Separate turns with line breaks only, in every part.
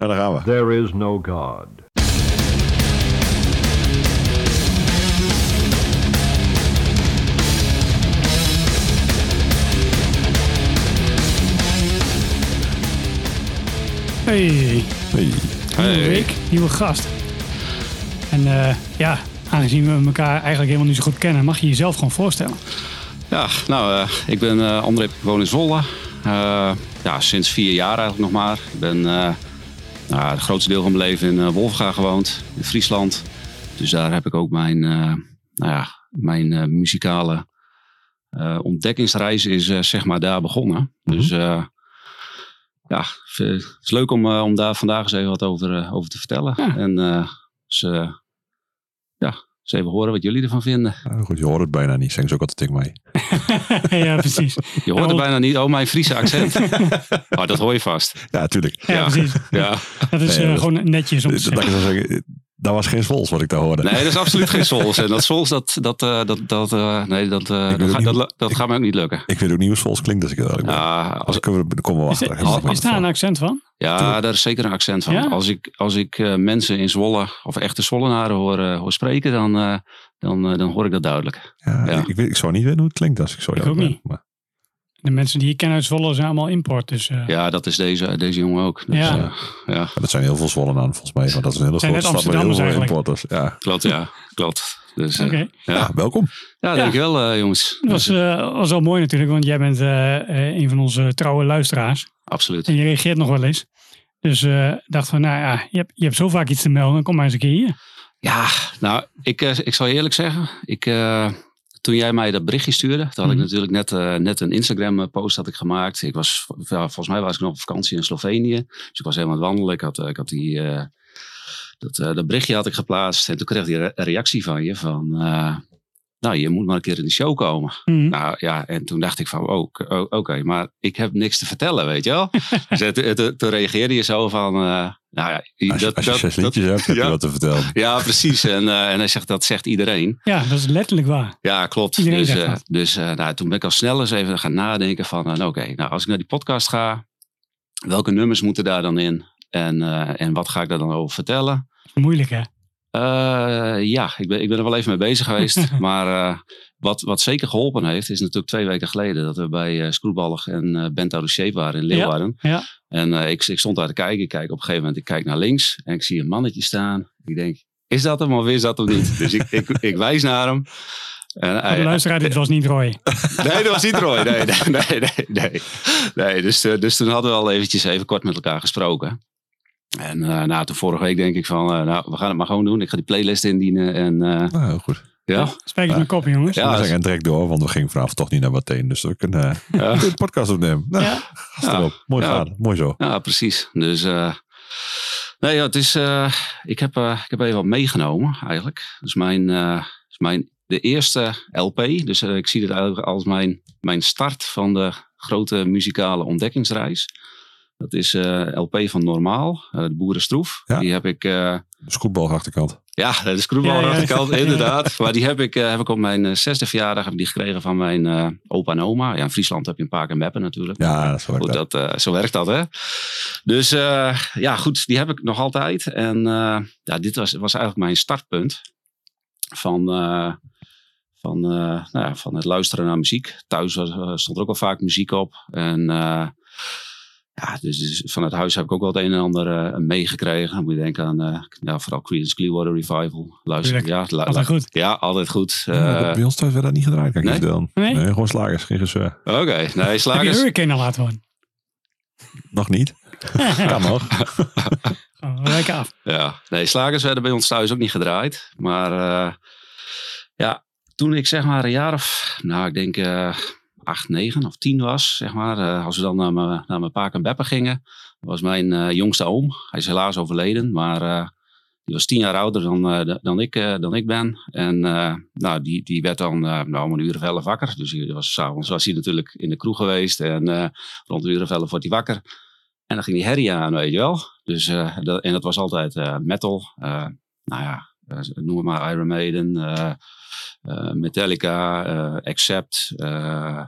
Nou, daar gaan we.
There is no God.
Hey,
Hey.
nieuwe week, nieuwe gast. En eh, ja, aangezien we elkaar eigenlijk helemaal niet zo goed kennen, mag je jezelf gewoon voorstellen.
Ja, nou, eh, ik ben eh, André, ik woon in Zwolle. Eh, ja, sinds vier jaar eigenlijk nog maar. Ik ben eh nou, het grootste deel van mijn leven in eh, Wolfga gewoond, in Friesland. Dus daar heb ik ook mijn, eh, nou ja, mijn eh, muzikale eh, ontdekkingsreis is eh, zeg maar daar begonnen. Dus eh, ja, v- het is leuk om, eh, om daar vandaag eens even wat over, eh, over te vertellen.
Ja.
En eh, dus, eh, ja, eens even horen wat jullie ervan vinden.
Nou, goed, je hoort het bijna niet. Zingen ze ook altijd tegen mij.
ja, precies.
Je hoort
Ja,
er
want-
bijna niet, oh mijn Friese accent. Oh, dat hoor je vast.
Ja, tuurlijk.
Ja,
Ja.
precies.
Ja.
Dat is
Nee,
eh,
dat-
gewoon netjes om te
Dat, dat,
zeggen.
dat, dat was geen Svols wat ik daar hoorde.
Nee, dat is absoluut geen Souls. En dat Souls, dat, dat, eh, dat, dat, eh, nee, dat, eh,
weet
dat,
ook
ga-
niet
dat,
hoe-
dat gaat mij ook niet lukken.
Ik weet ook niet hoe Svols klinkt, dus ik eigenlijk ben.
Ja,
Als
als,
ik er komen we
Is,
achter. Helemaal
is,
goed.
is daar een accent van?
ja, daar is zeker een accent van.
Ja?
Als ik, als ik eh, mensen in Zwolle of echte Zwollenaren hoor, eh, hoor spreken, dan, eh, dan, eh, dan hoor ik dat duidelijk.
Ja,
Ja.
Ik, ik weet, ik zou niet weten hoe het klinkt als ik zo
Ik
eerlijk
ook
ben,
niet.
maar-
De mensen die ik ken uit Zwolle zijn allemaal import. Dus eh,
Ja, dat is deze, deze jongen ook. Dus,
Ja.
ja. ja,
maar dat zijn heel veel Zwollen aan, volgens mij. Want dat is een hele
Zijn
grote
net
stad met heel veel
Amsterdammers
importers. Ja.
klopt, ja, klopt. Dus, eh,
oké.
Ja,
Ja.
welkom.
ja, dankjewel eh, jongens.
Dat was,
dus-
eh, was wel mooi natuurlijk, want jij bent eh, eh, een van onze trouwe luisteraars.
Absoluut.
En je reageert nog wel eens. Dus eh dacht van, nou ja, je hebt, je hebt zo vaak iets te melden, kom maar eens een keer hier.
Ja, nou, ik, eh, ik zal je eerlijk zeggen. Ik, eh, toen jij mij dat berichtje stuurde, toen had ik
Mhm.
natuurlijk net, eh, net een Instagram-post had ik gemaakt. Ik was, ja, volgens mij was ik nog op vakantie in Slovenië. Dus ik was helemaal aan het wandelen. Ik had, eh, ik had die, eh, dat, eh, dat berichtje had ik geplaatst. En toen kreeg ik een reactie van je van... eh, nou, je moet maar een keer in de show komen.
Mhm.
Nou ja, en toen dacht ik van, oh, k- oh, oké, maar ik heb niks te vertellen, weet je wel. dus eh, toen- toen- toen reageerde je zo van, eh, nou ja...
Als je, als je zes liedjes hebt, heb je
ja.
wat te vertellen.
Ja, precies. En, eh, en hij zegt, dat zegt iedereen.
Ja, dat is letterlijk waar.
Ja, klopt.
Iedereen
dus
zegt
eh,
dat.
dus eh, nou, toen ben ik al snel eens even gaan nadenken van, eh, nou, oké, nou, als ik naar die podcast ga, welke nummers moeten daar dan in? En, eh, en wat ga ik daar dan over vertellen?
Moeilijk hè?
Eh, ja, ik ben, ik ben er wel even mee bezig geweest. maar eh, wat, wat zeker geholpen heeft, is natuurlijk twee weken geleden dat we bij eh Screwballig en eh Bent Out of Shape waren in Leeuwarden.
ja.
En eh, ik, ik stond daar te kijken. Ik kijk op een gegeven moment, ik kijk naar links en ik zie een mannetje staan. Ik denk, is dat hem of is dat hem niet? dus ik, ik, ik wijs naar hem. En
Voor de
hij-
luisteraar, dit was niet Roy.
Nee, dat was niet Roy. Nee, nee, nee, nee. nee. nee dus, eh, dus toen hadden we al eventjes even kort met elkaar gesproken. En eh na de vorige week denk ik van, eh, nou, we gaan het maar gewoon doen. Ik ga die playlist indienen en eh,
Nou, heel goed.
ja.
Spijk eens mijn kop, jongens.
Ja,
we
dat
zijn direct door, want we gingen vanavond toch niet naar Bateen. Dus we kunnen eh, we kunnen een podcast opnemen. Nou,
Ja.
gast
Ja.
erop. Mooi
Ja.
gedaan. Mooi zo.
ja, precies. Dus eh, nee, ja, het is, eh, ik, heb, eh, ik heb even wat meegenomen eigenlijk. Dus mijn, eh, is mijn de eerste LP. Dus eh, ik zie dit eigenlijk als mijn, mijn start van de grote muzikale ontdekkingsreis. Dat is eh, LP van Normaal, eh, de Boerenstroef.
Ja.
Die heb ik eh,
Scootbal achterkant.
Ja, dat is kroebal
Ja, ja.
rechterkant,
Ja.
inderdaad. Maar die heb ik, eh, heb ik op mijn eh, zesde verjaardag heb ik die gekregen van mijn eh, opa en oma. Ja, in Friesland heb je een paar en meppen natuurlijk.
Ja, dat is wel
Goed,
leuk.
dat, eh, zo werkt dat, hè? Dus eh, ja, goed, die heb ik nog altijd. En eh, ja, dit was, was eigenlijk mijn startpunt van, eh, van, eh, nou ja, van het luisteren naar muziek. Thuis was, eh, stond er ook al vaak muziek op. En eh, ja, dus, dus van het huis heb ik ook wel het een en ander eh, meegekregen. Moet je denken aan eh, ja, vooral Creedence Clearwater Revival. Luister, ja, lu-
Altijd goed.
ja, altijd goed.
Ja, dat-
Eh,
bij ons thuis werd dat niet gedraaid. Kijk,
nee?
nee? dan.
Nee?
Nee? gewoon slagers. Geen gezeur.
Oké, nee,
Heb je
slagers.
Hurricane al laten worden?
Nog niet. Kan nog.
Oh, we wijken af.
Ja, nee, slagers werden bij ons thuis ook niet gedraaid. Maar eh, ja, toen ik zeg maar een jaar of, nou ik denk eh acht, negen of tien was, zeg maar. eh, als we dan naar mijn, naar mijn paak en beppen gingen, was mijn eh, jongste oom. Hij is helaas overleden, maar eh, die was tien jaar ouder dan, eh, da- dan, ik, eh, dan ik ben. En eh, nou, die, die werd dan eh, nou, om een uur of elf wakker. Dus hij was, 's avonds was hij natuurlijk in de kroeg geweest en eh, rond een uur of elf wordt hij wakker. En dan ging die herrie aan, weet je wel. Dus, eh, dat, en dat was altijd eh, metal. Eh, nou ja, eh, noem het maar Iron Maiden, eh, eh, Metallica, eh, Accept, eh,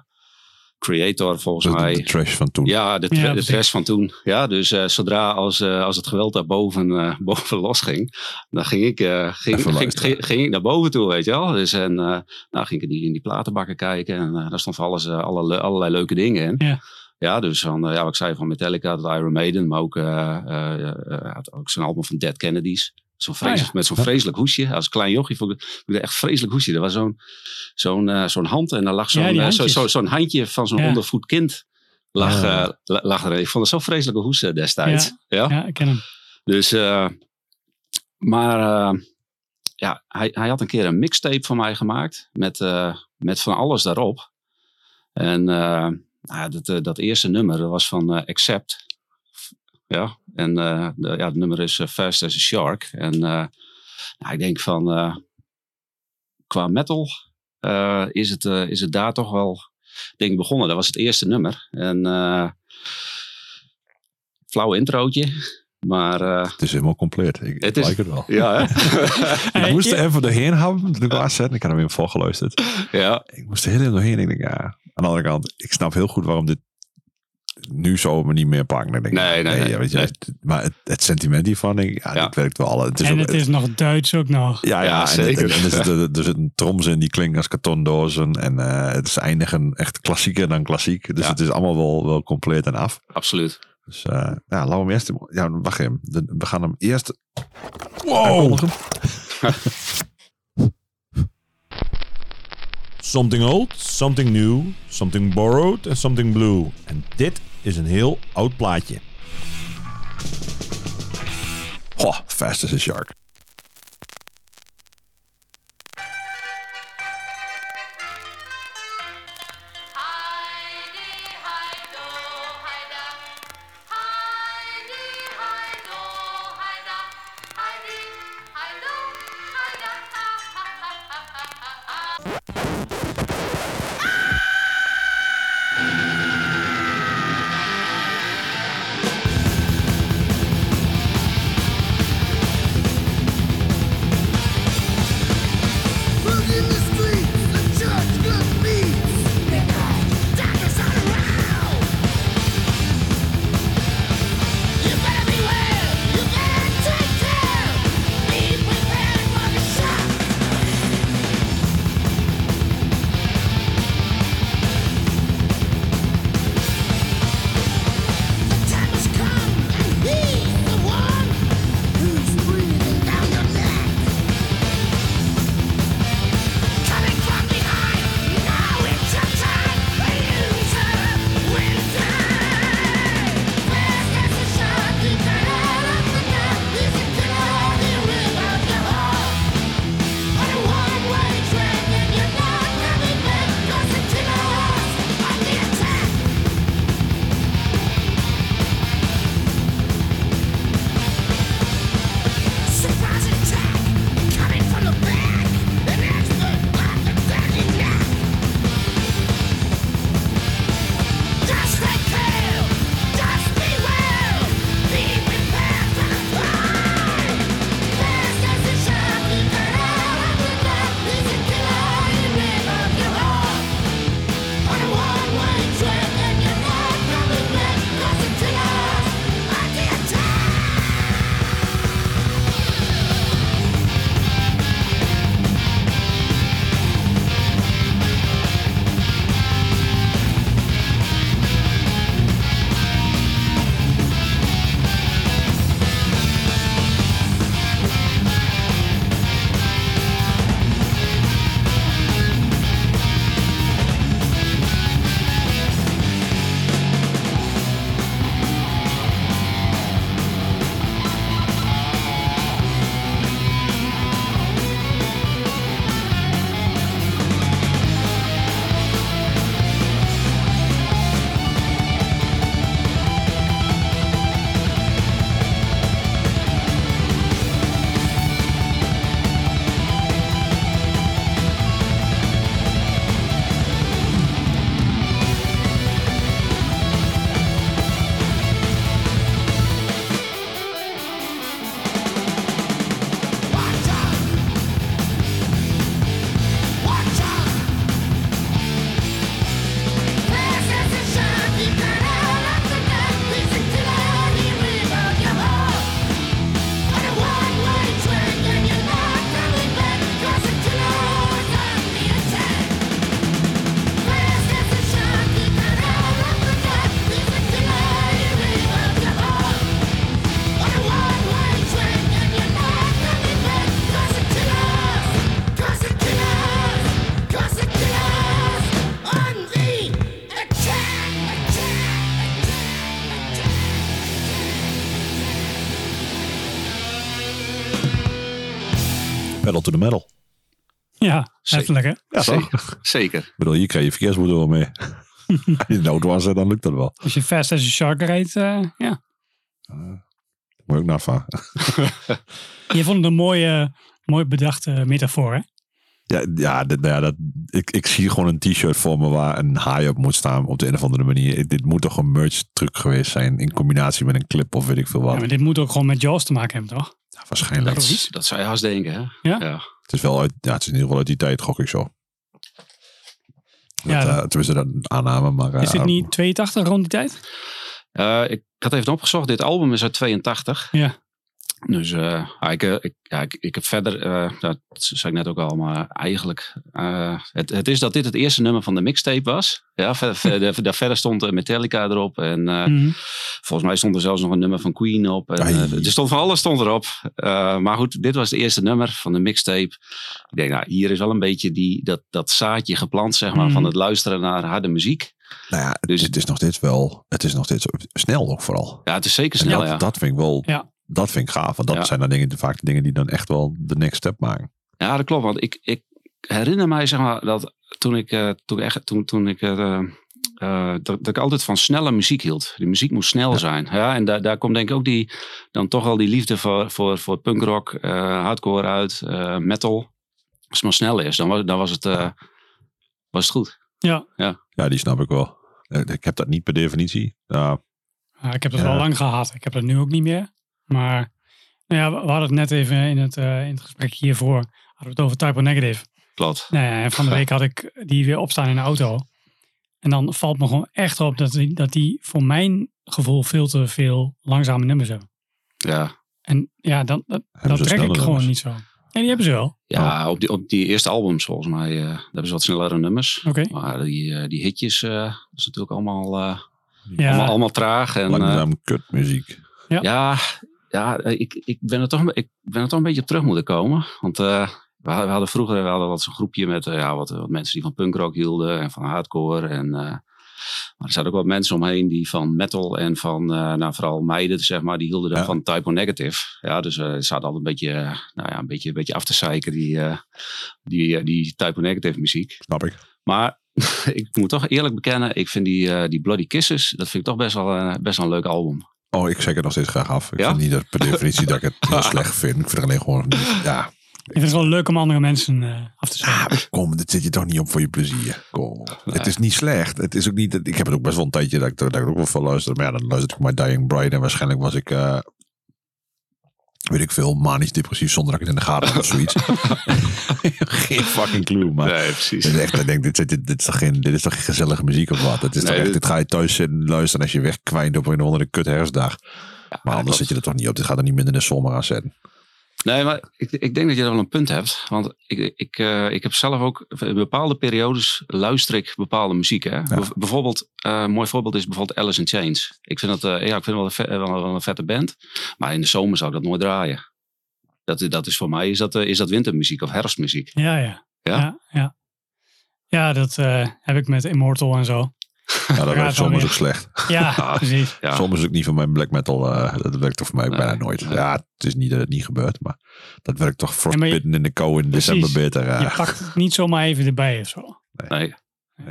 creator volgens
de, de-
mij.
de trash van toen.
Ja, de, tra-
Ja,
de
precies.
trash van toen. Ja, dus eh, zodra als, eh, als het geweld daarboven eh boven losging, dan ging ik, eh, ging,
Even
ging,
luisteren.
ging, ging ik naar boven toe, weet je wel. Dus en eh, nou ging ik in die, in die platenbakken kijken en eh, daar stond van alles, eh, alle, le- allerlei leuke dingen in.
Ja.
Ja, dus van, eh, ja, wat ik zei van Metallica, tot Iron Maiden, maar ook, eh eh, eh, had ook zo'n album van Dead Kennedys. Zo'n vreselijk-
Ah,
Met zo'n
Ja.
vreselijk hoesje. Als klein jochie vond ik vond ik dat echt vreselijk hoesje. Er was zo'n zo'n eh, zo'n hand en daar lag zo'n
Ja, die
eh, zo,
handjes.
zo, zo'n handje van zo'n
Ja.
ondervoed kind lag,
Ah.
eh, la- lag erin. Ik vond het zo'n vreselijke hoes eh, destijds. Ja.
Ja, ik ken hem.
Dus, eh, maar eh, ja, hij, hij had een keer een mixtape van mij gemaakt met, eh, met van alles daarop. En eh, nou ja, dat, eh, dat eerste nummer dat was van eh, Accept. Ja, en eh, de- ja, het nummer is eh, Fast as a Shark. En eh, nou, ik denk van, eh, qua metal eh, is, het, eh, is het daar toch wel denk ik begonnen. Dat was het eerste nummer. En eh flauw introotje, maar... eh,
Het is helemaal compleet. Ik,
Het
het
is-
like het wel.
ja, hè?
Ik
Hey,
moest
ja.
er even doorheen hebben toen ik was zet. Ik had hem even volgeluisterd.
ja,
Ik moest er heel even doorheen. Ik denk, ja. Aan de andere kant, ik snap heel goed waarom dit nu zo me niet meer pakt. Dan denk ik,
Nee, nee, nee,
ja, weet je,
nee.
het- maar het, het sentiment hiervan, denk ik, ja,
Ja.
dat werkt wel. Het is
en
ook-
het is nog Duits ook nog.
Ja, ja,
Ja,
en-
zeker.
En, en er, zit, er zit een troms in die klinkt als kartondozen. En eh, het is eindigen echt klassieker dan klassiek. Dus
Ja.
het is allemaal wel, wel compleet en af.
absoluut.
Dus eh nou, laten we hem eerst... Ja, wacht even. De- we gaan hem eerst...
Wow!
aankondigen.
Something old, something new, something borrowed en something blue. En dit is een heel oud plaatje.
Goh, fast as a shark.
Heidi, Heido, Heida. Heidi, Heido, Heida. Heidi, Heido, Heida. Ha, ha, ha, ha, ha, ha, ha.
pedal to the metal.
Ja, letterlijk hè.
Ja, toch?
zeker. zeker.
Ik bedoel, hier krijg je verkeersboete wel mee. Als je nood was, hè, dan lukt dat wel.
Als je fast as a shark rijdt, eh, ja.
Moet je ook nagaan.
Je vond het een mooie, mooi bedachte metafoor hè.
Ja, ja, dit, nou ja dat, ik, ik zie gewoon een t-shirt voor me waar een haai op moet staan op de een of andere manier. Ik- Dit moet toch een merch truc geweest zijn in combinatie met een clip of weet ik veel wat.
Ja, maar dit moet ook gewoon met Jaws te maken hebben toch?
Ja, waarschijnlijk.
Dat, is- dat zou je haast denken, hè?
Ja.
Het is wel uit, ja, het is in ieder geval uit die tijd, gok ik zo. Dat,
Ja,
eh, tenminste, dat aanname, maar... eh,
Is dit niet 82 rond die tijd?
Eh, ik had even opgezocht, dit album is uit 82.
Ja.
Dus eh, ja, ik, eh, ik, ja, ik, ik heb verder, eh, dat zei ik net ook al, maar eigenlijk, eh, het, het is dat dit het eerste nummer van de mixtape was. Ja, ver- ver- daar- daar verder stond eh, Metallica erop en eh,
Mhm.
volgens mij stond er zelfs nog een nummer van Queen op. En,
Ai.
eh, er stond van alles stond erop. Eh, maar goed, dit was het eerste nummer van de mixtape. Ik denk, nou, hier is wel een beetje die, dat, dat zaadje geplant, zeg maar,
Mhm.
Mm.
van het luisteren naar harde muziek.
Nou ja,
Dus-
het is nog dit wel... Het is nog dit snel ook vooral.
Ja, het is zeker
En
snel,
dat,
ja.
dat vind ik wel...
Ja.
Dat vind ik gaaf, want dat
Ja.
zijn dan dingen, vaak de dingen die dan echt wel de next step maken.
Ja, dat klopt. Want ik, ik herinner mij, zeg maar, dat toen ik, eh, toen echt, toen, toen ik, eh, eh, dat, dat ik altijd van snelle muziek hield. Die muziek moest snel zijn. Ja, en daar, daar komt denk ik ook die, dan toch al die liefde voor, voor, voor punkrock, eh, hardcore uit, eh, metal. Als het maar snel is, dan was, dan was, het, eh, was het goed.
Ja,
Ja, die snap ik wel. Eh, Ik heb dat niet per definitie. Ja,
Ah, ik heb dat
Ja.
al lang gehad. Ik heb dat nu ook niet meer. Maar nou ja, we we hadden het net even in het, eh, in het gesprek hiervoor. Hadden we het over typo negative.
Klopt.
Nou ja, en van de week had ik die weer opstaan in de auto. En dan valt me gewoon echt op dat die, dat die voor mijn gevoel veel te veel langzame nummers hebben.
Ja,
En ja, dan, dat,
hebben
dat
ze
trek ik
sneller
gewoon
nummers.
niet zo. En die hebben ze wel.
ja op, die, op die eerste albums volgens mij eh, daar hebben ze wat snellere nummers.
Oké.
Maar die, eh, die hitjes, eh, dat is natuurlijk allemaal, eh, allemaal,
Ja,
allemaal traag. En, eh,
Langzaam kutmuziek.
Ja, ja eh, ik, ik, ben er toch, een be- ik ben er toch een beetje op terug moeten komen. Want eh, we, hadden, we hadden vroeger we hadden wat zo'n groepje met eh, ja, wat, wat mensen die van punkrock hielden en van hardcore. En, eh, maar er zaten ook wat mensen omheen die van metal en van, eh, nou, vooral meiden, zeg maar, die hielden dan
Ja.
van typo negative. Ja, dus eh ze zaten altijd een beetje, eh, nou ja, een beetje, een beetje af te zeiken, die, eh die, eh, die typo negative muziek.
Snap ik.
Maar ik moet toch eerlijk bekennen, ik vind die, eh, die Bloody Kisses, dat vind ik toch best wel, eh, best wel een leuk album.
Oh, ik zeg het nog steeds graag af. Ik
Ja?
vind niet dat per definitie dat ik het heel slecht vind. Ik vind het alleen gewoon... niet- Ja,
ik vind het wel leuk om andere mensen eh, af te zetten.
ah, kom, dit zit je toch niet op voor je plezier. Kom. Het is niet slecht. Het is ook niet... dat- Ik heb het ook best wel een tijdje dat ik, dat ik ook wel veel luister. Maar ja, dan luister ik maar Dying Bride. En waarschijnlijk was ik... eh, weet ik veel, manisch depressief zonder dat ik het in de gaten had of zoiets. Geen fucking clue, maar...
Nee, precies.
Dit is echt, ik denk, dit, dit, dit, is toch geen, dit is toch geen gezellige muziek of wat? Het is
Nee,
toch echt,
dit-
dit ga je thuis zitten luisteren als je wegkwijnt op een of andere kut herfstdag. maar
dat
anders
klopt.
zit je er toch niet op. Dit gaat er niet minder in de zomer aan zetten.
Nee, maar ik, ik denk dat je daar wel een punt hebt. Want ik, ik, eh, ik heb zelf ook in bepaalde periodes luister ik bepaalde muziek. Hè? Bijv- bijvoorbeeld, eh, een mooi voorbeeld is bijvoorbeeld Alice in Chains. Ik vind dat eh, ja, ik vind het wel, een ve- eh, wel, wel een vette band. Maar in de zomer zou ik dat nooit draaien. Dat, is- dat is voor mij is dat, eh, is dat wintermuziek of herfstmuziek.
Ja, ja.
Ja?
Ja, ja. Ja, dat eh, heb ik met Immortal en zo.
Ja, dat
dan
werkt soms
weer.
ook slecht.
Ja,
Ah.
precies.
Ja.
Soms ook niet van mijn black metal. eh, dat werkt toch voor mij
Nee,
bijna nooit.
nee.
Ja, het is niet dat het niet gebeurt, maar dat werkt toch
Ja, maar je-
frostbitten in de kou in
Precies.
december beter. eh.
Je pakt het niet zomaar even erbij of zo.
Nee,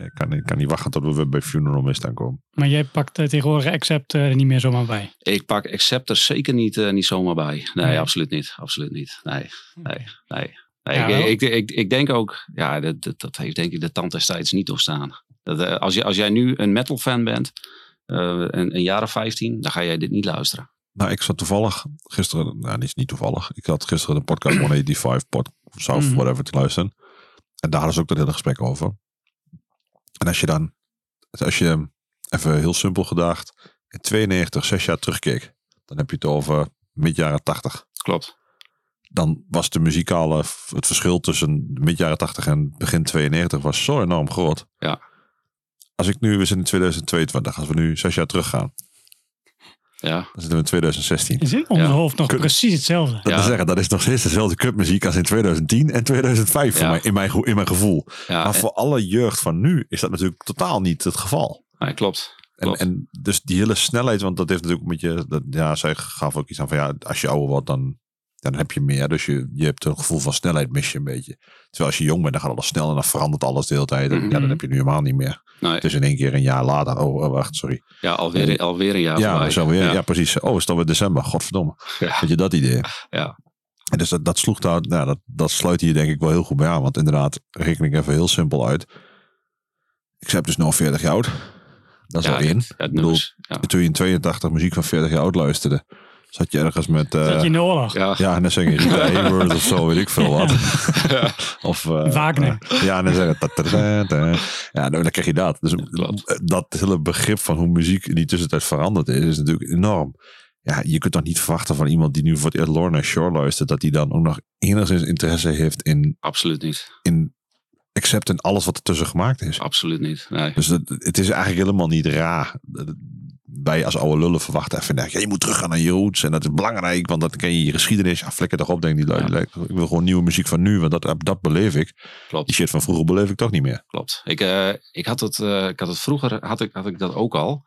Ik kan, niet- kan niet wachten tot we weer bij Funeral Mist aankomen.
Maar jij pakt eh, tegenwoordig Accept eh, er niet meer zomaar bij.
ik pak Accept er zeker niet, eh, niet zomaar bij. Nee,
Nee.
absoluut niet. Absoluut niet. Nee, nee, nee. nee
Ja, wel.
ik, eh, ik, ik, ik denk ook, ja, dat, dat, dat heeft denk ik de tand des tijds niet doorstaan. Dat, eh, als, je, als jij nu een metal fan bent, eh, een, een jaar of 15, dan ga jij dit niet luisteren.
Nou, ik zat toevallig gisteren, nou, niet, niet toevallig. Ik had gisteren een podcast 185 pod, South,
Mhm.
whatever, te luisteren. En daar hadden ze ook dat hele gesprek over. En als je dan, als je even heel simpel gedacht, in 92, zes jaar terugkeek, dan heb je het over mid jaren 80.
Klopt.
Dan was de muzikale, het verschil tussen mid jaren 80 en begin 92 was zo enorm groot.
Ja.
Als ik nu, we zijn in 2022, als we nu zes jaar teruggaan,
Ja,
dan zitten we in 2016.
Is in ons
Ja.
hoofd nog
Kun-
precies hetzelfde?
Dat
Ja.
wil zeggen, dat is nog steeds dezelfde cupmuziek als in 2010 en 2005 voor
Ja.
mij, in, mijn, ge- in mijn gevoel.
ja eh,
maar voor alle jeugd van nu is dat natuurlijk totaal niet het geval.
eh, nee, klopt.
En,
Klopt.
en dus die hele snelheid, want dat heeft natuurlijk met je... Dat, ja, zij gaf ook iets aan van ja, als je ouder wordt dan... Dan heb je meer, dus je, je hebt een gevoel van snelheid mis je een beetje. Terwijl als je jong bent, dan gaat alles snel en dan verandert alles de hele tijd. En Ja,
Mhm.
dat heb je nu helemaal niet meer.
Nee,
Het is in één keer een jaar later. Oh, oh, wacht, sorry.
ja, alweer, alweer een jaar
Ja,
voorbij.
zo weer. Ja.
Ja.
precies. Oh, is het alweer december? Godverdomme.
Ja.
Weet je dat idee?
Ja.
En dus dat, dat sloeg daar, nou, dat, dat sluit hier denk ik wel heel goed bij aan. Want inderdaad, reken ik even heel simpel uit. Ik ben dus nu al 40 jaar oud. Dat is
Ja,
al één.
Ja, het nummers. Ja.
Toen je in 82 muziek van 40 jaar oud luisterde, zat je ergens met... eh,
Dat je in de oorlog.
Ja.
ja, en dan zing je Rita Hayward of zo, weet ik veel wat. of, eh,
Wagner.
eh, ja, en dan zeg je... ta- ta- ta- ta. Ja, nou, dan krijg je dat. Dus
klopt.
dat hele begrip van hoe muziek in die tussentijd veranderd is, is natuurlijk enorm. Ja, je kunt toch niet verwachten van iemand die nu voor het eerst Lorna Shore luistert, dat hij dan ook nog enigszins interesse heeft in,
Absoluut niet.
in except in alles wat ertussen gemaakt is.
Absoluut niet. Nee.
Dus dat, het is eigenlijk helemaal niet raar. Wij als oude lullen verwachten even, nou, ja, je moet teruggaan naar je roots en dat is belangrijk, want dat ken je je geschiedenis. Ja, flikker toch op, denk die lui.
Ja.
Lijkt- Ik wil gewoon nieuwe muziek van nu, want dat, dat beleef ik.
Klopt.
Die shit van vroeger beleef ik toch niet meer.
klopt. Ik, eh, ik, had het, eh, ik had het vroeger, had ik, had ik dat ook al.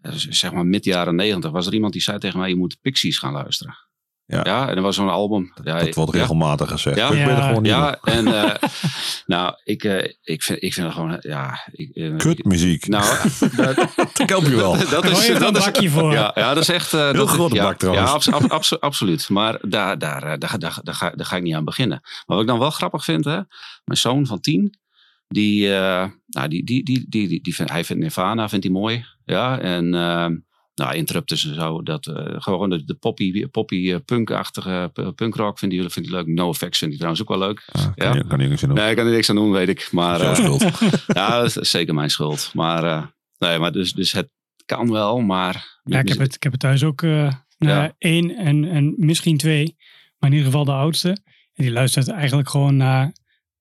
Eh, z- zeg maar mid jaren negentig was er iemand die zei tegen mij, je moet Pixies gaan luisteren.
Ja.
en er was zo'n album. Ja,
dat wordt
ja,
regelmatig gezegd.
Ja.
Ik ben er
Ja.
gewoon niet
Ja, en eh, nou, ik, eh, ik, vind, ik vind het gewoon, eh, ja... Ik, eh,
Kut muziek.
Nou, dat,
dat help je wel.
dat
Gooi
is...
even
Dus Dat
een
is
bakje voor.
ja, ja, dat is echt... eh,
Heel
dat,
grote
ja,
bak trouwens.
Ja, abso- ab- abso- absoluut. Maar daar, daar, eh, daar, ga- daar, daar, ga, daar ga ik niet aan beginnen. Maar wat ik dan wel grappig vind, hè, mijn zoon van tien, die, eh, nou, die, die, die, die, die, die vindt- hij vindt Nirvana vindt hij mooi. Ja, en eh, nou, Interrupters en zo, dat, eh, gewoon de, de poppy, poppy eh, punk-achtige eh, punkrock vindt hij, vindt hij leuk. No Effects vindt hij trouwens ook wel leuk.
Ja, Ah, kan, Je, kan je niks in doen.
Nee, ik kan er niks aan doen, weet ik. Maar
Jouw
eh,
schuld.
ja, dat is zeker mijn schuld. Maar, eh, nee, maar dus, dus het kan wel, maar...
Ja, ik heb het, ik heb het thuis ook eh nou, één en, en misschien twee, maar in ieder geval de oudste. En die luistert eigenlijk gewoon naar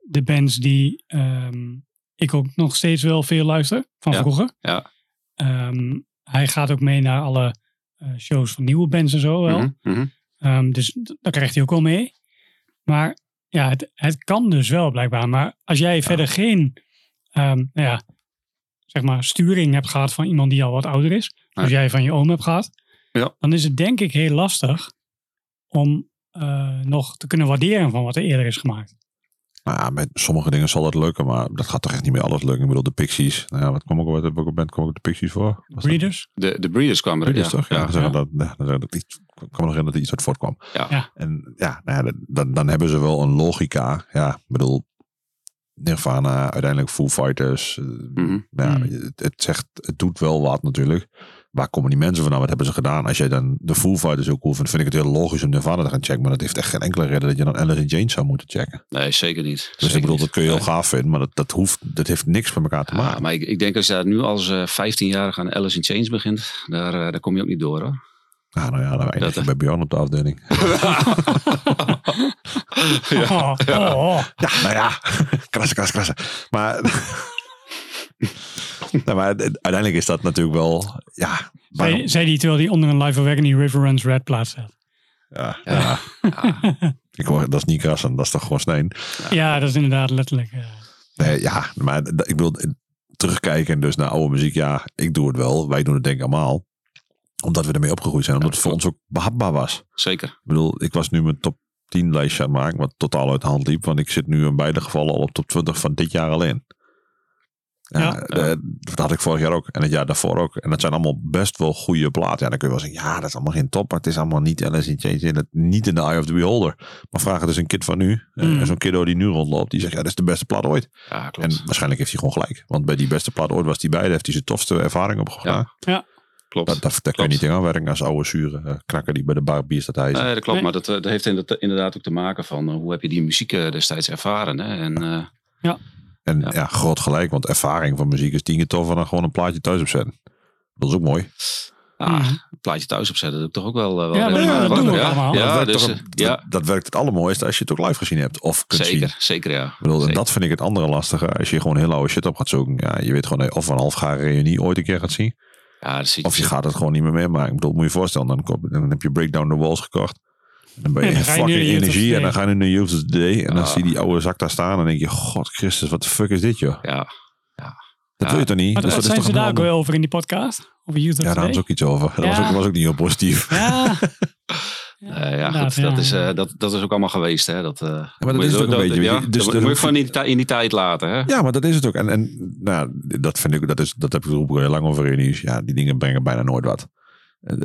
de bands die ehm, ik ook nog steeds wel veel luister van
Ja,
vroeger.
ja.
Ehm, hij gaat ook mee naar alle eh, shows van nieuwe bands en zo wel.
Mhm, mhm.
Ehm, dus d- dat krijgt hij ook wel mee. Maar ja, het, het kan dus wel blijkbaar. Maar als jij verder geen ehm, nou ja, zeg maar sturing hebt gehad van iemand die al wat ouder is. Als
Nee.
jij van je oom hebt gehad.
Ja.
Dan is het denk ik heel lastig om eh, nog te kunnen waarderen van wat er eerder is gemaakt.
Nou ja, met sommige dingen zal dat lukken, maar dat gaat toch echt niet meer alles lukken. Ik bedoel, de Pixies. Nou ja, wat kwam ook wat heb ik op band, kwam ook de Pixies voor? Was dat-
Breeders.
De, de Breeders kwamen er,
Breeders, toch? Ja, dan
ja.
zeggen dat, ja, dan zeggen dat iets, ik kan me nog herinneren dat er iets uit voortkwam.
Ja.
Ja.
En ja, nou ja dat- dan, dan hebben ze wel een logica. Ja, ik bedoel, Nirvana, uiteindelijk Foo Fighters. eh,
Mhm.
nou ja,
Mm.
het, het zegt, het doet wel wat natuurlijk. Waar komen die mensen vandaan? Wat hebben ze gedaan? Als jij dan de Foo Fighters heel cool vindt, vind ik het heel logisch om Nirvana te gaan checken. Maar dat heeft echt geen enkele reden dat je dan Alice in James zou moeten checken.
Nee, zeker niet.
Dus
Zeker
ik bedoel,
niet. Ah.
dat kun je heel
Nee.
gaaf vinden, maar dat, dat, hoeft, dat heeft niks met elkaar te
Ja,
maken.
maar ik, ik denk als je daar nu als eh, 15-jarige aan Alice in Chains begint, daar, eh, daar kom je ook niet door hoor.
Ah, nou ja, dan eindig
Dat,
je
eh.
bij Bjorn op de afdeling.
Oh, oh, oh.
Ja, nou ja, krassen, krassen, krassen. Maar, nou, maar uiteindelijk is dat natuurlijk wel, ja,
Zei,
waarom,
zei die terwijl hij onder een live Agony River Runs Red plaat staat.
ja,
Ja.
ja.
Ja,
Ik hoor, dat is niet krassen, dat is toch gewoon snijn.
Ja, dat is inderdaad letterlijk. eh,
Nee, ja, maar d- ik bedoel, eh, terugkijken dus naar oude muziek, ja, ik doe het wel. Wij doen het denk ik allemaal, omdat we ermee opgegroeid zijn. Omdat
Ja,
het voor ons ook behapbaar was.
zeker.
Ik bedoel, ik was nu mijn top 10 lijstje aan het maken, wat totaal uit de hand liep. Want ik zit nu in beide gevallen al op top 20 van dit jaar alleen. Ja,
Ja.
eh, dat had ik vorig jaar ook. En het jaar daarvoor ook. En dat zijn allemaal best wel goede platen. Ja, dan kun je wel zeggen, ja, dat is allemaal geen top. Maar het is allemaal niet Alice in Chains. en het- Niet in de eye of the beholder. Maar vraag het eens een kid van nu. eh,
Mm.
Zo'n kiddo die nu rondloopt. Die zegt, ja, dat is de beste plaat ooit.
Ja, Hmm. klopt.
En waarschijnlijk heeft hij gewoon gelijk. Want bij die beste plaat ooit was die beide. Heeft hij zijn tofste ervaring opgedaan.
klopt.
Dat, dat, daar kun je niet
Klopt.
tegen aanwerken als oude zure eh, knakker die bij de bar bier staat hij
Nee, dat klopt,
Nee.
maar dat, eh, dat heeft inderdaad- inderdaad ook te maken van eh, hoe heb je die muziek eh, destijds ervaren. Hè? En, eh,
En ja.
Ja.
groot gelijk, want ervaring van muziek is tien keer toffer dan gewoon een plaatje thuis opzetten. Dat is ook mooi.
ah,
Mhm.
een plaatje thuis opzetten, dat doe ik toch ook wel. eh, wel
Ja, maar
redelijk.
dat
Ja,
doen we
ja,
ook allemaal.
Maar dat,
Ja,
werkt
dus,
toch-
eh,
dat,
ja,
dat werkt het allermooiste als je het ook live gezien hebt of kunt zien.
zeker, zeker ja.
Ik bedoel, en
Zeker.
dat vind ik het andere lastige. Als je gewoon heel oude shit op gaat zoeken. Ja, je weet gewoon dat je of een halfgare reunie ooit een keer gaat zien.
Ja, dat zie ik-
Of je gaat het gewoon niet meer meemaken. Ik bedoel, moet je je voorstellen. Dan, koop- dan heb je Breakdown the Walls gekocht. En dan ben je
En dan ga je
fucking
nu naar Youth of the
energie. En
Day.
dan ga je nu naar Youth of the Day. En dan
Ah.
zie je die oude zak daar staan. En dan denk je, god Christus, wat de fuck is dit joh?
Ja,
Dat
Ja.
wil je toch niet?
Maar
Dus
wat
dat is
zijn
toch
ze
een
daar ook
ander-
wel over in die podcast? Over YouTube
Ja, daar hadden ze ook iets over. Dat was
Ja.
ook- was ook niet heel positief.
Ja,
Eh, ja,
inderdaad,
goed, dat,
ja,
is, eh,
ja.
dat, dat is ook allemaal geweest. Hè? Dat, eh,
dat
moet
is
je-
het ook een beetje,
Ja,
weet je. Dus
dat
dan
moet je
hoef
van
je-
in die, ti- in die tijd laten. Hè?
Ja, maar dat is het ook. En, en nou, dat vind ik, dat is, dat heb ik er ook heel lang over in nieuws. Ja, die dingen brengen bijna nooit wat. Eh,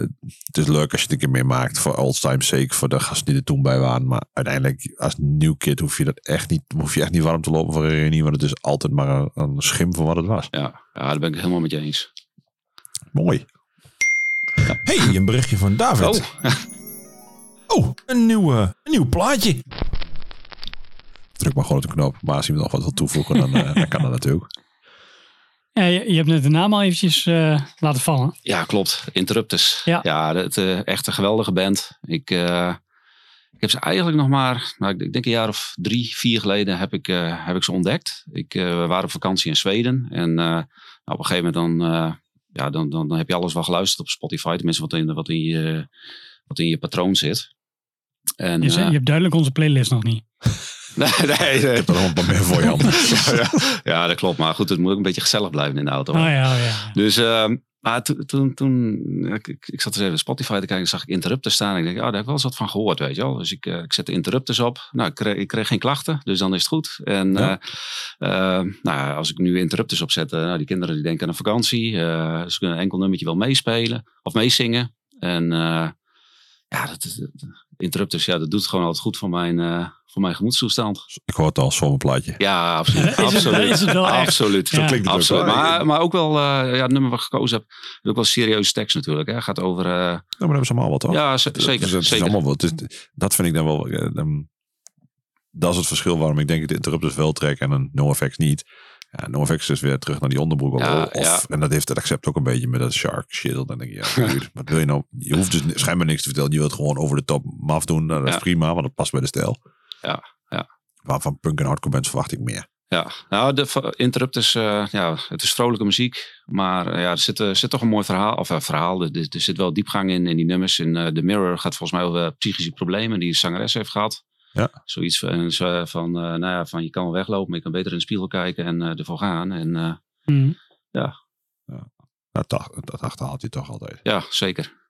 Het is leuk als je het een keer meemaakt voor old time's sake, voor de gasten die er toen bij waren. Maar uiteindelijk, als nieuw kid, hoef je dat echt niet, hoef je echt niet warm te lopen voor een reunie. Want het is altijd maar een, een schim van wat het was.
Ja, ja, daar ben ik het helemaal met je eens.
Mooi.
hey, een berichtje van David. Oh, een, nieuw, eh, een nieuw plaatje.
Druk maar gewoon op de knop. Maar als iemand nog wat wil toevoegen, dan, eh, dan kan dat natuurlijk.
Ja, je, je hebt net de naam al eventjes eh, laten vallen.
Ja, klopt. Interruptus.
Ja.
het, eh, echt een geweldige band. Ik, eh, ik heb ze eigenlijk nog maar, nou, ik, ik denk een jaar of drie, vier geleden heb ik, eh, heb ik ze ontdekt. Ik, eh, we waren op vakantie in Zweden. En eh, nou, op een gegeven moment dan, eh, ja, dan, dan, dan heb je alles wel geluisterd op Spotify. Tenminste, wat in, wat in, je, wat in je patroon zit. En,
Je, zei-
eh,
je hebt duidelijk onze playlist nog niet.
nee, nee, nee.
Ik heb er nog een paar meer voor je handen.
ja, ja, dat klopt. Maar goed, het moet ook een beetje gezellig blijven in de auto.
Oh ja, oh ja.
Dus ehm, maar to- toen, toen ik, ik, ik zat dus even op Spotify te kijken, zag ik interrupters staan. Ik denk, oh, daar heb ik wel eens wat van gehoord, weet je wel. Dus ik, eh, ik zet de interrupters op. Nou, ik kreeg, ik kreeg geen klachten, dus dan is het goed. En
Ja.
eh, ehm, nou, ja, als ik nu interrupters opzet, eh, nou, die kinderen die denken aan een vakantie. eh, ze kunnen een enkel nummertje wel meespelen of meezingen. En eh, ja, dat, is- dat- interrupters, ja, dat doet gewoon altijd goed voor mijn, eh, voor mijn gemoedstoestand.
Ik hoor het al, zo'n plaatje.
Ja, absoluut.
Ja, dat is het-
absoluut.
dat is het wel echt.
absoluut.
Zo Ja.
klinkt het ook
absoluut.
wel.
Maar, maar ook wel eh, ja, het nummer wat ik gekozen heb. Ook wel serieuze tekst natuurlijk. Hè. Gaat over. eh,
Nou, maar dat hebben ze allemaal wat, toch?
ja, ze-
Het- het
zeker.
is- Dus het is
zeker.
allemaal wel- het is- dat vind ik dan wel. eh, ehm, dat is het verschil waarom ik denk dat de interrupters wel trekken en een NoFX niet. Ja, NoFX is weer terug naar die onderbroek.
Ja,
of,
ja.
En dat heeft het accept ook een beetje met dat shark shit. Dan denk je, ja, dude, wat wil je nou? Je hoeft dus ni- schijnbaar niks te vertellen. Je wilt gewoon over de top maf doen. Nou, dat
Ja.
is prima, want dat past bij de stijl.
Ja, ja.
Maar van punk en hardcore bands verwacht ik meer.
Ja, nou, de v- interrupters, eh, ja, het is vrolijke muziek. Maar eh, ja, er zit, eh, zit toch een mooi verhaal. Of eh, verhaal, er, er- er zit wel diepgang in, in die nummers. En eh The Mirror gaat volgens mij over eh, psychische problemen die de zangeres heeft gehad.
Ja.
Zoiets van, eh, van, eh, nou ja, van je kan wel weglopen, maar je kan beter in de spiegel kijken en eh, ervoor gaan. En eh,
Hm.
Dat, ach- dat achterhaalt je toch altijd.
ja, zeker.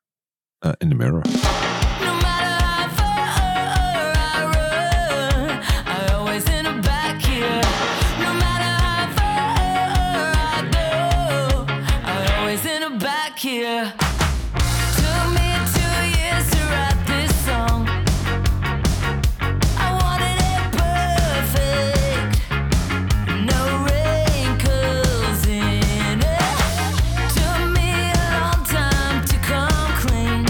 Eh, in the mirror.
No matter how far I run, I always end up back here. No matter how far I go, I always end up back here. Took me two years to write this song. I wanted it perfect, no wrinkles in it. Took me a long time to come clean.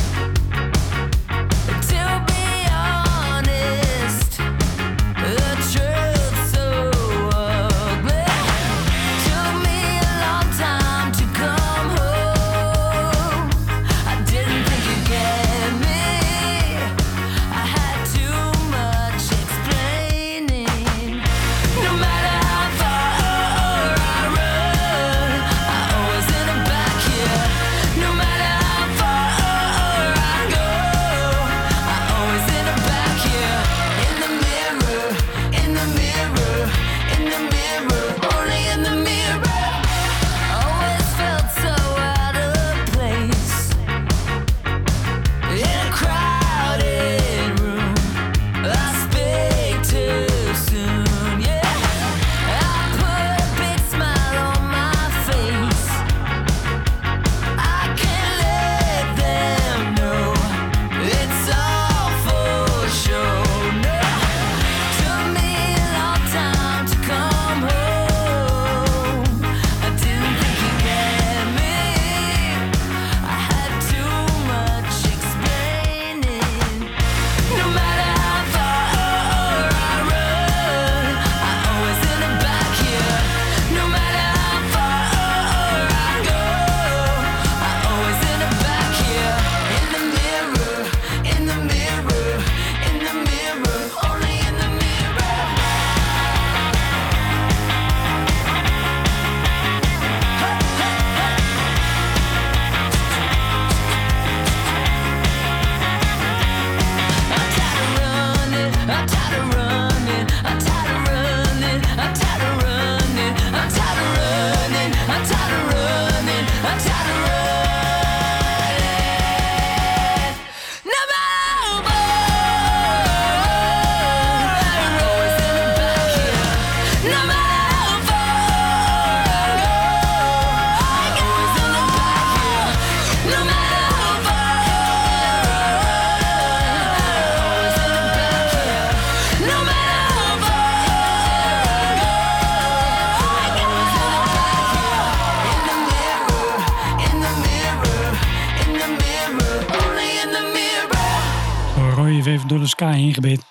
live even door de sky heen gebeten.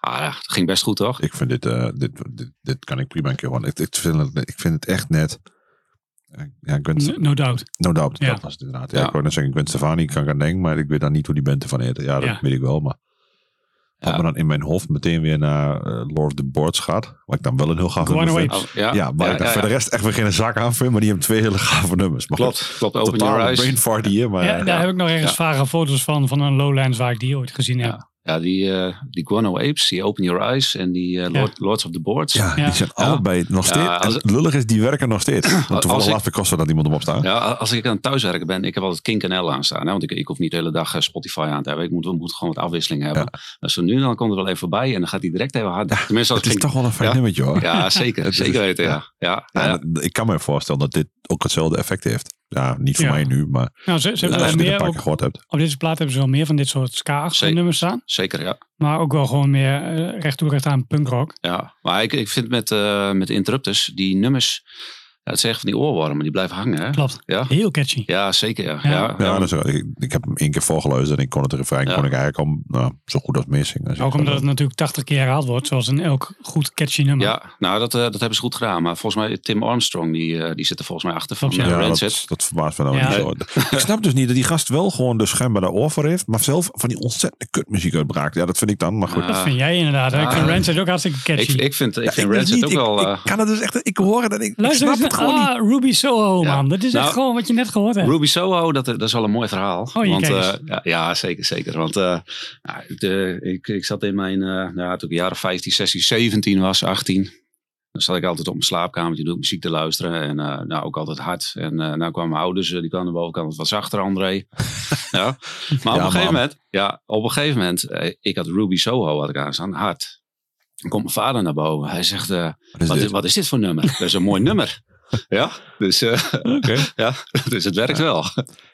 Ah, ja, het ging best goed, toch?
Ik vind dit, eh, dit, dit, dit kan ik prima een keer gewoon. Ik, ik, vind, het, ik vind het echt net. Eh, Ja, ik wens,
No doubt.
no doubt,
Mm-hmm. Ja.
dat was het inderdaad. Ja,
Ja.
Ik wou net zeggen, ik ben Stefani, ik kan ik aan denken, maar ik weet dan niet hoe die band ervan heet. Ja, dat
Ja.
weet ik wel, maar... Wat
Ja.
me dan in mijn hoofd meteen weer naar eh, Lord of the Boards gaat. Wat ik dan wel een heel gaaf
Runaway.
nummer vind.
Oh, ja,
Ja, maar ik dan voor de rest echt weer geen zak aan vind, maar die hebben twee hele gave nummers. Maar goed,
Klopt, klopt. Open your
Totaal
eyes.
brain fart hier, maar...
Ja,
eh,
daar heb ik nog ergens
Oh Ja.
vage foto's van, van een Lowlands waar ik die ooit gezien heb.
Ja, die, eh, die Guano Apes, die Open Your Eyes en die eh, Lord, Lords of the Boards.
Ja,
Ja.
die zijn allebei nog steeds.
als-
en lullig is, die werken nog steeds. Want toevallig
Als ik-
laatst ik... kosten dat iemand hem opstaan.
Ja, a- als ik aan het thuiswerken ben, ik heb altijd Kink en L aanstaan. Hè? Want ik, ik hoef niet de hele dag eh, Spotify aan te hebben. Ik moet, we moeten gewoon wat afwisseling hebben. Dus zo nu en dan komt er wel even bij en dan gaat hij direct even hard. Tenminste, als
Het is
Kink-
toch wel een fijn
Ja.
nummertje hoor.
Ja, zeker.
Het is-
zeker weten,
ja.
ja. Ja,
Ja,
ja,
en dat- ik kan me voorstellen dat dit ook hetzelfde effect heeft. Ja, niet voor
Ja.
mij nu, maar
Nou, ze, ze
ja,
hebben
als
wel
je dit een
meer,
paar
op,
keer gehoord hebt.
op deze plaat hebben ze wel meer van dit soort ska
Zeker.
nummers staan.
zeker. Ja.
Maar ook wel gewoon meer eh, recht toe recht aan punkrock.
Ja, maar ik, ik vind met, eh met de interrupters, die nummers, ja, het zijn echt van die oorwormen, die blijven hangen. Hè?
Klopt.
Ja.
Heel catchy.
ja, zeker. Ja.
Ja.
Ja,
Ja,
ja.
dus, eh, ik, ik heb hem één keer voorgeluisterd en ik kon het refrein
Ja.
kon ik eigenlijk al nou, zo goed als meezingen. Dus ik
Ook
vond
omdat het natuurlijk 80 keer herhaald wordt, zoals in elk goed catchy nummer.
Ja, nou dat, eh, dat hebben ze goed gedaan. Maar volgens mij, Tim Armstrong, die, eh, die zit er volgens mij achter van
Klopt,
eh,
ja, dat,
Rancid.
dat verbaast me nou
Ja.
niet zo. Ik snap dus niet dat die gast wel gewoon de schijnbaar daar oor voor heeft, maar zelf van die ontzettende kutmuziek uitbraakt. Ja, dat vind ik dan, maar goed.
Ja,
Dat vind jij inderdaad. hè? Ik
Ah.
vind Rancid ook hartstikke
ik,
catchy.
ik vind, ik
Ja,
vind
weet
Rancid
niet,
ook
ik-
wel...
Ik,
eh,
kan het dus echt, ik hoor het en ik, ik
Luister
snap
eens
het
naar-
gewoon niet.
ah, Ruby Soho,
Ja.
man. Dat is
Nou,
echt gewoon wat je net gehoord hebt.
Ruby Soho, dat, eh, dat is wel een mooi verhaal.
Oh, je
want,
kijkt
eh,
eens.
ja, ja, zeker, zeker. Want eh, nou, ik, eh, ik, ik zat in mijn, eh nou, toen ik jaren 15, 16, 17 was, 18. Dan zat ik altijd op mijn slaapkamertje, doe ik muziek te luisteren. En eh, nou, ook altijd hard. En eh nou kwamen mijn ouders, eh, die kwamen aan de bovenkant wat zachter, André. ja. Maar op
man.
een gegeven moment, ja, op een gegeven moment, eh, ik had Ruby Soho had ik aanstaan, hard. Dan komt mijn vader naar boven. Hij zegt, eh,
Wat is
wat,
dit?
is, wat is dit voor nummer? Dat is een mooi nummer. Ja, dus, eh, ja, dus het werkt wel.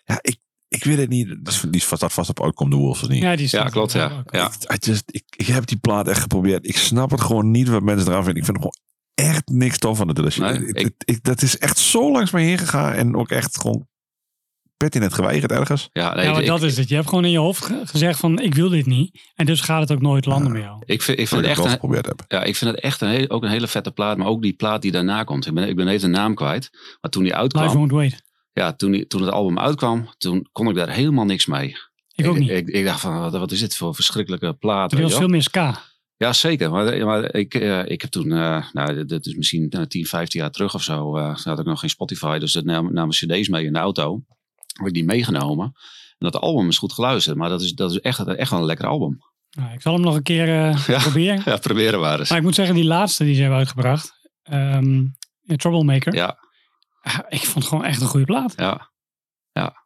Ja, ik, ik weet het niet. Dat is- Die staat vast op Outcome the Wolves of niet?
Ja, die
Ja,
staat
klopt.
er
Ja.
ook.
Ja.
Ik, I just- ik, ik heb die plaat echt geprobeerd. Ik snap het gewoon niet wat mensen eraan vinden. Ik vind er gewoon echt niks tof van. Het. Dus
Nee,
ik,
ik-
het- ik- dat is echt zo langs mij heen gegaan. En ook echt gewoon pertinent geweigerd ergens.
ja, nee,
Ja, maar
ik,
dat is het. Je hebt gewoon in je hoofd ge- gezegd van ik wil dit niet. En dus gaat het ook nooit landen met jou.
ik vind,
Dat
ik vind
ik
het
het
echt,
wel
een,
geprobeerd heb.
ja, ik vind het echt een heel, ook een hele vette plaat. Maar ook die plaat die daarna komt. Ik ben, ik ben even de naam kwijt. Maar toen die
Life
uitkwam,
won't wait.
ja, toen, die, toen het album uitkwam, toen kon ik daar helemaal niks mee.
Ik ook
ik,
niet.
Ik, ik dacht van, wat, wat is dit voor verschrikkelijke plaat?
Er
weet
was
je
veel
wel?
meer ska.
Ja, zeker. Maar, maar ik, eh, ik heb toen, eh, nou, dat- dat is misschien eh, 10, 15 jaar terug of zo. eh, toen had ik nog geen Spotify, dus dat nam, namen cd's mee in de auto. Heb ik die meegenomen. En dat album is goed geluisterd, maar dat is, dat is echt, echt wel een lekker album.
Nou, ik zal hem nog een keer eh,
Ja.
proberen.
Ja, proberen maar eens.
Maar ik moet zeggen, die laatste die ze hebben uitgebracht. ehm, ja, Troublemaker.
Ja.
Ah, Ik vond het gewoon echt een goede plaat.
Ja.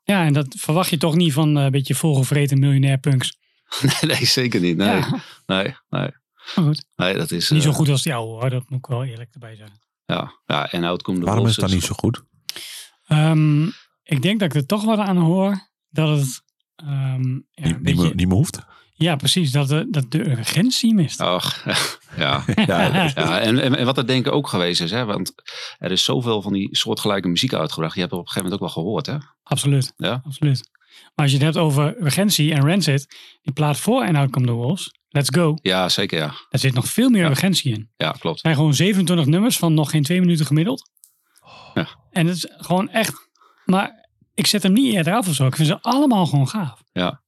Ja, en dat verwacht je toch niet van eh, een beetje volgevreten miljonair punks.
Nee, nee, zeker niet. Nee,
Ja,
nee, nee.
maar goed.
nee dat is...
Niet
eh,
zo goed als die oude hoor, dat moet ik wel eerlijk erbij zeggen.
Ja, ja en Outcome de
Waarom is het dan
Wolves
niet zo goed?
Ehm, ik denk dat ik er toch wat aan hoor dat het. ehm, ja,
Niet,
een
niet, meer,
beetje-
niet meer hoeft?
ja, precies. Dat de, dat de urgentie mist.
Ach, ja.
Ja,
ja en, en, en wat dat denk ik ook geweest is, hè, want er is zoveel van die soortgelijke muziek uitgebracht. Je hebt het op een gegeven moment ook wel gehoord, hè?
Absoluut.
Ja.
Absoluut. Maar als je het hebt over urgentie en Rancid, die plaat voor en Outcome the Wolves, Let's Go,
Ja, zeker, ja.
daar zit nog veel meer urgentie in.
Ja, klopt.
Het zijn gewoon 27 nummers van nog geen twee minuten gemiddeld.
Ja.
En het is gewoon echt, maar ik zet hem niet eerder af of zo. Ik vind ze allemaal gewoon gaaf. Ja,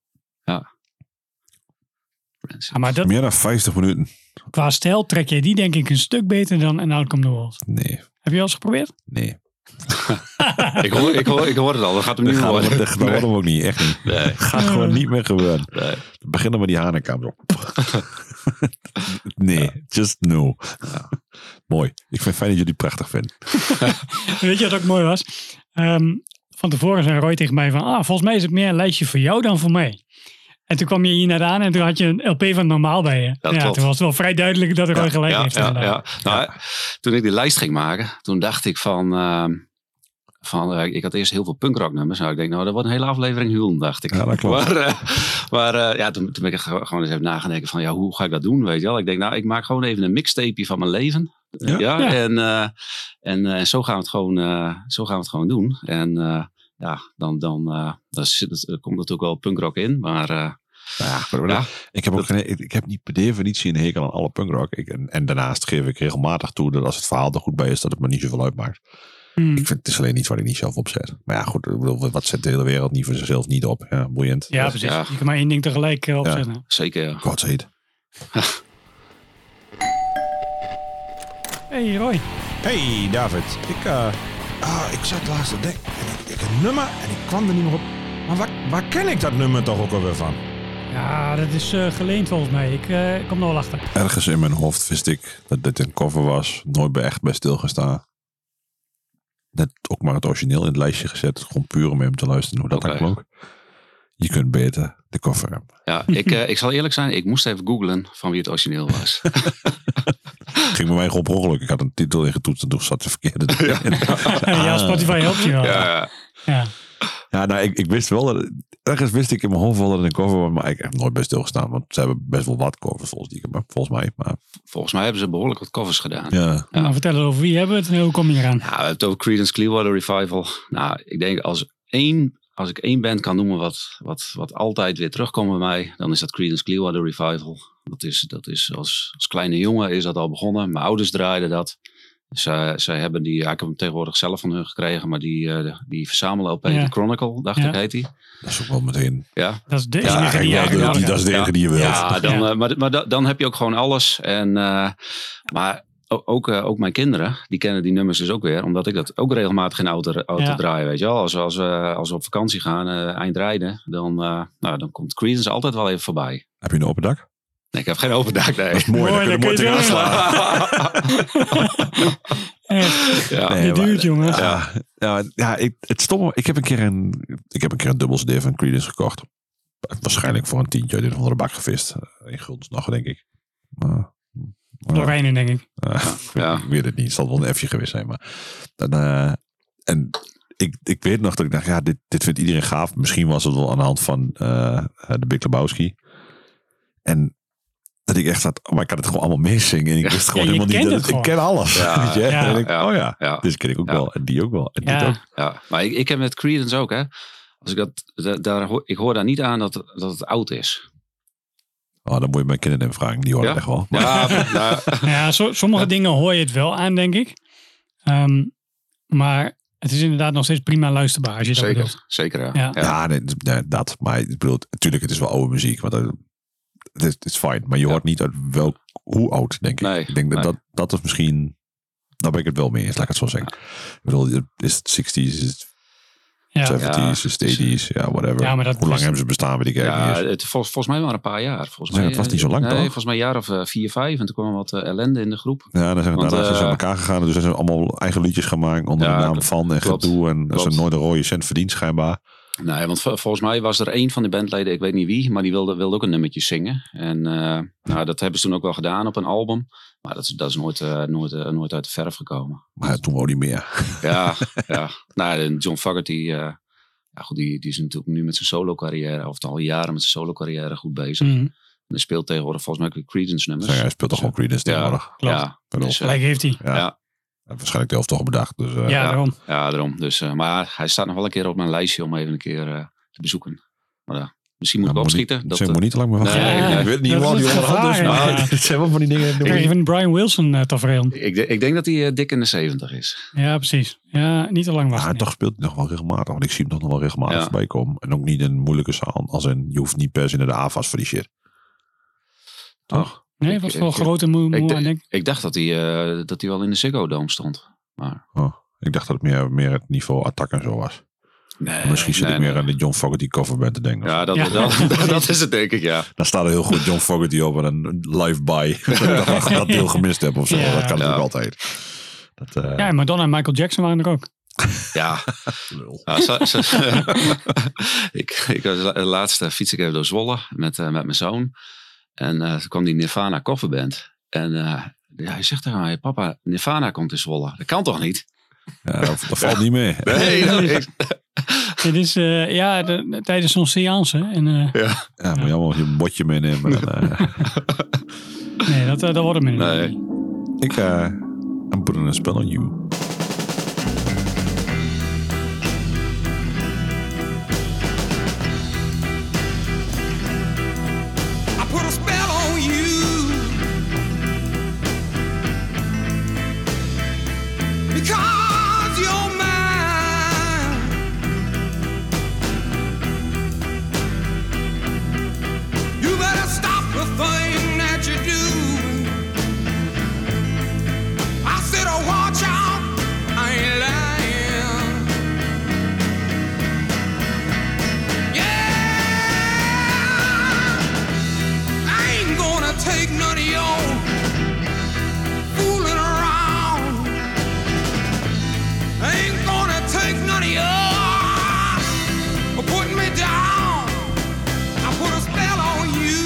maar dat,
Meer dan 50 minuten.
qua stijl trek jij die denk ik een stuk beter dan een Outcome the Wolves.
Nee,
Heb je al eens geprobeerd?
nee.
Ik hoor, ik, hoor, ik hoor het al, we gaan hem
Dat
nu
gaat
horen.
hem, dat gaat hem ook niet. Echt niet.
Nee,
Gaat gewoon niet meer gebeuren.
nee.
Beginnen met die hanenkamer. nee, just no. Mooi. Ik vind het fijn dat jullie het prachtig vinden.
Weet je wat ook mooi was? Ehm, van tevoren zei Roy tegen mij van, ah, volgens mij is het meer een lijstje voor jou dan voor mij. En toen kwam je hier naar aan en toen had je een LP van normaal bij je.
Dat
ja,
klopt.
toen was het wel vrij duidelijk dat Roy gelijk
ja,
heeft.
ja,
inderdaad.
ja. Nou, Toen ik die lijst ging maken, toen dacht ik van... ehm, van eh, ik had eerst heel veel punkrocknummers. Nou, ik denk, nou, dat wordt een hele aflevering huilen, dacht ik.
Ja, dat klopt.
Maar, eh, maar eh, ja, toen, toen ben ik echt ge- gewoon eens even nagedacht van, ja, hoe ga ik dat doen, weet je wel? Ik denk, nou, ik maak gewoon even een mixtapeje van mijn leven.
Ja.
Ja.
Ja.
En, eh, en eh, zo, gaan we het gewoon, eh, zo gaan we het gewoon doen. En eh, ja, dan, dan, eh, dan zit het, komt natuurlijk wel punkrock in, maar... eh,
Ja, maar
Ja.
dat- Ik, heb ook geen, ik, ik heb niet per definitie een hekel aan alle punkrock. Ik, en, en daarnaast geef ik regelmatig toe dat als het verhaal er goed bij is, dat het me niet zoveel uitmaakt.
Hmm.
Ik vind, het is alleen iets waar ik niet zelf op zet. Maar ja, goed, ik bedoel, wat zet de hele wereld niet voor zichzelf niet op? Ja, boeiend. Dus,
Ja,
Ja.
precies.
ja.
Je kan maar één ding tegelijk eh, opzetten.
Zeker, ja.
Gods heet.
Hey Roy.
Hey David, ik, eh, ah, ik zat laatst te denken en ik, ik een nummer en ik kwam er niet meer op. Maar waar, waar ken ik dat nummer toch ook alweer van?
Ja, dat is eh, geleend volgens mij. Ik eh, kom er wel achter.
Ergens in mijn hoofd wist ik dat dit een cover was. Nooit bij echt bij stilgestaan. Net ook maar het origineel in het lijstje gezet. Gewoon puur om even te luisteren hoe dat dan
Oké.
klonk. Je kunt beter de cover hebben.
ja ik, eh, ik zal eerlijk zijn, ik moest even googlen van wie het origineel was.
Ging bij mij gewoon per ongeluk. Ik had een titel ingetoetst en toen zat de verkeerde erin.
ja, Spotify helpt je wel. Ja.
Eh,
Ja.
Ja, nou, ik, ik wist wel dat... Ergens wist ik in mijn hoofd wel dat het een cover was, maar ik heb nooit bij stilgestaan. Want ze hebben best wel wat covers volgens, die, ik heb, volgens mij. Maar,
Volgens mij hebben ze behoorlijk wat covers gedaan.
ja.
Nou, vertel eens over wie hebben we het en hoe kom je eraan?
Nou, we hebben het over Creedence Clearwater Revival. Nou, ik denk als, één, als ik één band kan noemen wat, wat, wat altijd weer terugkomt bij mij, dan is dat Creedence Clearwater Revival. Dat is, dat is als, als kleine jongen is dat al begonnen. Mijn ouders draaiden dat. Zij, zij hebben die, ja, ik heb hem tegenwoordig zelf van hun gekregen, maar die, eh, die verzamelen LP,
Ja.
de Chronicle, dacht
Ja.
ik, heet die.
Dat is ook wel meteen...
Ja,
Dat is de
Dat is
Ja,
eigenlijk
ja,
wel de-
ja.
die- dat is de enige die je wilt.
Ja, dan,
Ja.
eh, maar, maar da- dan heb je ook gewoon alles. En, eh, maar o- ook, eh, ook mijn kinderen, die kennen die nummers dus ook weer. Omdat ik dat ook regelmatig in de auto, auto
Ja.
draai, weet je wel. Als, als, we, als we op vakantie gaan, eh, eind rijden, dan, eh, nou, dan komt Creedence altijd wel even voorbij.
Heb je een open dak?
Nee, ik heb geen overdag,
Dat
nee.
is mooi,
Mooi,
daar
dan
kun je mooi
kun je
tegenaan
het wel.
slaan.
Echt,
ja.
Nee,
dit
maar-
duurt, jongen.
Ja, ja, ja ik, het stomme, ik heb een keer een, ik heb een, keer een dubbel CD van Creedence gekocht. Waarschijnlijk voor een tientje uit een of andere bak gevist. Eh, In guldens nog, denk ik. Maar,
Door wijnen, denk ik.
eh,
Ja.
Ik weet het niet, het zal wel een F'je geweest zijn. Maar, en eh, en ik, ik weet nog dat ik dacht, ja, dit, dit vindt iedereen gaaf. Misschien was het wel aan de hand van eh, de Big Lebowski. En dat ik echt zat, oh, maar ik kan het gewoon allemaal meezingen. En ik wist gewoon
je
helemaal niet
kent
dat
het
ik ken alles.
Ja,
Weet je?
ja,
En ik,
ja.
Oh ja,
Ja.
dit ken ik ook
Ja.
wel. En die ook wel. En dit ook.
Ja.
Ja, maar ik, ik heb met Creedence ook, hè. Als ik dat, da- daar, hoor- ik hoor daar niet aan dat, dat het oud is.
Oh, dan moet je mijn kinderen even vragen. Die horen
Ja?
echt wel. Maar
Ja, nou,
Nou ja, so- sommige dingen hoor je het wel aan, denk ik. Ehm, maar het is inderdaad nog steeds prima luisterbaar als je dat bedoelt.
zeker, zeker, ja.
Ja.
ja, nee, d- nee, dat. Maar ik bedoel, natuurlijk, het is wel oude muziek. Want eh, het is, het is fijn. Maar je hoort niet uit welk, hoe oud, denk ik.
Nee,
ik denk dat,
nee.
dat dat is misschien... Daar ben ik het wel mee eens, laat ik het zo zeggen. Ik bedoel, is het 60s, is het
Ja.
70s, is het 80s, ja, whatever.
Ja, maar dat
hoe lang
is-
hebben ze bestaan, weet ik eigenlijk
Ja,
niet eens.
het, vol- volgens mij waren een paar jaar. Volgens
Nee,
mij, eh,
het was niet zo lang,
nee,
toch?
volgens mij een jaar of eh, vier, vijf. En toen kwam er wat eh, ellende in de groep.
Ja, dan zijn we
Want,
daarna zijn ze aan
eh,
elkaar gegaan. Dus ze zijn allemaal eigen liedjes gaan maken onder
Ja,
de naam
klopt,
van en
klopt,
gedoe. En ze
klopt.
hebben nooit een rode cent verdiend, schijnbaar.
Nee, want vol- volgens mij was er één van de bandleden, ik weet niet wie, maar die wilde, wilde ook een nummertje zingen. En eh, nou, dat hebben ze toen ook wel gedaan op een album. Maar dat is, dat is nooit, eh, nooit, eh, nooit uit de verf gekomen.
Maar toen ook niet meer.
Ja, ja. Nou, en John Fogerty, eh, ja, goed, die, die is natuurlijk nu met zijn solo carrière, of al jaren met zijn solo carrière goed bezig.
Hmm.
Mhm.
En hij speelt tegenwoordig volgens mij ook weer Creedence nummers.
Hij speelt toch gewoon Creedence tegenwoordig.
klopt.
Dus- Ja,
Bedoel,
dus, eh,
Gelijk heeft hij.
Ja.
Ja.
Waarschijnlijk de helft toch bedacht. Dus, eh,
Ja, daarom.
Ja, daarom. Dus, eh, maar hij staat nog wel een keer op mijn lijstje om even een keer eh, te bezoeken. Maar ja, misschien moet
Nou,
ik
moet
opschieten.
niet-
dat,
zeg,
eh,
moet niet te lang meer wachten.
Nee, nee.
ik weet het niet,
Dat
man.
is
Die
het
onderhand dus.
gevaar,
Maar
ja.
dit zijn wel van die dingen.
Ik krijg
die-
even een Brian Wilson eh, tafereel.
ik, de- ik denk dat hij eh, dik in de 70 is.
Ja, precies. Ja, niet te lang
Ja,
wachten.
en Ah, toch speelt hij nog wel regelmatig. Want ik zie hem toch nog wel regelmatig
Ja.
voorbij komen. En ook niet in een moeilijke zaal. Als in, je hoeft niet per se naar de AFAS voor die shit. Toch?
Ach,
nee,
ik-
was wel
ik-
grote moe, moe
ik denk-
aan denk ik.
Ik dacht dat hij, eh, dat hij wel in de Ziggo Dome stond. Maar,
Oh, ik dacht dat het meer, meer het niveau attack en zo was.
nee,
Maar misschien zit
Eh, nee,
ik meer
nee.
aan de John Fogerty coverband te denken.
Ja, dat,
Ja.
Dat, dat, dat is het denk ik, ja.
Daar staat er heel goed John Fogerty op en een live by. dat ik dat deel gemist heb of zo.
Ja.
Dat kan natuurlijk
Ja.
altijd. Dat, eh,
Ja, en Madonna en Michael Jackson waren er ook.
Ja,
lul.
nou, zo- zo- ik, ik was la- laatst eh, fiets ik even door Zwolle met, eh, met mijn zoon. En eh toen kwam die Nirvana kofferband. En eh, ja, hij zegt tegen mij, papa, Nirvana komt in Zwolle. Dat kan toch niet?
Ja, dat, dat valt niet mee.
Nee, dat is...
Dit is eh, ja, de- de- tijdens zo'n seance. En, eh,
Ja, moet je allemaal je botje meenemen. En, eh,
nee, dat, eh, dat wordt hem niet.
Nee.
Ik eh I'm putting a spell on you.
"Oh, take none of your fooling around. I ain't gonna take none of your putting me down. I put a spell on you.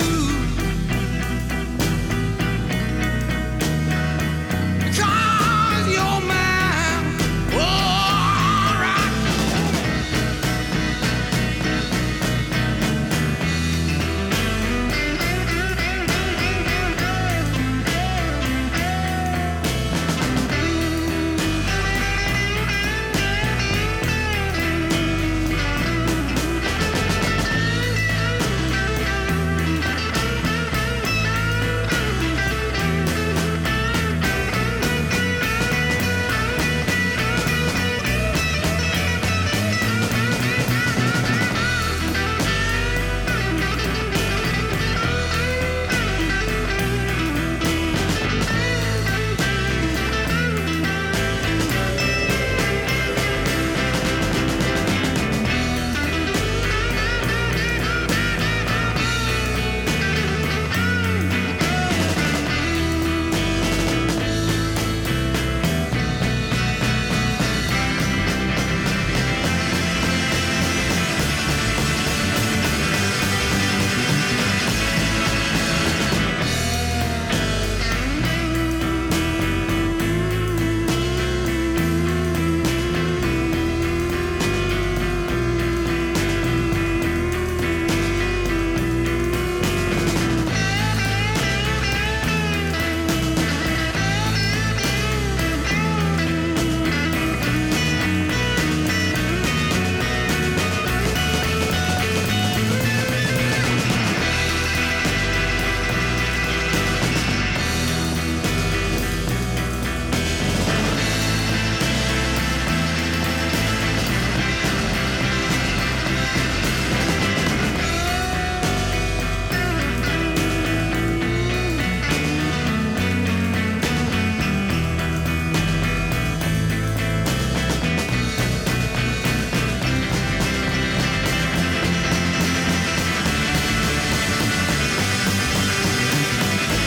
Because you're mine. oh, All right.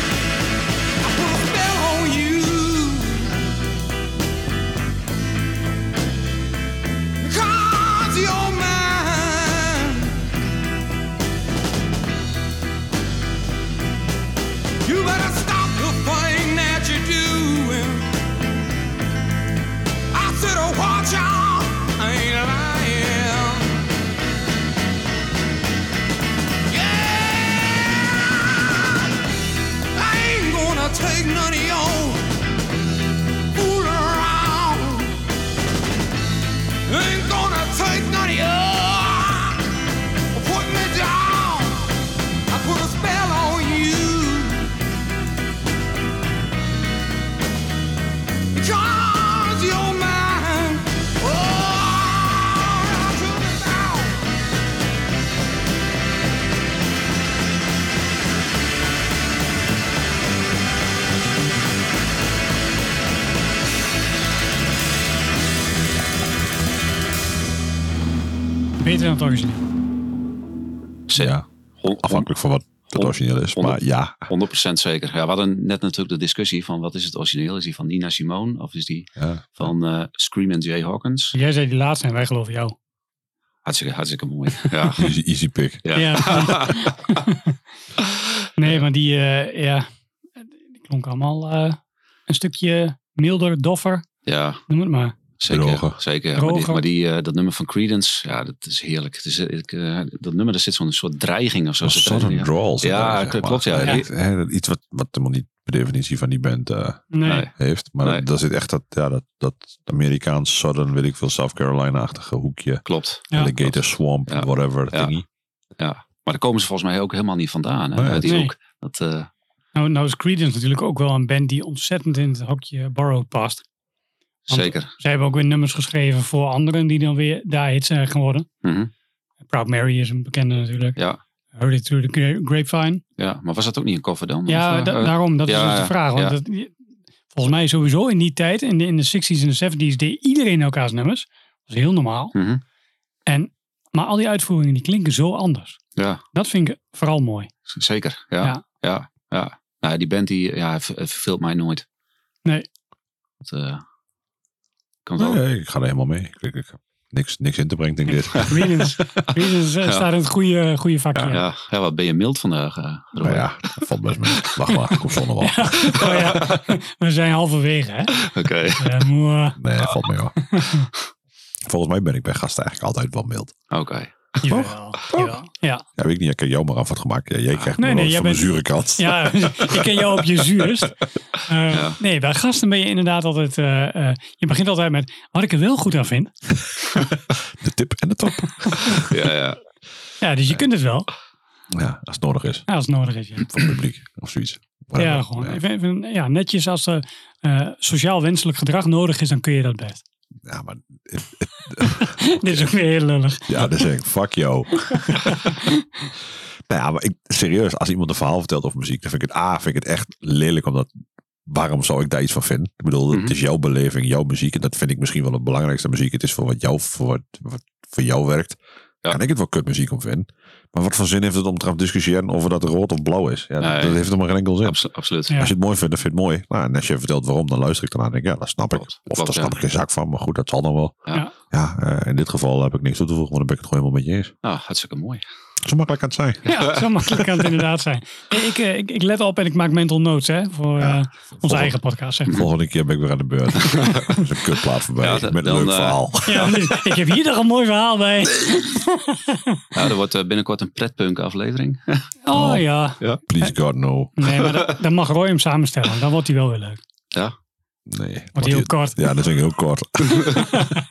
put a spell on you. Because you're mine. You better stop the thing that you're doing. I said, oh, watch out. I ain't lying. Yeah. I ain't gonna take none of your fool around. Ain't gonna take none of your put me down. I put a spell on you. Because you're mine. Oh, I took it down.
Beter dan het origineel.
Ja,
Hon-
afhankelijk van wat het origineel is. Maar ja,
100% zeker. Ja, we hadden net natuurlijk de discussie van wat is het origineel? Is die van Nina Simone of is die
ja.
van eh Scream en Jay Hawkins?
Jij zei die laatste en wij geloven jou.
Hartstikke, hartstikke mooi. Ja.
Easy, easy pick.
Ja.
Ja. Nee, maar die, eh, ja, die klonk allemaal eh, een stukje milder, doffer,
ja.
noem het maar.
Zeker,
Droger.
zeker. ja. Maar, die,
Droger.
maar die, eh, dat nummer van Credence, ja, dat is heerlijk. Het is, eh, ik, eh, dat nummer, daar zit zo'n soort dreiging of zo.
Oh, Een
zit erin,
Southern
ja.
drawl. zit
Ja,
daar, zeg
kl-
maar.
klopt, ja.
Nee,
Ja.
dat- hè, dat- Iets wat, wat helemaal niet per definitie van die band eh,
Nee,
Nee.
heeft. Maar
Nee.
daar zit echt dat, ja, dat, dat Amerikaans Southern, weet ik veel, South Carolina-achtige hoekje.
Klopt.
Ja.
Alligator Swamp,
Ja.
whatever
Ja.
thingy.
Maar daar komen ze volgens mij ook helemaal niet vandaan. Hè,
Nee.
uit die
Nee.
hoek. Dat, eh,
Nou, nou is Creedence natuurlijk ook wel een band die ontzettend in het hokje Borrowed past. Want
zeker.
Zij hebben ook weer nummers geschreven voor anderen die dan weer daar hits zijn geworden.
Mhm.
Proud Mary is een bekende natuurlijk.
Ja.
Heard It Through the Gra- Grapevine.
Ja, maar was dat ook niet een cover dan?
Ja,
Of, eh,
da-
eh,
daarom, dat
ja,
is dus
ja,
de vraag. Want
ja.
dat, je- volgens mij sowieso in die tijd, in de, in de 60s en de 70s, deed iedereen elkaars nummers. Dat is heel normaal.
mhm.
En, maar al die uitvoeringen die klinken zo anders.
ja
Dat vind ik vooral mooi.
z- zeker. Ja.
Ja.
Ja. ja. Nou, die band die ja, ver- verveelt mij nooit.
Nee.
Dat, eh, kan
Nee,
wel.
nee, ik ga er helemaal mee. Ik, ik, ik heb niks, niks in te brengen, denk ik. dit.
Venus. Venus eh,
Ja.
staat in het goede, goede vakje.
Ja. Ja. wat ben je mild vandaag, eh Robert.
Maar Nou ja, dat valt best mee. Lach maar, ik kom zonder wel.
Oh ja, we zijn halverwege, hè?
Oké.
Ja, moe, eh,
Nee, dat valt mee hoor. Volgens mij ben ik bij gasten eigenlijk altijd wel mild.
Oké.
jawel, jawel. Ja,
Ja, weet ik niet. Ik heb jou maar af wat gemaakt. Ja, jij krijgt
Ah, Nee,
me
nee,
wel
jij
van de
bent-
zure kant.
ja ik ken jou op je zuurst. Eh,
Ja.
Nee, bij gasten ben je inderdaad altijd... eh, eh, je begint altijd met, wat ik er wel goed aan vind.
De tip en de top.
Ja, ja.
Ja, dus je kunt het wel,
Ja, als het nodig is.
ja, als het nodig is. Ja,
Voor het publiek of zoiets.
ja
Whatever.
gewoon.
Ja.
Even, even, ja, netjes als eh eh, sociaal wenselijk gedrag nodig is, dan kun je dat best.
Ja, maar
Dit is ook weer heel lullig.
Ja, dan zeg ik, fuck yo. nou ja, maar ik, serieus, als iemand een verhaal vertelt over muziek, dan vind ik het A, vind ik het echt lelijk, omdat waarom zou ik daar iets van vinden? Ik bedoel,
Mhm.
het is jouw beleving, jouw muziek, en dat vind ik misschien wel het belangrijkste aan muziek. Het is voor wat jou, voor wat, wat voor jou werkt.
Ja.
Kan ik het wel kut muziek om vinden? Maar wat voor zin heeft het om te gaan discussiëren over dat het rood of blauw is? Ja, dat-
Nee.
Dat heeft helemaal geen enkel zin.
Abso- absoluut.
Ja.
Als je het mooi vindt, dan vind je het mooi. Nou, en als je vertelt waarom, dan luister ik ernaar en denk ik, ja, dat snap ik.
Klopt.
Of
Klopt,
daar
ja.
snap ik geen zak van, maar goed, dat zal dan wel.
Ja.
Ja.
eh, in dit geval heb ik niks toe te voegen, want dan ben ik het gewoon helemaal met je eens.
Nou, hartstikke mooi.
Zo makkelijk kan het zijn.
Ja, zo makkelijk kan het inderdaad zijn. Nee, ik, eh, ik, ik let op en ik maak mental notes hè, voor
Ja.
eh, onze
Volgende-
eigen podcast. Zeg maar.
Volgende keer ben ik weer aan de beurt. dat is een kutplaat voorbij,
Ja, dat-
met een
dan,
leuk
eh,
verhaal.
Ja, dus ik heb hier nog een mooi verhaal bij.
Nou, er wordt eh, binnenkort een pretpunk aflevering.
Oh ja.
Please God, no.
Nee, maar dat, dan mag Roy hem samenstellen. Dan wordt hij wel weer leuk.
ja.
Nee.
Wordt
Want
heel
je-
kort.
Ja, dat vind ik heel kort.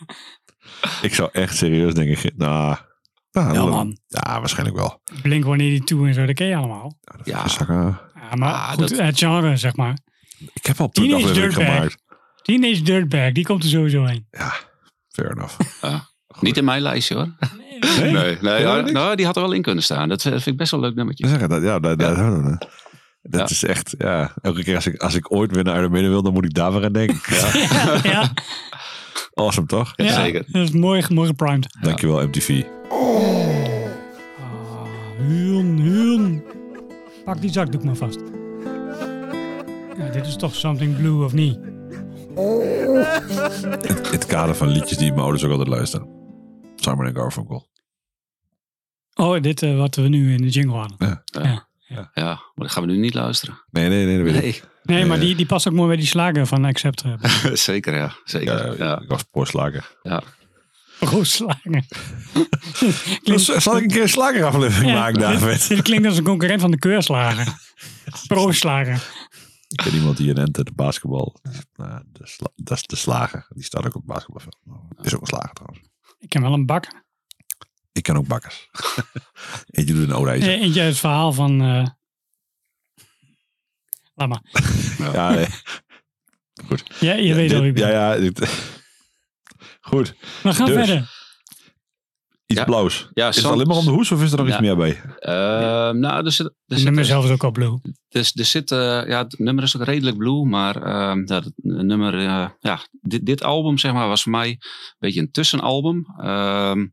ik zou echt serieus denken, nou... nou,
Ja,
dan-
man.
Ja, waarschijnlijk wel.
Blink wanneer die toe en zo, dat ken je allemaal.
Ja.
Dus ik, eh,
Ja, maar
Ah,
goed,
dat-
het genre, zeg maar.
ik heb al tien
Teenage
afleveringen
Dirtbag.
gemaakt.
Teenage Dirtbag, die komt er sowieso heen.
Fair enough.
Niet in mijn lijstje hoor.
Nee?
Nee, nee ja,
niks.
nou, die had er wel in kunnen staan. Dat eh, vind ik best wel een leuk nummertje.
zeggen dat, ja, dat, dat, dat, dat
Ja.
is echt, ja, elke keer als ik, als ik ooit weer naar de midden wil, dan moet ik daar weer aan denken. Ja.
Ja, ja,
Awesome, toch?
ja.
Zeker.
Dat is mooi, mooi geprimed.
Dankjewel, MTV.
Huun, huun. Pak die zakdoek maar vast. Ja, dit is toch Something Blue, of niet?
In het kader van liedjes die mijn ouders ook altijd luisteren. Simon en Garfunkel.
Oh, dit eh, wat we nu in de jingle hadden.
Ja, maar dat gaan we nu niet luisteren.
Nee, nee, nee, dat weet ik.
Nee,
Nee, maar
Ja.
die, die past ook mooi bij die slager van Accept. eh,
zeker ja.
Ja,
Zeker. Ja,
Eh, Ik was poorslager.
ja.
Roos slager.
Dus, zal ik een keer een slageraflevering
Ja.
maken, David?
Dit klinkt als een concurrent van de keurslager. Prooslager.
Ik ken iemand die in Enter de basketbal. Nou, de sla- dat is de slager. Die staat ook op het basketbalveld. Is ook een slager trouwens.
Ik ken wel een bak.
Ik ken ook bakkers. Eentje doet een olijzer.
Eh, Eentje uit het verhaal van... eh, Laat maar.
Ja, nee.
Ja, je weet al wie ik
Dit-
ben.
ja, ja. dit- Goed.
Maar ga
Dus.
verder.
Iets
Ja.
blauws.
Ja,
Is het
Sam-
alleen maar om de hoes of is er nog iets
Ja.
meer bij?
Ehm, nou, er zit, er
Het
zit,
nummer zelf is ook al blue.
Dus er zit, eh, ja, het nummer is ook redelijk blue, maar ehm, ja, het nummer, eh, ja, dit, dit album zeg maar, was voor mij een beetje een tussenalbum. Ehm,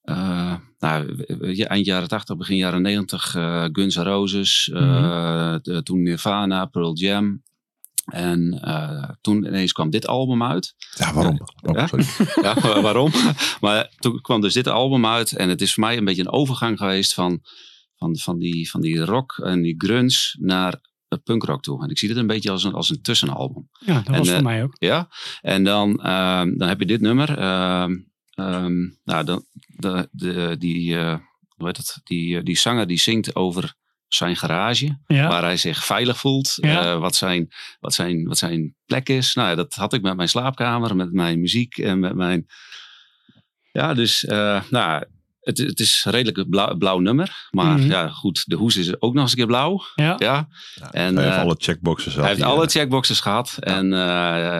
eh, nou, weet je, eind jaren 80, begin jaren 90, eh, Guns N' Roses, eh, de- toen Nirvana, Pearl Jam. En eh, toen ineens kwam dit album uit.
Ja, waarom? Oh,
Ja?
sorry.
Ja, maar waarom? Maar toen kwam dus dit album uit en het is voor mij een beetje een overgang geweest van, van, van, die, van die rock en die grunge naar het punkrock toe. En ik zie dit een beetje als een, als een tussenalbum.
Ja, dat
En,
was
eh,
voor mij ook.
Ja? En dan, ehm, dan heb je dit nummer. ehm, ehm, nou, dan, de, de, die, eh, hoe heet het? Die, eh, die zanger die zingt over zijn garage
Ja,
waar hij zich veilig voelt,
Ja.
eh, wat, zijn, wat, zijn, wat zijn plek is. Nou ja, dat had ik met mijn slaapkamer, met mijn muziek en met mijn. Ja, dus eh, nou, het, het is redelijk een blauw, blauw nummer. Maar
Mhm.
ja, goed, de hoes is ook nog eens een keer blauw.
ja.
Ja. En,
Hij heeft
eh,
alle checkboxen zelf.
hij heeft alle checkboxes gehad. En eh,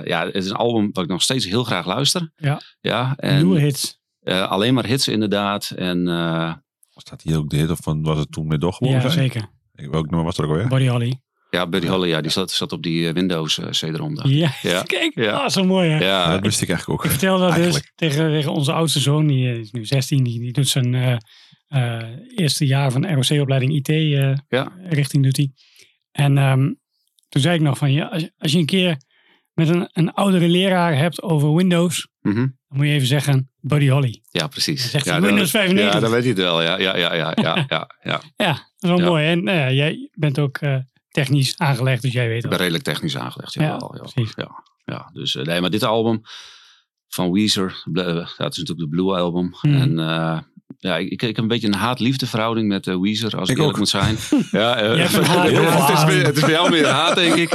ja, het is een album dat ik nog steeds heel graag luister.
Ja.
ja en
nieuwe hits.
eh, alleen maar hits inderdaad. En eh,
Staat hier ook de hit of van, was het toen met Doch gewoon?
Ja,
zijn?
zeker.
Ik, welk nummer was er ook alweer?
Body Holly.
ja, Buddy Holly, ja, die zat, zat op die eh, Windows eh, CD-ROM daar.
Ja,
Ja.
kijk.
Ja.
Ah, zo mooi hè.
Ja,
Ja,
dat wist ik eigenlijk
Ik
ook.
vertelde dat dus
Eigenlijk.
tegen, tegen onze oudste zoon, die is nu 16, die, die doet zijn eh, eh, eerste jaar van ROC-opleiding IT eh,
Ja.
richting doet hij. En ehm, toen zei ik nog van, ja, als, je- als je een keer met een, een oudere leraar hebt over Windows,
Mhm.
dan moet je even zeggen, Buddy Holly.
Ja, precies.
Dan zegt
ja,
hij
dan-
Windows 95.
Ja, dat weet je het wel. Ja, ja, ja, ja, ja, ja, ja.
Ja, dat is wel
Ja.
mooi. En nou ja, jij bent ook eh, technisch aangelegd, dus jij weet
Ik
dat.
ben redelijk technisch aangelegd.
Ja,
Ja, ja, ja,
precies.
ja, Dus eh, nee, maar dit album van Weezer, bl- eh, dat is natuurlijk de Blue Album.
Mhm.
En eh, ja, ik, ik heb een beetje een haat-liefde verhouding met eh, Weezer, als ik,
Ik ook.
eerlijk moet zijn. ja, eh,
Jij hebt een haat-
ja, het, is,
haat.
meer- het is bij jou meer haat, denk ik.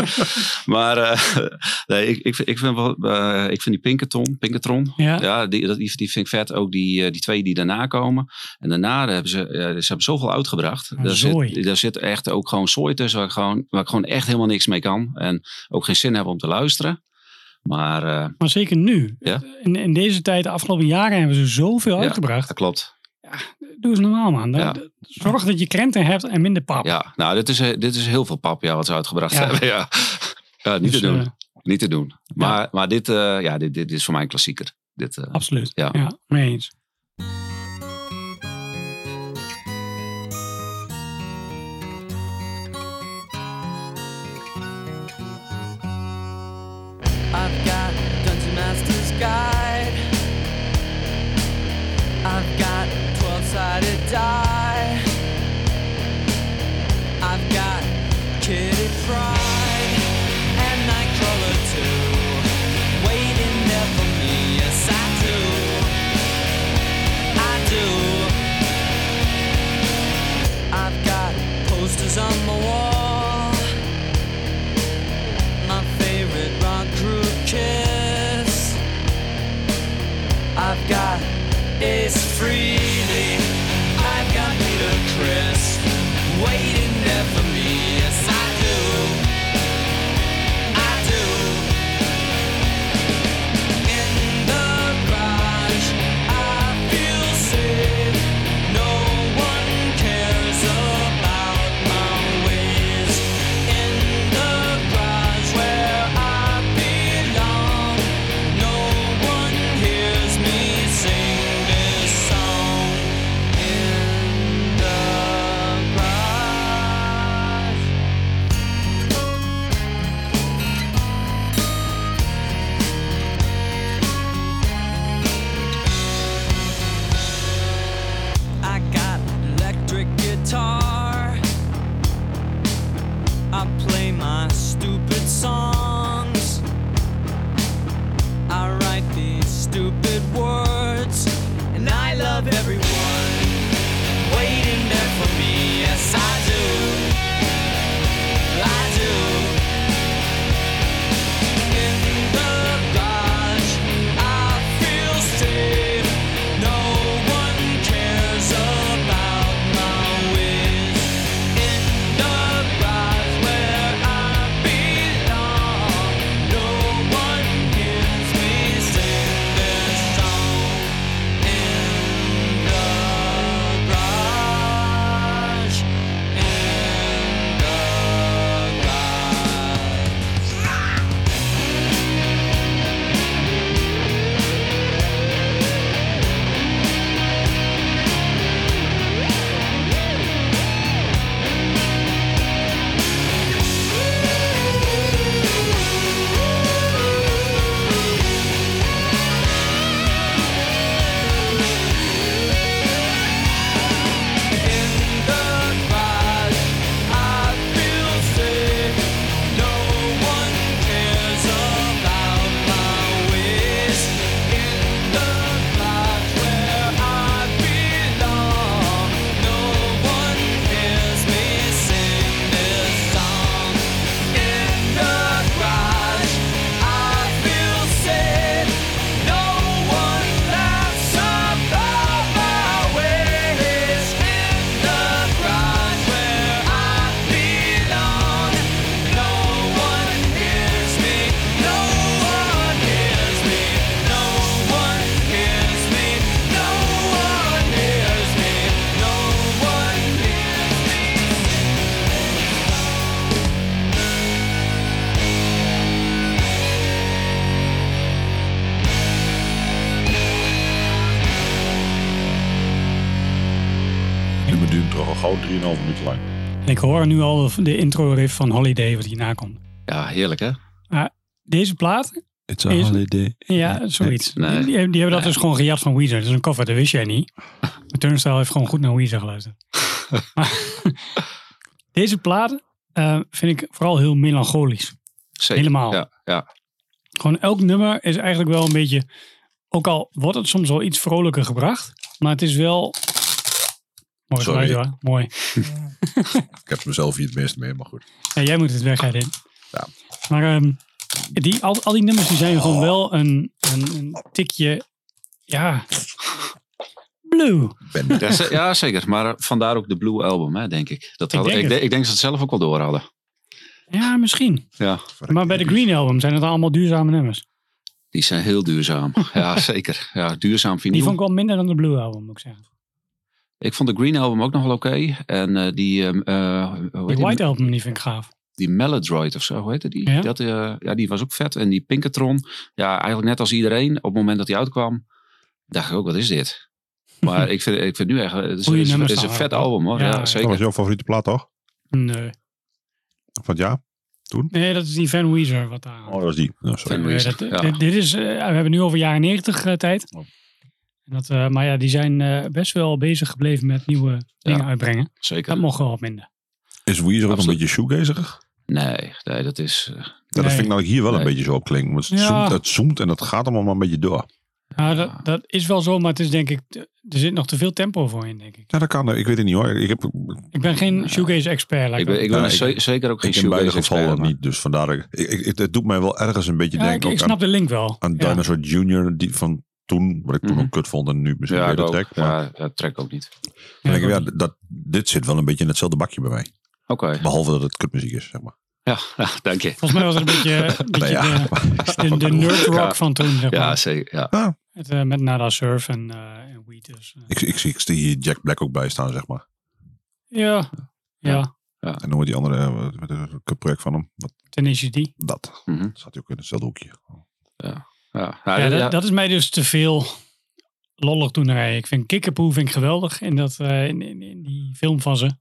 Maar eh, nee, ik, ik, vind- ik, vind wel, eh, ik vind die Pinkerton, Pinkertron,
Ja,
ja, die, dat- die, die vind ik vet. Ook die, eh, die twee die daarna komen. En daarna hebben ze, eh, ze hebben zoveel uitgebracht.
Een
daar,
Ah, zooi.
zit, daar zit echt ook gewoon zooi tussen. Waar ik, gewoon, waar ik gewoon echt helemaal niks mee kan. En ook geen zin heb om te luisteren. Maar eh,
maar zeker nu.
Ja.
In, in deze tijd, de afgelopen jaren, hebben ze zoveel
Ja.
uitgebracht.
dat klopt.
Doe eens normaal, man. Dan-
Ja.
d- Zorg dat je krenten hebt en minder pap.
Ja, nou, dit is, eh, dit is heel veel pap ja, wat ze uitgebracht
Ja.
hebben. Ja. Ja, niet,
Dus,
te doen,
eh,
niet te doen. Maar, maar dit, eh, ja, dit, dit is voor mij een klassieker. Dit, eh,
absoluut. Ja,
Ja.
mee eens.
I've got Dungeon Master's Guide. I've got 12 sided die. I've got Kitty Pride and Nightcrawler 2. Waiting there for me, yes, I do. I do. I've got posters on the wall my favorite rock group Kiss. I've got Ace Freely, I've got Peter Chris waiting there for me. Yes, I do. I do. In the garage, I feel safe. No one cares about my ways. In the garage where I belong, no one hears me sing this song. In the garage.
gauw 3,5 minuten lang.
En ik hoor nu al de intro riff van Holiday wat hierna komt.
Ja, heerlijk hè?
Deze plaat,
It's a
Is-
holiday.
ja, zoiets.
Nee.
Die, die hebben dat
Nee.
dus gewoon gejat van Weezer. Dat is een cover, dat wist jij niet. Maar Turnstile heeft gewoon goed naar Weezer geluisterd. Maar Deze plaat eh, vind ik vooral heel melancholisch.
Zeker.
Helemaal.
Ja, ja.
Gewoon elk nummer is eigenlijk wel een beetje... Ook al wordt het soms wel iets vrolijker gebracht. Maar het is wel... Mooi
Sorry.
geluid hoor. Mooi.
Ik heb mezelf hier het meest mee, maar goed.
Ja, jij moet het wegrijden.
Ja.
Maar ehm, die, al, al die nummers die zijn gewoon wel een, een, een tikje. Ja. Blue.
Ben ja,
Ja, ze- ja, zeker. Maar eh, vandaar ook de Blue Album, hè, denk ik. Dat
Ik
hadden-
denk
ik,
het.
denk ik denk dat ze het zelf ook wel door hadden.
Ja, misschien.
Ja,
Maar bij de Green Album zijn het allemaal duurzame nummers.
die zijn heel duurzaam. ja, zeker. Ja, duurzaam vinyl.
Die vond ik wel minder dan de Blue Album, moet ik zeggen.
Ik vond de Green Album ook nog wel oké. En eh, die, ehm, eh, hoe heet
De
die,
White Album die vind ik gaaf.
die Melodroid of zo, hoe heette die?
Ja.
Dat, eh, ja, die was ook vet. En die Pinkatron, ja, eigenlijk net als iedereen, op het moment dat die uitkwam, dacht ik ook, wat is dit? Maar ik vind, ik vind nu echt, eh, het is,
Goeie
het is-
nummers
het is een
staan
vet
erop, hoor.
album hoor.
Ja, Oh,
Ja,
ja.
Dat
zeker.
was jouw favoriete plaat toch?
Nee.
Van het jaar?
Nee, dat is die Van Weezer wat daar.
Oh, dat was die. Nou, sorry.
Van
Nee,
Weezer,
dat,
ja.
dit, dit is, eh, we hebben het nu over jaren 90 eh, tijd.
Oh.
En dat, eh, maar ja, die zijn eh, best wel bezig gebleven met nieuwe dingen uitbrengen.
zeker.
Dat mocht wel wat minder.
Is Weezer ook een
Absoluut.
beetje shoegazerig?
Nee, nee, dat is... eh,
Ja, Dat
Nee.
vind ik nou hier wel
Nee.
een beetje zo op klinken. Want het,
Ja.
zoomt, het zoomt en dat gaat allemaal maar een beetje door.
Ja,
Ja.
Nou, dat, dat is wel zo, maar het is denk ik, te- er zit nog te veel tempo voor in, denk ik.
Ja, dat kan. Ik weet het niet hoor. Ik heb
Ik ben geen shoegaze-expert.
ik ben, ik ben
Ja,
er
ik-
ze- zeker ook geen
ik in beide gevallen
shoegaze-expert, maar-
niet. Dus vandaar. dat Ik, ik, ik- het doet mij wel ergens een beetje
ja, ik,
denken
ik
ook
snap
aan,
de link wel.
aan
Ja.
Dinosaur Junior die van toen. Wat ik toen
Mhm.
ook kut vond en nu misschien
Ja,
weer Dus
ik
de
ook.
track. Maar
Ja, ja, track ook niet.
dan denk ik,
dat-
ja, dat, dit zit wel een beetje in hetzelfde bakje bij mij.
Oké,
Behalve dat het kutmuziek is, zeg maar.
ja, dank je.
Volgens mij was het een beetje, een beetje
Nou ja, ik snap
de, de,
wat
de
je bedoelt.
nerd rock
Ja.
van toen, zeg
Ja,
maar.
zeker. Ja.
Het, eh, met Nada Surf en, eh en Weed. Dus, eh.
Ik, ik, zie- ik zie hier Jack Black ook bij staan, zeg maar.
ja, ja,
En dan wordt die andere eh, wat- wat- wat- het project van hem. Wat,
Tenacious D. Ja,
dat.
Mhm.
Zat hij ook in hetzelfde hoekje.
Ja, ja, ja.
Dat, dat is mij dus te veel lollig toenerij. Ik vind Kikkerpoe vind ik geweldig in, dat, eh, in, in, in die film van ze.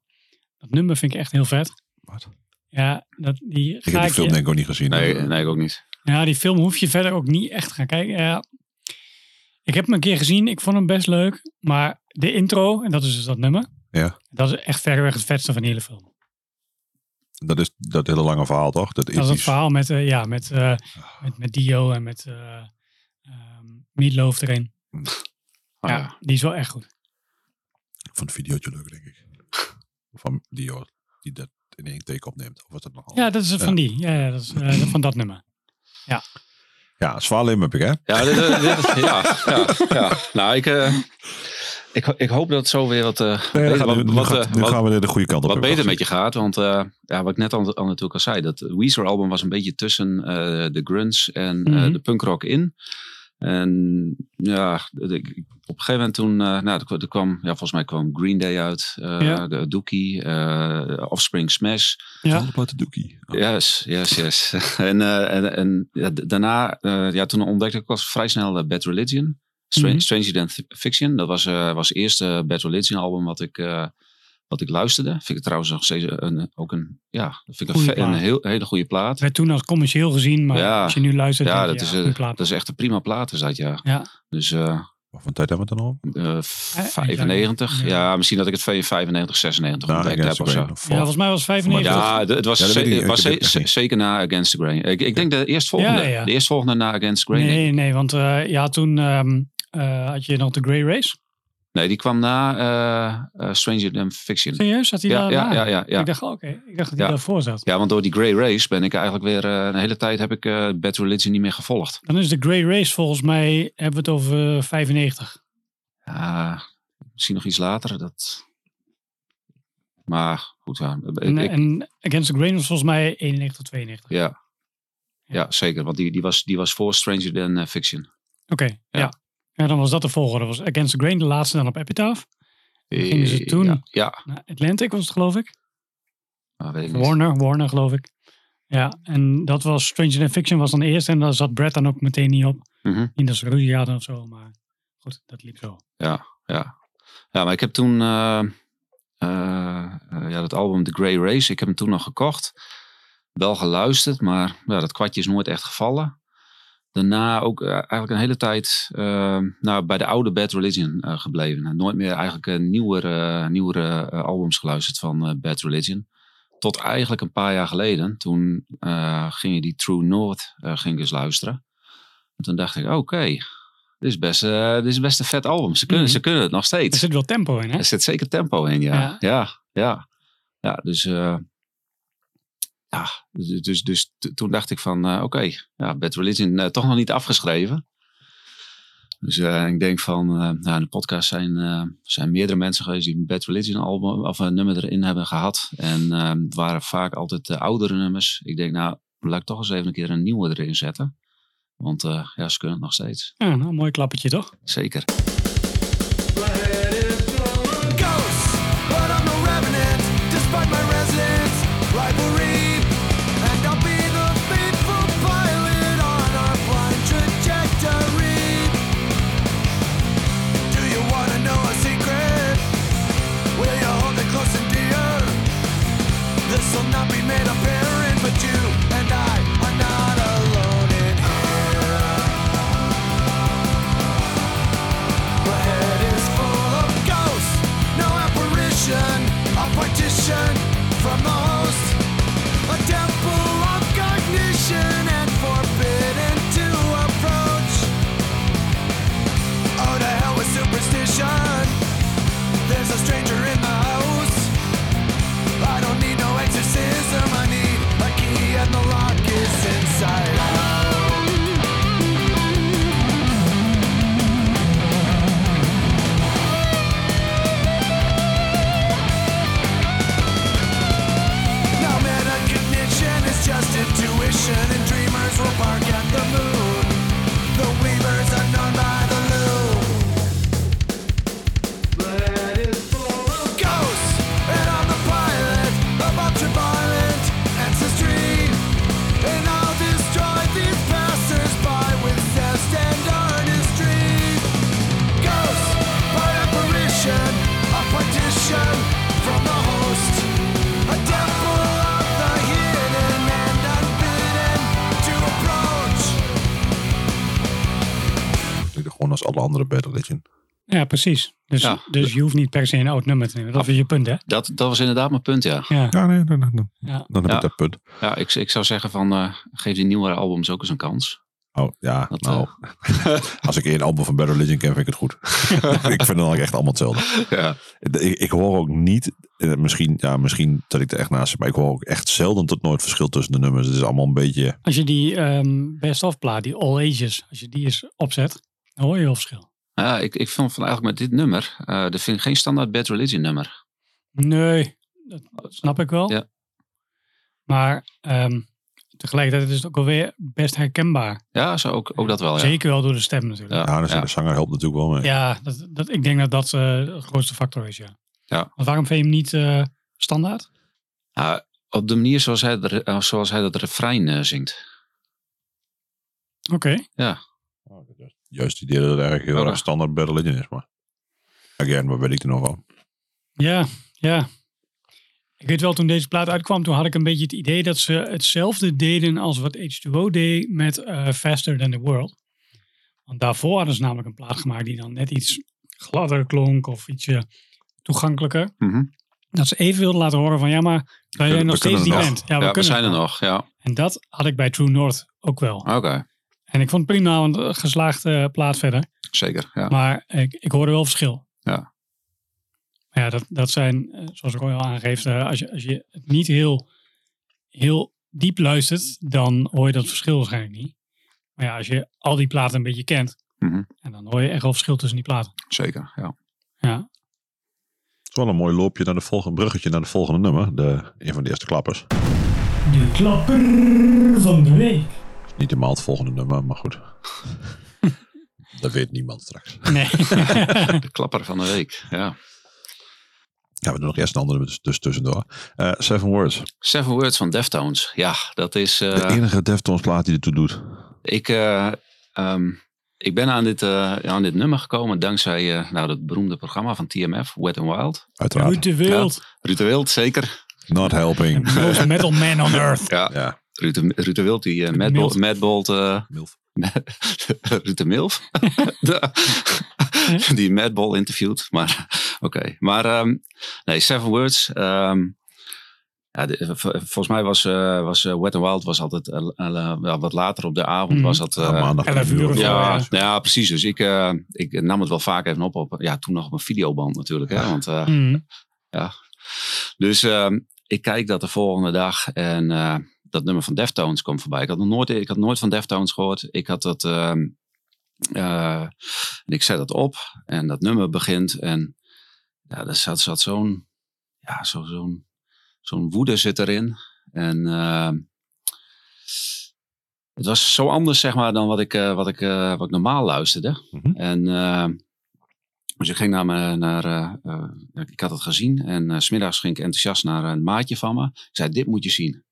Dat nummer vind ik echt heel vet.
Wat?
Ja, dat, die
Ik heb die
gaatje-
film denk ik ook niet gezien.
Nee,
Eh,
nee, ik ook niet.
Ja, die film hoef je verder ook niet echt te gaan kijken. Ja. Ik heb hem een keer gezien. Ik vond hem best leuk. Maar de intro, en dat is dus dat nummer.
Ja.
Dat is echt verreweg het vetste van de hele film.
Dat is dat hele lange verhaal, toch? Dat,
Dat is het
ethisch.
verhaal met, eh, ja, met, eh, met, met Dio en met eh ehm, Meatloaf erin.
Ah,
ja, die is wel echt goed.
Ik vond het videootje leuk, denk ik. Van Dio, die dat in één take opneemt. Of was dat nogal?
Ja, dat is van die. Ja, ja, dat is eh, van dat nummer.
ja zwaar lim heb ik, hè?
Ja, dit, dit- dit- ja, ja, ja. Nou, ik, eh, ik, ho- ik hoop dat het zo weer wat, eh,
Nee,
beter-
dan gaan we-
wat,
nu
wat,
gaat-
eh,
nu
wat-
gaan we de goede kant op.
wat
heb ik
beter
al
met je gaat. Want eh, ja, wat ik net al, al natuurlijk al zei, dat Weezer-album was een beetje tussen eh, de grunge en eh,
Mhm.
de punkrock in. En ja, ik- ik- op een gegeven moment toen, eh, nou, er kwam- er kwam, ja, volgens mij kwam Green Day uit, eh,
Ja.
de Dookie, eh, Offspring Smash.
gezien.
Ja.
All about the doekie. Oh,
Yes, yes, yes. en eh, en, en ja, d- daarna, eh, ja, toen ontdekte ik al vrij snel eh, Bad Religion. Stra-
Mhm.
Stranger Than Th- Fiction. Dat was, eh, was het eerste Bad Religion album wat ik, eh, wat ik luisterde. Vind ik trouwens nog steeds een, ook een, ja, dat vind ik een,
Goeie
ve- een
plaat.
heel, hele goede plaat.
Het werd toen als commercieel gezien, maar
Ja.
als je nu luistert,
Ja,
ja,
dat is,
ja,
eh,
een plaat.
dat is echt een prima plaat, is dat ja.
Ja.
Dus eh,
Wat voor tijd hebben we het dan al? Nou,
eh, 95.
ja.
Ja, misschien dat ik het van 95, 96
Nou,
ontdekt heb
Against
of
the
zo.
Grain of
Ja, volgens mij was het 95.
Ja, d- het was,
Ja, dat
ze-
weet ik niet.
was
Ik heb
ze-
het echt niet.
zeker na Against the Grain. Ik, ik denk de eerstvolgende.
Ja, ja.
De eerstvolgende na Against the Grain. denk ik.
Nee, nee, want eh, ja, toen ehm, eh, had je nog de Grey Race.
Nee, die kwam na eh, eh, Stranger Than Fiction.
Serieus, zat hij
Ja,
daar?
ja, ja,
daarna?
ja, ja.
Ik dacht, oh, oké, ik dacht dat hij
Ja.
daarvoor zat.
Ja, want door die Grey Race ben ik eigenlijk weer... eh, een hele tijd heb ik eh Bad Religion niet meer gevolgd.
Dan is de Grey Race volgens mij, hebben we het over eh, 95.
Ja, misschien nog iets later. Dat... Maar goed, ja. eh,
En,
ik- ik-
en Against the Grain was volgens mij 91 of 92.
ja. ja, zeker. Want die, die, was, die was voor Stranger Than eh, Fiction.
Oké, ja.
Ja.
ja. dan was dat de volgorde. Was Against the Grain de laatste dan op Epitaph. Gingen ze
Eh,
toen?
Ja, ja.
Nou, Atlantic was het geloof ik.
Maar weet ik niet.
Warner, Warner geloof ik. Ja, en dat was Stranger Than Fiction was dan eerst. En daar zat Brad dan ook meteen niet op.
Mhm.
Niet dat ze ruzie hadden of zo, maar goed, dat liep zo.
Ja, ja. Ja, maar ik heb toen eh, eh, eh, ja, dat album The Grey Race. Ik heb hem toen nog gekocht. Wel geluisterd, maar ja, dat kwartje is nooit echt gevallen. Daarna ook eh, eigenlijk een hele tijd eh, nou, bij de oude Bad Religion eh, gebleven. En nooit meer eigenlijk eh, nieuwere, nieuwere eh, albums geluisterd van eh, Bad Religion. Tot eigenlijk een paar jaar geleden. Toen eh, ging je die True North eh, ging ik eens luisteren. En toen dacht ik, oké, dit, is best, eh, dit is best een vet album. Ze kunnen,
Mhm.
ze kunnen het nog steeds.
Er zit wel tempo in, hè?
Er zit zeker tempo in, ja.
Ja.
Ja, ja. ja. dus, eh, ja dus, dus, dus t- toen dacht ik van, eh, oké, ja, Bad Religion eh, toch nog niet afgeschreven. Dus eh, ik denk van, eh, nou, in de podcast zijn, eh, zijn meerdere mensen geweest die een Bad Religion album of een nummer erin hebben gehad. En eh, het waren vaak altijd de oudere nummers. Ik denk, nou, laat ik toch eens even een keer een nieuwe erin zetten. Want eh, ja, ze kunnen het nog steeds.
Ja, nou, een mooi klappertje, toch?
Zeker.
Ghosts, but I'm a revenant, despite my residence, rivalry. And I'll be the faithful pilot on our blind trajectory. Do you wanna know a secret? Will you hold it close and dear? This'll not be made apparent, but you and I are not alone in here. My head is full of ghosts, no apparition, a partition from the host, a temple of cognition and forbidden to approach. Oh, to hell with superstition, there's a stranger in the house. I don't need no exorcism, I need a key and the lock is inside out. Now metacognition is just intuition And dreamers will bark at the moon The weavers are known by the loom Ghosts, and I'm the pilot Of ultraviolet ancestry And I'll destroy these passers-by With zest and artistry Ghosts, by apparition, a partition from the host, a temple of the hidden and unbidden to approach.
Natuurlijk Gewoon als alle andere Bad Religion.
Ja, precies. Dus,
Ja.
dus je hoeft niet per se een oud nummer te nemen. Dat is je punt, hè?
Dat, dat was inderdaad mijn punt, ja.
Ja.
Ja, nee, dan, dan, dan,
Ja.
dan heb
Ja.
ik dat punt.
Ja, ik, ik zou zeggen van eh, geef die nieuwere albums ook eens een kans.
Oh ja,
Dat,
nou. als ik één album van Bad Religion ken, vind ik het goed. ik vind het dan ook echt allemaal hetzelfde.
Ja.
Ik, ik hoor ook niet, eh, misschien, ja, misschien dat ik er echt naast zit, maar ik hoor ook echt zelden tot nooit verschil tussen de nummers. Het is allemaal een beetje.
Als je die ehm best of plaat, die All Ages, als je die eens opzet, dan hoor je wel verschil.
Ja, Eh, ik, ik vond van eigenlijk met dit nummer, eh er vind ik geen standaard Bad Religion nummer.
Nee, dat snap ik wel.
Ja.
Maar ehm, tegelijkertijd is het ook alweer best herkenbaar.
Ja, zo ook, ook dat wel, Oh, ja.
Zeker wel door de stem natuurlijk.
Ja,
Ja, dus
ja.
de zanger helpt natuurlijk wel mee.
Ja, dat, dat, ik denk dat dat eh het grootste factor is, ja.
Ja.
Want waarom vind je hem niet eh, standaard?
Ja, op de manier zoals hij, de- eh, zoals hij dat refrein eh, zingt.
Oké.
Oh, Juist het idee dat het eigenlijk heel
Ja.
erg standaard Bad Religion is, maar. Again, wat weet ik er nog van?
Ja, ja. Ik weet wel, toen deze plaat uitkwam, toen had ik een beetje het idee dat ze hetzelfde deden als wat H2O deed met eh, Faster Than The World. Want daarvoor hadden ze namelijk een plaat gemaakt die dan net iets gladder klonk of ietsje toegankelijker.
Mhm.
Dat ze even wilden laten horen van ja, maar wij zijn
kunnen-
nog
we kunnen
steeds die
het nog.
band. Ja,
Ja,
we
we,
kunnen
zijn
het
er
nog.
nog, ja.
En dat had ik bij True North ook wel.
Oké,
En ik vond het prima, want een geslaagde eh, plaat verder.
zeker, ja.
Maar ik, ik hoorde wel verschil.
Ja.
Maar ja, dat, dat zijn, eh, zoals ik ook al aangeef, eh, als je, als je het niet heel, heel diep luistert, dan hoor je dat verschil waarschijnlijk niet. Maar ja, als je al die platen een beetje kent,
Mhm.
en dan hoor je echt wel verschil tussen die platen.
Zeker, ja.
Ja,
Het is wel een mooi loopje naar de volgende, bruggetje naar de volgende nummer. De, een van de eerste klappers.
de klapper van de week.
Niet helemaal het volgende nummer, maar goed. dat weet niemand straks.
Nee.
De klapper van de week, ja.
Ja, we doen nog eerst een andere dus, dus tussendoor. Eh, Seven Words.
Seven Words van Deftones. Ja, dat is... eh,
De enige Deftones plaat die ertoe doet.
Ik, eh, ehm, ik ben aan dit, eh, aan dit nummer gekomen dankzij eh, nou, dat beroemde programma van TMF, Wet n Wild.
Uiteraard.
Ruud de Wild.
Ruud de Wild, zeker.
Not
Eh,
helping.
Most metal man on earth.
Ja,
ja.
Ruud de, Ruud de Wild, die eh, Mad
Milf.
Bolt- Mad Bolt, eh,
Milf.
Ruud de Milf. De- die Madball interviewt. Maar oké. Maar ehm, nee, Seven Words. ehm, ja, de- v- volgens mij was, eh, was eh, Wet n Wild was altijd eh, eh, wel wat later op de avond.
Mhm.
Was dat, eh,
Ja, maandag.
11 uur of zo.
ja,
ja.
nou ja, precies. Dus ik, eh, ik nam het wel vaak even op. op ja, toen nog op een videoband natuurlijk. Hè, want eh,
Mm.
dus ehm, ik kijk dat de volgende dag en eh, dat nummer van Deftones komt voorbij. Ik had nog nooit, ik had nooit van Deftones gehoord. Ik had dat. ehm, eh, en ik zet dat op en dat nummer begint. En ja, er zat, zat zo'n. Ja, zo, zo'n, zo'n woede zit erin. En. ehm, het was zo anders, zeg maar, dan wat ik, eh, wat ik, eh, wat ik normaal luisterde.
Mhm.
En. ehm, dus ik ging naar, mijn, naar eh, eh, ja, ik had het gezien en eh, s smiddags ging ik enthousiast naar een maatje van me. Ik zei, dit moet je zien.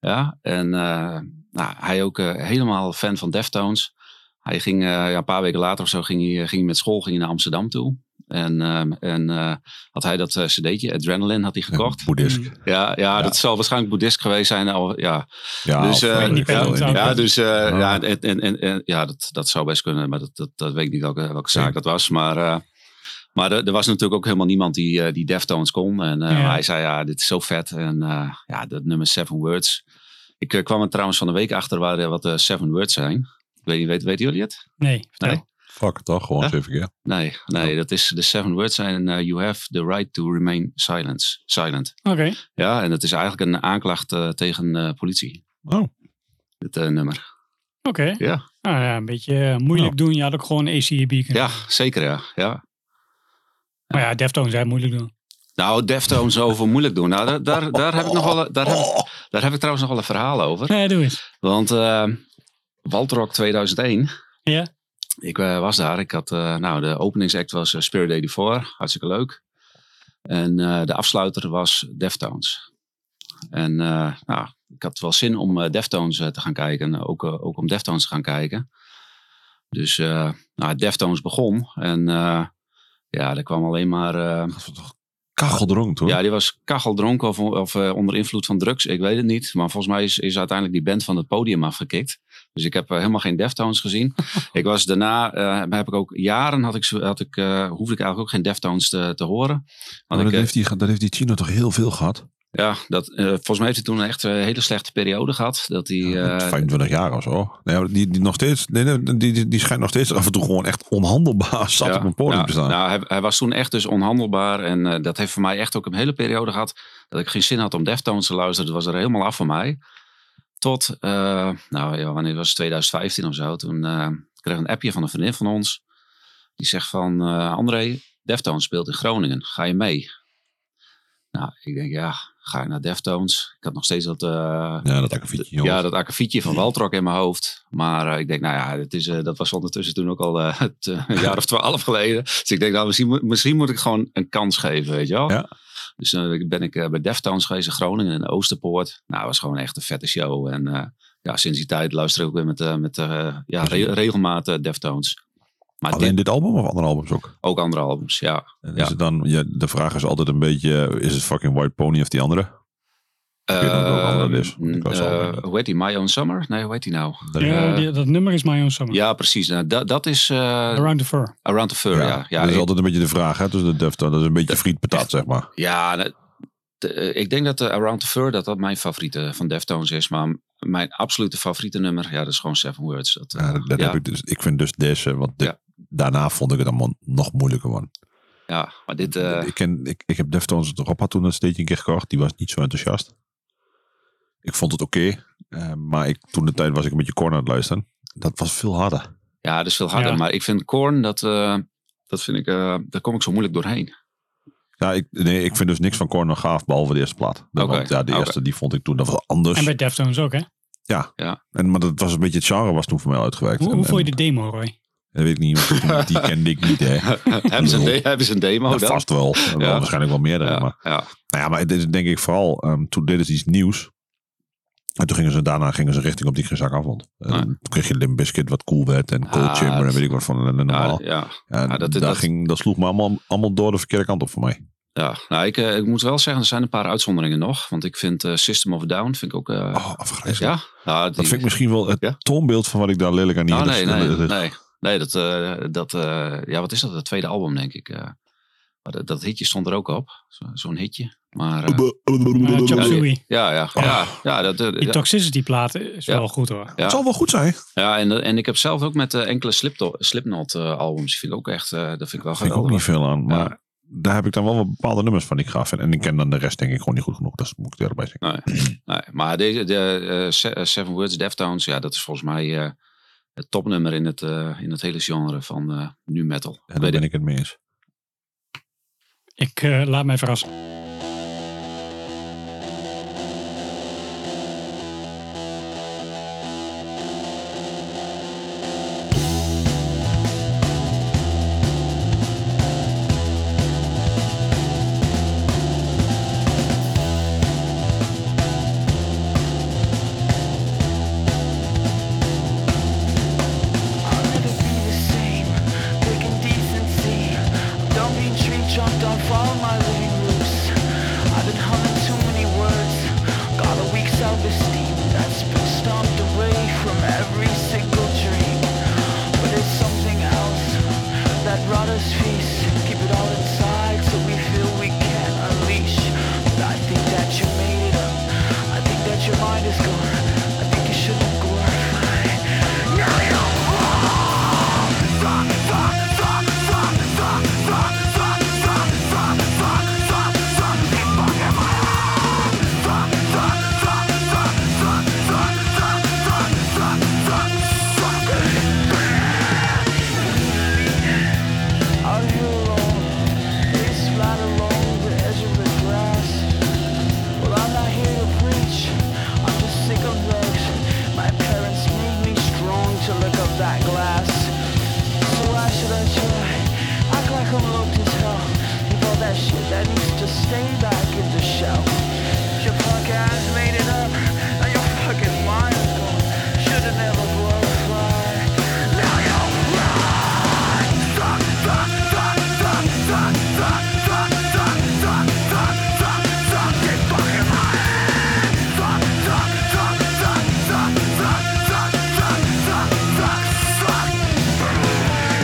Ja, en eh, nou, hij ook eh, helemaal fan van Deftones. Hij ging eh, ja, een paar weken later of zo ging hij, eh, ging hij met school ging hij naar Amsterdam toe. En, ehm, en eh, had hij dat eh, cd'tje, Adrenaline, had hij gekocht.
Boeddhist.
Mm.
Ja, ja, dat zal waarschijnlijk boeddhist geweest zijn. Al, ja.
Ja,
dus,
of,
eh,
eh,
die
veel
band
in-
zou-
ja, dus eh,
Ah.
ja, en, en, en, en- ja dat, dat zou best kunnen, maar dat, dat, dat weet ik niet welke, welke zaak dat was. Maar, eh, maar er, er was natuurlijk ook helemaal niemand die, eh, die Deftones kon. En eh,
Ja.
hij zei, ja, dit is zo vet. En eh, ja, dat nummer Seven Words. Ik eh, kwam er trouwens van de week achter waar, eh, wat de Seven Words zijn. Ik weet niet, weet, weten jullie het?
Nee, vertel.
Nee.
Fuck, toch? Gewoon
Huh?
eens even keer.
Nee, nee dat is, de Seven Words zijn eh, You have the right to remain silence, silent.
Oké.
Ja, en dat is eigenlijk een aanklacht eh, tegen eh, politie.
Oh.
Dit eh, nummer.
Oké.
Ja.
Nou ja, een beetje eh, moeilijk doen. Je had ook gewoon ACAB kunnen.
Ja, zeker ja. ja.
Maar ja, Deftones zei moeilijk doen.
Nou, Deftones over moeilijk doen. Nou, daar, daar, daar, heb ik nog wel, daar, heb, ik- daar heb ik trouwens nog wel een verhaal over.
Nee, doe eens.
Want eh Waltrock 2001,
Ja.
ik eh, was daar. Ik had, eh, nou, de openingsact was eh, Spirit 84, hartstikke leuk. En eh, de afsluiter was Deftones. En eh, nou, ik had wel zin om eh, Deftones eh, te gaan kijken. Ook, eh, ook om Deftones te gaan kijken. Dus eh nou, Deftones begon. En eh, ja, er kwam alleen maar... eh,
Dat was toch kacheldronk, hoor.
ja, die was kacheldronken of, of eh, onder invloed van drugs. Ik weet het niet. Maar volgens mij is, is uiteindelijk die band van het podium afgekikt. Dus ik heb eh, helemaal geen Deftones gezien. ik was daarna, eh, heb ik ook jaren, had ik, zo- had ik, eh, hoefde ik eigenlijk ook geen Deftones te, te horen.
maar Oh,
Want
dat,
ik, eh,
heeft die, ge- dat heeft die Chino toch heel veel gehad?
ja, dat, eh, volgens mij heeft hij toen echt een hele slechte periode gehad. Dat hij, eh,
25 jaar of zo. Nee, maar die, die, nog steeds, nee, nee, die, die, die schijnt nog steeds af en toe gewoon echt onhandelbaar zat op een podium
nou,
te staan.
nou, hij, hij was toen echt dus onhandelbaar. En eh, dat heeft voor mij echt ook een hele periode gehad. Dat ik geen zin had om Deftones te luisteren. Dat was er helemaal af van mij. Tot, eh, nou ja, wanneer was het? 2015 of zo. Toen eh, kreeg ik een appje van een vriendin van ons. Die zegt van, eh, André, Deftones speelt in Groningen. Ga je mee? Nou, ik denk, ja, ga ik naar Deftones? Ik had nog steeds dat... eh,
ja, dat akkefietje, jongens.
ja, dat akkefietje van Waltrok in mijn hoofd. Maar eh, ik denk, nou ja, het is, eh, dat was ondertussen toen ook al eh, het, eh, een jaar of twaalf geleden. Dus ik denk, nou, misschien, moet- misschien moet ik gewoon een kans geven, weet je wel.
Ja.
Dus dan ben ik eh, bij Deftones geweest in Groningen in Oosterpoort. Nou, het was gewoon echt een vette show. En eh, ja, sinds die tijd luister ik ook weer met, eh, met eh, ja, re- regelmaat eh, Deftones. Maar
Alleen
dit,
dit album of andere albums ook?
ook andere albums, ja.
En
Ja.
Is het dan, ja, de vraag is altijd een beetje, eh, is het fucking White Pony of die andere? weet niet of het ook andere is.
Ehm,
Ik was al-
eh, hoe heet die? My Own Summer? Nee, hoe heet die nou?
Dat-
Ja,
Eh,
die- dat nummer is My Own Summer.
Ja, precies. Nou, dat, dat is eh,
Around the Fur.
Around the Fur, ja. ja.
dat is
ik-
altijd een beetje de vraag, hè? Dus de Deftones, dat is een beetje frietpatat, zeg maar.
Ja, nou, de- eh, ik denk dat de Around the Fur dat dat mijn favoriete van Deftones is. Maar m- mijn absolute favoriete nummer, ja, dat is gewoon Seven Words. Dat, eh,
Ja, dat, dat
ja,
Heb ik, dus, ik vind dus deze, want dit-
Ja.
daarna vond ik het allemaal nog moeilijker, man.
ja, maar dit, eh,
ik, ken, ik, ik heb Deftones het erop had toen een steentje een keer gekocht. Die was niet zo enthousiast. Ik vond het oké. eh, maar ik, toen de tijd was ik een beetje corner aan het luisteren. Dat was veel harder.
ja, dat is veel harder.
Ja.
Maar ik vind Korn, dat, eh, dat vind ik, eh, daar kom ik zo moeilijk doorheen.
Ja, ik, nee, ik vind dus niks van corner gaaf, behalve de eerste plaat.
Oké,
Want ja, de
oké.
eerste die vond ik toen, dat was anders.
En
En
bij Deftones ook, hè?
maar dat was een beetje het genre was toen voor mij uitgewerkt.
Hoe,
En-
hoe vond je
en-
de demo, Roy?
dat weet ik niet, want toen- die kende ik niet,
Oh,
hè.
hebben, ze een de- hebben ze een demo
Maar
dan?
vast wel. Er waren Waarschijnlijk wel meerdere, maar...
Ja, ja,
Nou ja, maar dit is denk ik vooral, ehm, toen dit is iets nieuws. En toen gingen ze daarna gingen ze richting op die geen zak afvond. En
Nee.
ehm, Toen kreeg je Limp Bizkit, wat cool werd en Cold
Ah,
Chamber en
dat-
weet ik wat van en normaal.
Ja, ja,
en
ah, dat-
daar
dat-
ging, dat sloeg me allemaal, allemaal door de verkeerde kant op voor mij.
ja. Nou, ik, eh, ik moet wel zeggen, er zijn een paar uitzonderingen nog. Want ik vind eh, System of a Down vind ik ook... eh,
Oh, afgrijzelijk.
ja, nou, die-
Dat vind ik misschien wel het
Ja?
toonbeeld van wat ik daar lelijk aan dus- niet
Nou,
dat-
nee,
dat-
nee,
dat- dat-
nee. Nee, dat, eh, dat eh, ja, wat is dat? Het tweede album, denk ik. eh. maar dat, dat hitje stond er ook op. Zo- Zo'n hitje. Maar eh,
Maar Chop
Ja,
Suey.
ja, ja, ja,
Oh.
ja, dat, eh,
Die
ja.
toxicity platen is
Ja.
wel goed hoor.
Het zal wel goed zijn.
Ja, en, en ik heb zelf ook met eh, enkele Slipto- Slipknot eh, albums. Die vind ik ook echt, eh, dat vind ik wel
Vind ik ook
geweldig.
niet veel aan. Maar daar heb ik dan wel wat bepaalde nummers van die ik gaaf. En, en ik ken dan de rest denk ik gewoon niet goed genoeg. Dat moet ik er bij zeggen.
Nee, maar deze, de, eh, Se- eh, Seven Words, Deftones, ja, dat is volgens mij eh, het topnummer in het, eh, in het hele genre van eh, nu metal.
En daar
Weet
ben
ik.
ik het mee eens.
Ik eh, laat mij verrassen.
I'll never be the same. Breaking decency. Don't be intrigued, jumped on, follow my leading loose. I've been humming too many words. Got a weak self-esteem that's been stomped away from every single dream. But it's something else that brought us peace. Keep it all inside so we feel we can unleash. But I think that you made it up. I think that your mind is gone. I think you shouldn't glorify. Now you're Out here alone, face flat along the edge of the grass. Well, I'm not here to preach, I'm just sick of looks. My parents made me strong to look up that glass. So why should I try? Act like I'm loved as hell. Leave all that shit that needs to stay back in the shell. Your punk ass made it up, now your fucking mind is gone. Should've never glorified. Now you're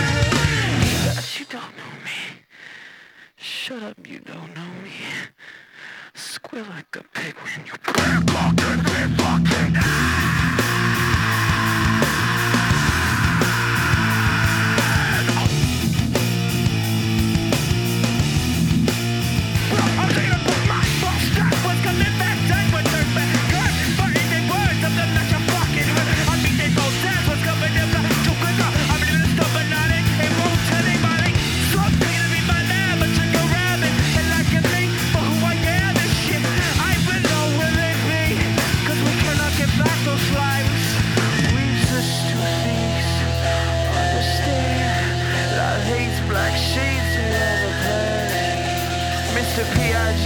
Yes, you don't know me. Shut up, you don't know me. Squeal like a pig when you Black shades in the past. Mr. P.I.G.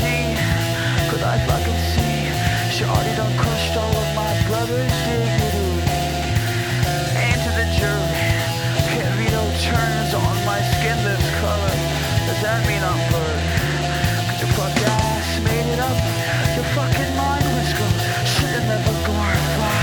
Cause I fucking see She already done crushed all of my brother's dignity And to the jury Carino turns on my skinless color Does that mean I'm blurred? Cause your fuck ass made it up Your fucking mind was gone Should've never glorified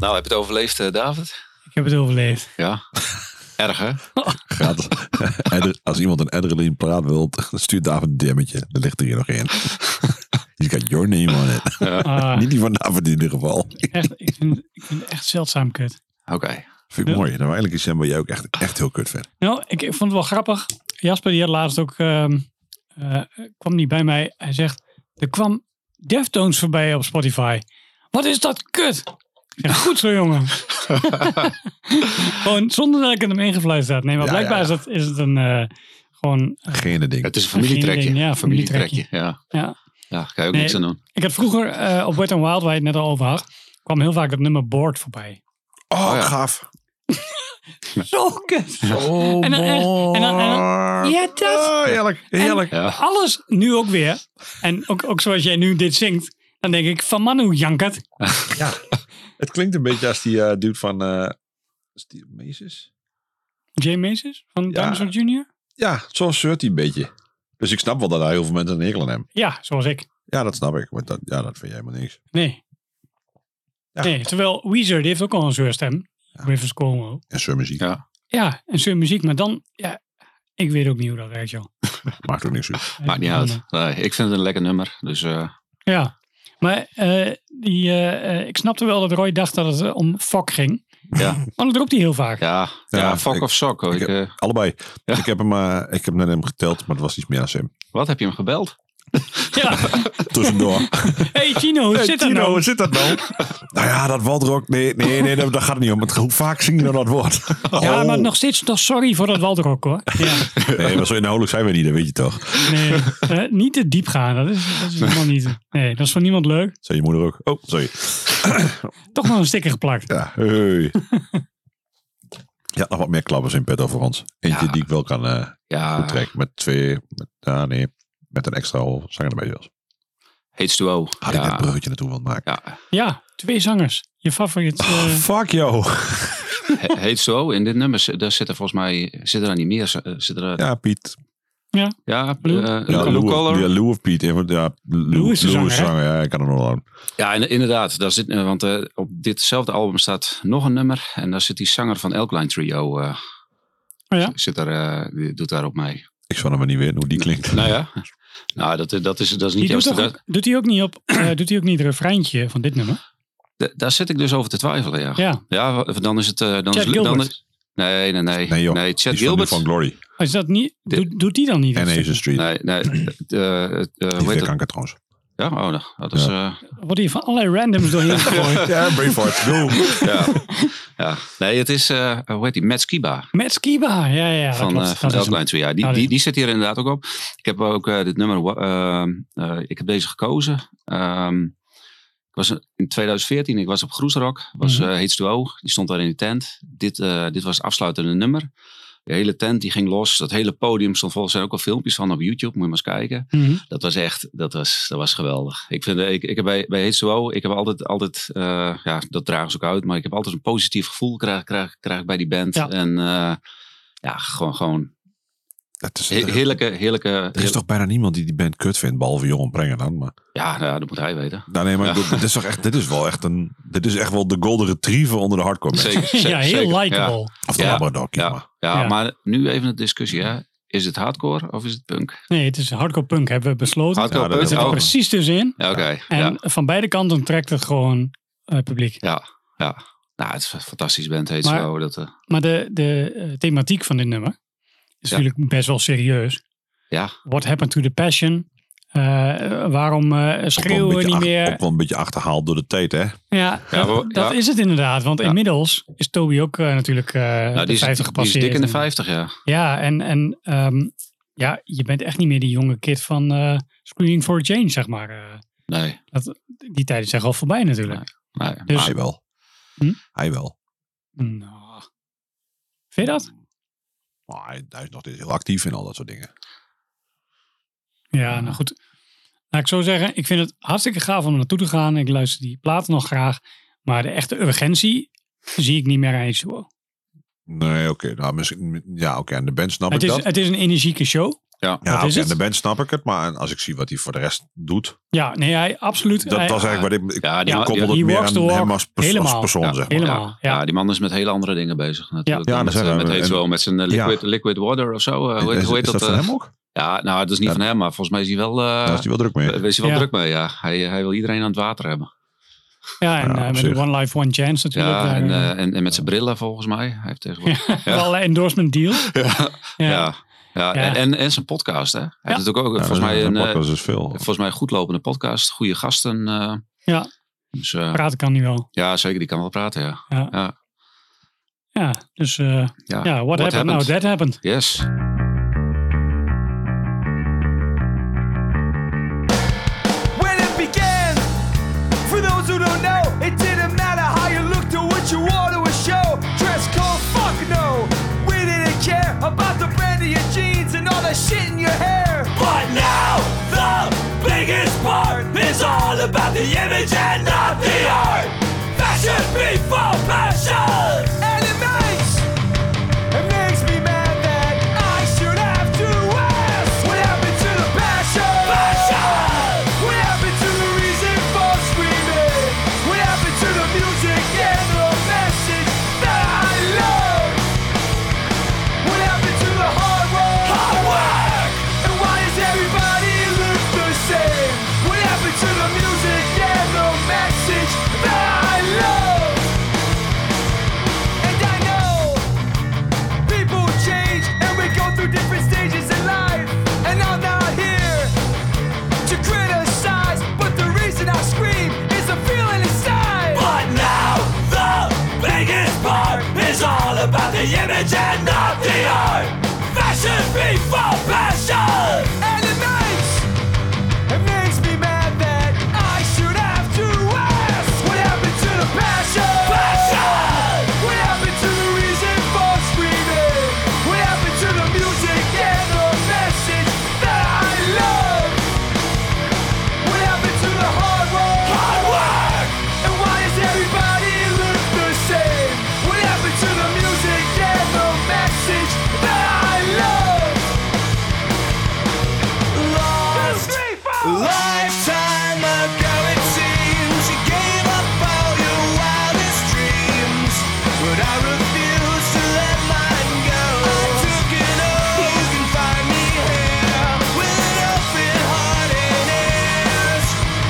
Nou, heb je het overleefd, eh, David?
Ik heb het overleefd.
Ja. Erg, hè?
Gratis. Adder- Als iemand een adrenaline paraat wil, stuurt David een DM'tje. Er ligt er hier nog in. He's got your name on it.
Ah,
Niet die van David in ieder geval.
echt, ik, vind, ik vind het echt zeldzaam kut.
Oké.
Vind ik mooi. Nou, eigenlijk is Sam bij jou ook echt, echt heel kut vet.
Nou, ik, ik vond het wel grappig. Jasper die had laatst ook ehm, eh, kwam niet bij mij. Hij zegt, er kwam Deftones voorbij op Spotify. Wat is dat kut? Ik zeg, goed zo jongen. gewoon zonder dat ik het hem ingefluisterd had. Nee, maar
Ja,
blijkbaar
ja, ja.
Is, dat, is het een eh, gewoon...
Geen ding.
Het is een familietrekje.
Geen- ja,
familietrekje. Ja.
Ja.
ja, kan je ook
Nee.
niks aan doen.
Ik had vroeger eh, op Wet n Wild, waar je het net al over had, kwam heel vaak dat nummer Board voorbij.
Oh,
Oh, ja.
gaaf.
Zo kut.
Oh,
En dan echt- en dan- en
boy.
Ja, dat.
Oh, heerlijk, heerlijk.
Ja.
alles nu ook weer. En ook, ook zoals jij nu dit zingt. Dan denk ik van Manu Jankert.
Het klinkt een beetje als die eh, dude van... eh is die Mesis?
Jay Meeses
Ja.
van Dinosaur Jr.
Ja, zoals shirt hij een beetje. Dus ik snap wel dat daar heel veel mensen een hekel aan hebben.
Ja, zoals ik.
Ja, dat snap ik. Want dat, ja, dat vind jij helemaal niks.
Nee.
Ja.
nee. Terwijl Weezer, die heeft ook al een zeurstem. Rivers Cuomo.
En surmuziek.
Ja.
Ja, en zijn muziek. Maar dan, ja, ik weet ook niet hoe dat werkt, joh.
Maakt ook niks uit.
Maakt niet uit. Nee, ik vind het een lekker nummer. Dus eh,
Ja. Maar eh, die, eh, eh, ik snapte wel dat Roy dacht dat het eh, om Fok ging.
Ja.
Want dat roept hij heel vaak.
ja, ja,
Ja,
fok
ik-
of sok. hoor.
ik
Ik, eh,
Allebei.
Ja.
Ik, heb hem, eh, ik heb net hem geteld, maar het was iets meer dan Sim.
wat heb je hem gebeld?
Ja.
Tussendoor.
Hey Gino, hoe
Hey,
zit dat
Tino,
nou?
hoe zit dat nou? nou ja, dat waldrok. Nee, nee, nee, dat, dat gaat niet om. Het, hoe vaak zing je nou dat woord?
Ja,
Oh.
maar nog steeds toch sorry voor dat Waldrok hoor. Ja.
Nee, maar zo inhoudelijk zijn we niet, dat weet je toch?
Nee, eh, niet te diep gaan. Dat is, dat is helemaal niet. Nee, dat is voor niemand leuk.
Zei je moeder ook. Oh, sorry.
Toch nog een sticker geplakt.
Ja, hey. Ja, nog wat meer klappers in petto voor ons. Eentje
Ja.
die ik wel kan eh
Ja,
goed trekken met twee. Met, ah, nee, met een extra hol. Zang erbij zelfs.
Hates to O.
Had ik net
ja,
een bruggetje naartoe willen maken.
ja,
Ja, twee zangers. Je favoriet. eh,
Fuck yo.
He- Hates to O. In dit nummer zi- daar zitten volgens mij zitten er niet meer. z- eh, Zitten er, ja,
Ja, Piet.
eh,
Lou?
Ja,
Blue
Lou,
Collar.
ja, Lou of Piet. Ja, Lou, Lou
is de
Lou
zanger, hè?
zanger. Ja, ik kan hem nog wel aan.
Ja, in- inderdaad. Daar zit, eh, want eh, op ditzelfde album staat nog een nummer. En daar zit die zanger van Elkline Trio. eh,
Oh ja?
zit er, eh, die doet daarop mee.
Ik zal hem maar niet weten hoe die klinkt.
Nou ja. Nou, dat, dat, is, dat is niet
die doet,
juist. eh,
toch
Daar,
ook, doet hij ook niet op. eh, doet hij ook niet het refreintje van dit nummer?
daar- daar zit ik dus over te twijfelen, ja.
Ja.
Ja, wa- dan is het... eh, dan
Chad
is, dan
Gilbert.
is- nee, nee, nee.
Nee, joh.
Nee,
Die
Chad
is van, die
Gilbert.
van Glory.
Is dat niet, doet, doet die dan niet?
En
dat
Asian
stuk?
Street.
Nee, nee. eh, eh, eh,
die
hoe heet
heeft
dat?
kanker trouwens.
Ja, oh, nou, dat is... eh,
Wordt hier van allerlei randoms doorheen gegooid.
Ja, Braveheart. Doe.
ja. ja. Nee, het is... eh, hoe heet die? Matt Skiba.
Met Skiba. Ja, ja, ja. dat
Van,
klopt.
eh van
Dat is hem.
Elkline Trio. Ja, die,
Ah, die-
die, die zit hier inderdaad ook op. Ik heb ook eh, dit nummer... wa- eh, eh, ik heb deze gekozen. Ehm, ik was in 2014, ik was op Groesrock. Was
Mhm.
eh Hates to O. Die stond daar in de tent. Dit, eh, dit was het afsluitende nummer. De hele tent die ging los. Dat hele podium stond vol. Er zijn ook al filmpjes van op YouTube. Moet je maar eens kijken.
Mhm.
Dat was echt, dat was, dat was geweldig. Ik vind, eh, ik, ik heb bij, bij H2O, ik heb altijd, altijd eh, ja, dat dragen ze ook uit, maar ik heb altijd een positief gevoel krijg, krijg, krijg ik bij die band.
Ja.
En eh, ja, gewoon, gewoon
Dat is,
he- heerlijke, heerlijke.
er is toch bijna niemand die die band kut vindt, behalve Johan Brengen dan. Maar,
Ja, nou, dat moet hij weten.
nou, nee, maar ik bedoel, dit, is toch echt, dit is wel echt een... Dit is echt wel de golden retriever onder de hardcore band.
Zeker.
Ja, heel
zeker. Ja,
likable.
Of de
Ja.
Labrador Kid,
Ja.
maar.
ja,
Ja.
maar nu even een discussie. Hè. Is het hardcore of is het punk?
Nee, het is hardcore punk, hebben we besloten.
Hardcore
dat
punk.
het zit er
oh.
precies tussenin.
Ja, Oké.
En
Ja,
van beide kanten trekt het gewoon eh, publiek.
ja, ja. Nou, het is een fantastisch band, heet
Maar-
zo. Dat, eh,
Maar de, de eh, thematiek van dit nummer is
Ja.
natuurlijk best wel serieus.
ja,
What happened to the passion? Eh, waarom eh,
Ook wel, een
schreeuwen we
beetje
niet
ach-
meer?
ook wel een beetje achterhaald door de tijd, hè?
Ja,
Ja,
dat,
we-
dat
ja.
is het inderdaad. Want
Ja.
inmiddels is Toby ook eh, natuurlijk eh
nou, die
de
is,
50
die is
gepasseerd.
dik in de
En-
50, ja.
Ja, en, en ehm, ja, je bent echt niet meer die jonge kid van eh Screaming for a Change, zeg maar. Eh,
Nee,
die tijden zijn al voorbij natuurlijk.
nee.
Dus,
Hij wel.
Hm?
Hij wel.
nou, vind je dat?
Maar hij, hij is nog steeds heel actief in al dat soort dingen.
Ja, nou goed. Laat ik zo zeggen, ik vind het hartstikke gaaf om er naartoe te gaan. Ik luister die platen nog graag. Maar de echte urgentie zie ik niet meer aan H2O.
Nee, oké. Nou, misschien... Ja, oké. Aan de band snap
Het
ik
is,
dat.
het is een energieke show.
Ja,
dat
oké,
is
aan
het.
de band snap ik het. Maar als ik zie wat hij voor de rest doet...
Ja, nee, hij, absoluut.
Dat
hij,
was eigenlijk wat ik... ik
Ja, die,
Ik
man-
koppel
ja,
het
He
meer
walks the
aan
walk.
hem als, perso- als
Helemaal.
persoon,
Ja.
zeg maar.
helemaal, ja.
ja. die man is met hele andere dingen bezig. Natuurlijk.
Ja,
Dan
dat
met,
zeggen
eh,
we.
met,
En-
H2O, met zijn eh,
Ja.
liquid, liquid Water of zo. eh, hoe,
Is-
heet- hoe heet
is dat
dat?
van
eh?
hem ook?
Ja, nou, dat is niet
Ja.
van hem, maar volgens mij is hij wel, eh,
Daar is hij wel druk mee.
eh, is hij wel
Ja.
druk mee. Ja. Hij, eh, hij wil iedereen aan het water hebben.
Ja, en
Ja,
eh,
op
met
zich.
de One Life, One Chance natuurlijk.
Ja, en,
daar,
eh, en, en met zijn brillen volgens mij. Hij heeft tegenwoordig.
eh, Alle endorsement deal.
Ja.
Ja.
Ja. Ja,
Ja.
En, en zijn podcast, hè? Hij heeft natuurlijk ook, eh, volgens mij, een, eh,
podcast is veel.
volgens mij een goedlopende podcast. Goede gasten. eh.
Ja.
Dus eh,
Praten kan nu wel.
ja, zeker. Die kan wel praten, ja.
Ja, dus eh,
Ja,
ja, what, happened? Now that happened.
Yes.
when it began. For those who don't know, it didn't matter how you looked or what you wore to a show. Dress code, fuck no. We didn't care about the brand of your jeans and all the shit in your hair. But now, the biggest part is all about the image and not the art. Fashion before passion. And it makes it makes me mad that I should have to ask What happened to the passion? What happened to the reason for screaming? What happened to the music and the message that I learned? What happened to the hard work? Hard work! And why does everybody look the same? What happened to the music and the message that I love? And I know People change and we go through different stages in life. And I'm not here to criticize, but the reason I scream is the feeling inside. But now the biggest part is all about the image and not the art. Fashion before passion. And it makes it makes me mad that I should have to ask What happened to the passion? Passion! What happened to the reason for screaming? What happened to the music and the message that I love? What happened to the hard work? Hard work! And why does everybody look the same? What happened to the music and the message that I love? Lost. Lifetime ago it seems you gave up all your wildest dreams, but I refuse to let mine go. I took it all. You can find me here with an open heart and ears,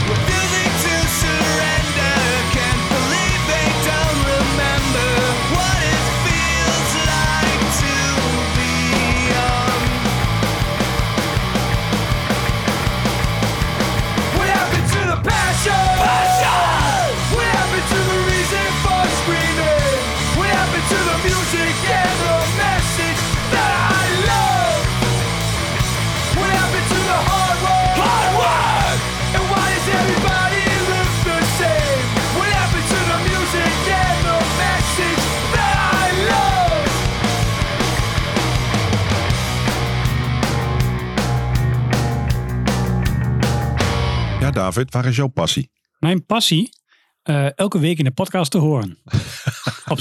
refusing to surrender. Can't believe they don't remember what it feels like to be young. What happened to the passion? Passion! What happened to the reason for screaming? What happened to the music and the message that I love? What happened to the hard work? Hard work! And why does everybody look the same? What happened to the music and the message that I love?
Ja, David, waar is jouw passie?
Mijn passie, eh, elke week in de podcast te horen. Op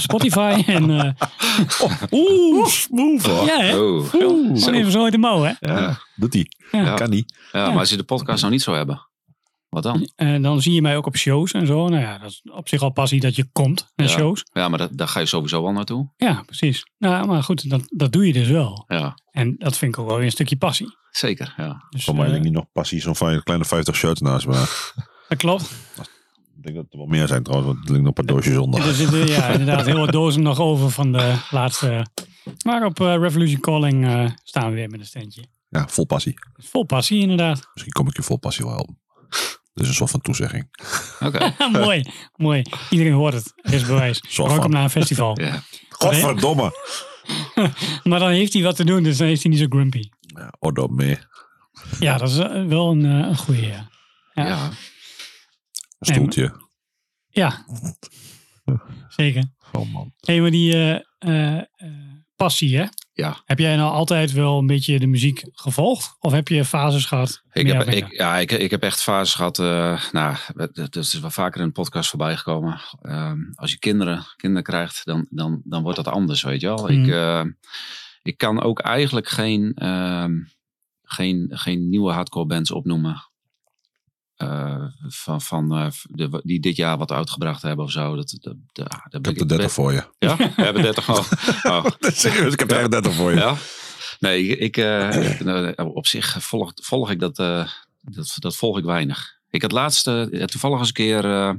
Spotify en... eh,
Oeh, smooth hoor.
ja, hè?
Oh.
Oeh,
Zo.
even zo uit de mouw, hè?
Ja, doet hij.
Ja.
Kan niet.
Ja, maar als je de podcast nou niet zou hebben, wat dan?
En dan zie je mij ook op shows en zo. Nou ja, dat is op zich al passie dat je komt naar
Ja.
shows.
Ja, maar dat, daar ga je sowieso wel naartoe.
Ja, precies. Nou, maar goed, dat, dat doe je dus wel.
Ja,
En dat vind ik ook wel weer een stukje passie.
zeker. Ja.
Dus,
Voor mij
eh,
ligt niet nog passie zo'n fijn- kleine 50 shirts naast me.
dat klopt.
Ik denk dat er wel meer zijn trouwens, want er liggen nog een paar doosjes onder.
Er zitten ja, inderdaad heel wat dozen nog over van de laatste. Maar op eh, Revolution Calling eh, staan we weer met een standje.
Ja, vol passie.
Dus vol passie inderdaad.
Misschien kom ik je vol passie wel helpen. Dat is een soort van toezegging.
Oké.
Ja, mooi, mooi. Iedereen hoort het. Er is bewijs.
Zo
Rock
van.
hem naar een festival.
Ja.
Godverdomme!
Maar dan heeft hij wat te doen, dus dan is hij niet zo grumpy.
Ja, Ordo mee.
Ja, dat is eh, wel een, eh, een goede. Ja. Ja.
Ja.
Een stoeltje.
Ja. zeker.
Oh man.
Hé, maar die eh, eh, eh, passie, hè?
Ja.
Heb jij nou altijd wel een beetje de muziek gevolgd? Of heb je fases gehad?
Ik,
Meer
heb,
of minder?
ik, ja, ik, ik heb echt fases gehad. eh, nou, dat is wel vaker in een podcast voorbij gekomen. Ehm, als je kinderen, kinderen krijgt, dan, dan, dan wordt dat anders, weet je wel. Ik,
Mm.
eh, ik kan ook eigenlijk geen, ehm, geen, geen nieuwe hardcore bands opnoemen. eh, van van eh, de, die dit jaar wat uitgebracht hebben of zo. Dat, dat, dat, daar
Ik
ben
heb er 30
best-
voor je.
Ja, we hebben 30 al. Oh,
Serieus, ik heb er echt 30 voor je.
ja. Nee, ik, ik, eh, ik- nou, op zich volg, volg ik dat, eh, dat, dat volg ik weinig. Ik had laatst eh, toevallig eens een keer eh,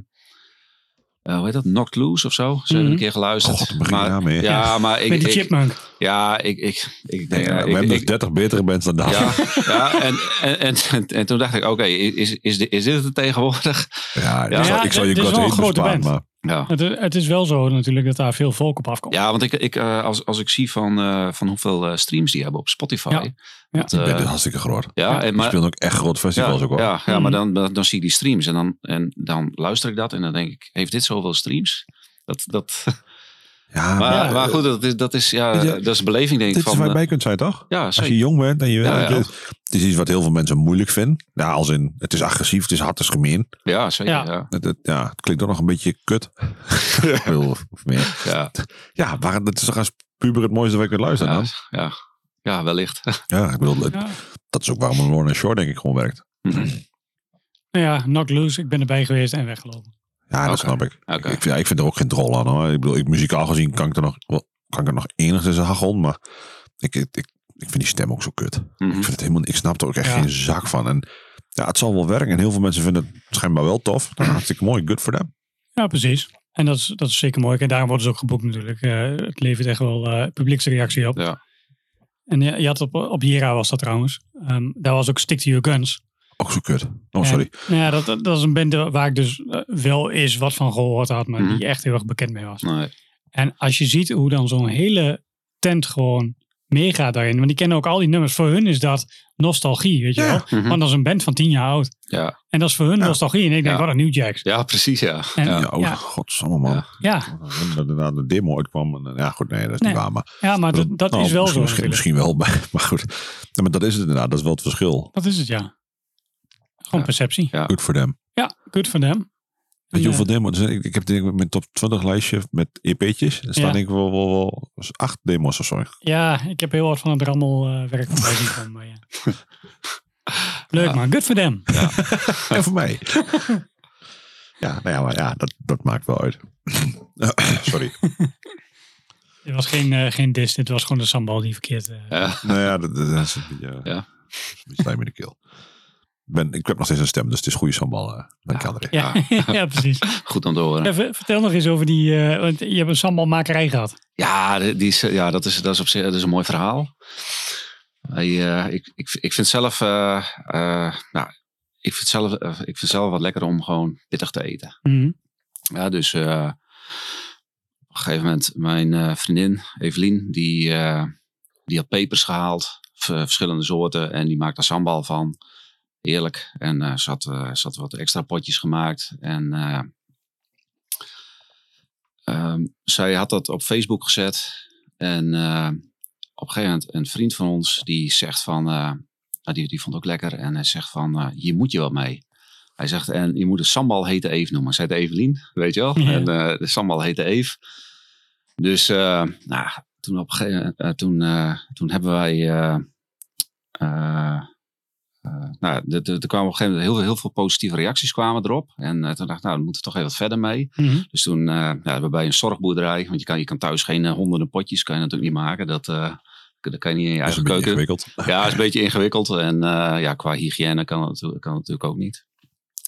eh, hoe heet dat? Knocked Loose of zo. Ze hebben
Mhm.
een keer geluisterd.
God, begin
maar,
daarmee.
ja, maar ik,
Met die
ik,
chipmunk.
ja, ik, ik, ik
Nee,
denk, ja,
we
ik-
hebben
ik-
dus 30 betere bands dan dat.
ja, ja en, en, en, en, en toen dacht ik, oké, is, is, dit- is dit het tegenwoordig?
Ja, dus
Ja,
ik zal- ik zal je
dit is
God
wel een
hate
grote
besparen,
band.
maar
Ja,
Het, is- het is wel zo natuurlijk dat daar veel volk op afkomt.
ja want ik, ik, eh, als, als ik zie van, eh, van hoeveel eh, streams die hebben op Spotify.
Ja. Ja.
dat,
die
eh,
band is hartstikke groot.
ja, en,
Die
maar,
speelden ook echt groot festivals
ja,
ook al.
ja, ja,
Mhm.
maar dan, dan, dan zie ik die streams en dan, en dan luister ik dat en dan denk ik, heeft dit zoveel streams? Dat, dat,
Ja,
maar,
maar, eh,
maar goed, dat is, dat is, ja,
Weet je,
dat is een beleving denk ik
dit is
van...
waar je
eh,
bij kunt zijn, toch?
ja,
Als
zeker.
je jong bent en je...
Ja, ja.
Het is iets wat heel veel mensen moeilijk vinden. Ja, als in, het is agressief, het is hard, het is gemeen.
ja, zeker.
Ja.
Ja.
Het, het- ja, het klinkt ook nog een beetje kut. Ik bedoel, of meer.
Ja.
Ja, maar het is toch als puber het mooiste waar je kunt luisteren
Ja,
dan?
ja, ja, wellicht.
Ja, ik bedoel, het-
Ja.
dat is ook waarom Lorna Shore denk ik gewoon werkt.
Mhm.
Hmm.
Nou ja, knock loose. Ik ben erbij geweest en weggelopen.
Ja, dat
Oké.
snap ik.
Oké.
Ik, vind, ja, ik vind er ook geen drol aan hoor. Ik bedoel, ik, muzikaal gezien kan ik er nog, wel, kan ik er nog enigszins aan hagelen, maar ik, ik, ik, ik vind die stem ook zo kut.
Mhm.
Ik, vind het helemaal, ik snap er ook echt
Ja.
geen zak van. En ja, het zal wel werken. En heel veel mensen vinden het schijnbaar wel tof. Nou, hartstikke mooi. Good for them.
Ja, precies. En dat is, dat is zeker mooi. En daarom worden ze ook geboekt natuurlijk. Eh, het levert echt wel eh publieksreactie op.
Ja.
En je, je had op, op Jera was dat trouwens. Ehm, daar was ook Stick to Your Guns.
Ook zo kut. Oh, sorry.
En, nou ja, dat- dat, dat is een band waar ik dus eh, wel eens wat van gehoord had, maar
Mhm.
die echt heel erg bekend mee was.
Nee.
En als je ziet hoe dan zo'n hele tent gewoon meegaat daarin. Want die kennen ook al die nummers. Voor hun is dat nostalgie, weet je
Ja.
wel.
Mhm.
Want dat is een band van tien jaar oud.
Ja.
En dat is voor hun
Ja.
nostalgie. En ik denk,
Ja.
wat een New Jacks.
ja, precies. Ja.
En-
Ja,
Ja.
oh,
Ja.
godsamme man.
Ja.
Ja,
Dat er de demo uitkwam. En, eh, ja, goed, nee, dat is
Nee.
niet waar. Maar,
ja maar dat, dat
Nou,
is wel zo
misschien, misschien,
natuurlijk.
misschien wel. Maar, maar goed. Ja, maar dat is het inderdaad. Dat is wel het verschil.
Dat is het, ja. Gewoon
Ja.
perceptie.
Ja.
Good for them.
Ja, good for them.
Weet je
En,
hoeveel demo's? er zijn? Ik, ik heb denk ik mijn top 20 lijstje met EP'tjes. Er staan
Ja.
denk ik wel, wel, wel acht demo's of zo.
eh, Ja, ik heb heel wat van het rammelwerk voorbij zien komen. maar ja. Leuk man, good for them.
En voor mij. ja, nou ja, maar ja, dat, dat maakt wel uit. Sorry.
Dit was geen, eh, geen dis, dit was gewoon de sambal die verkeerd... eh,
Ja.
nou ja, dat, dat is een beetje, eh,
Ja.
dat is een beetje slijm in de keel. Ik Ben, ik heb nog steeds een stem, dus het is goede sambal. eh dan kan er.
ja. ja, precies.
Goed aan het horen.
Even, vertel nog eens over die... eh, want je hebt een sambalmakerij gehad.
Ja, de- die is, ja dat, is, dat, is op zich, dat is een mooi verhaal. Hij, eh, ik, ik, ik vind zelf, eh, eh, nou, ik vind zelf, eh, ik vind zelf wat lekker om gewoon pittig te eten.
Mhm.
Ja, dus eh, op een gegeven moment, mijn eh, vriendin Evelien, die, eh, die had pepers gehaald, v- verschillende soorten, en die maakte sambal van. Heerlijk. En eh ze, had, eh, ze had wat extra potjes gemaakt. En eh, ehm, zij had dat op Facebook gezet. En eh, op een gegeven moment een vriend van ons die zegt van, eh, nou, die, die vond het ook lekker. En hij zegt van, eh, hier moet je wat mee. Hij zegt, en je moet de sambal hete Eve noemen. Zij heet Evelien, weet je wel.
Ja.
En eh, de sambal hete Eve. Dus eh, nou, toen, op een gegeven moment, eh, toen, eh, toen hebben wij... eh, eh, eh, nou, er- er er kwamen op een gegeven moment heel, heel veel positieve reacties kwamen erop. En eh, toen dacht ik, nou, dan moeten we toch even wat verder mee.
Mhm.
Dus toen eh ja, hebben we bij een zorgboerderij, want je kan, je kan thuis geen eh, honderden potjes, kan je natuurlijk niet maken. Dat, eh, dat kan je niet in je
Dat is
eigen
een beetje
keuken.
ingewikkeld.
Ja, is een beetje ingewikkeld. En eh, ja, qua hygiëne kan het, natu- kan het natuurlijk ook niet.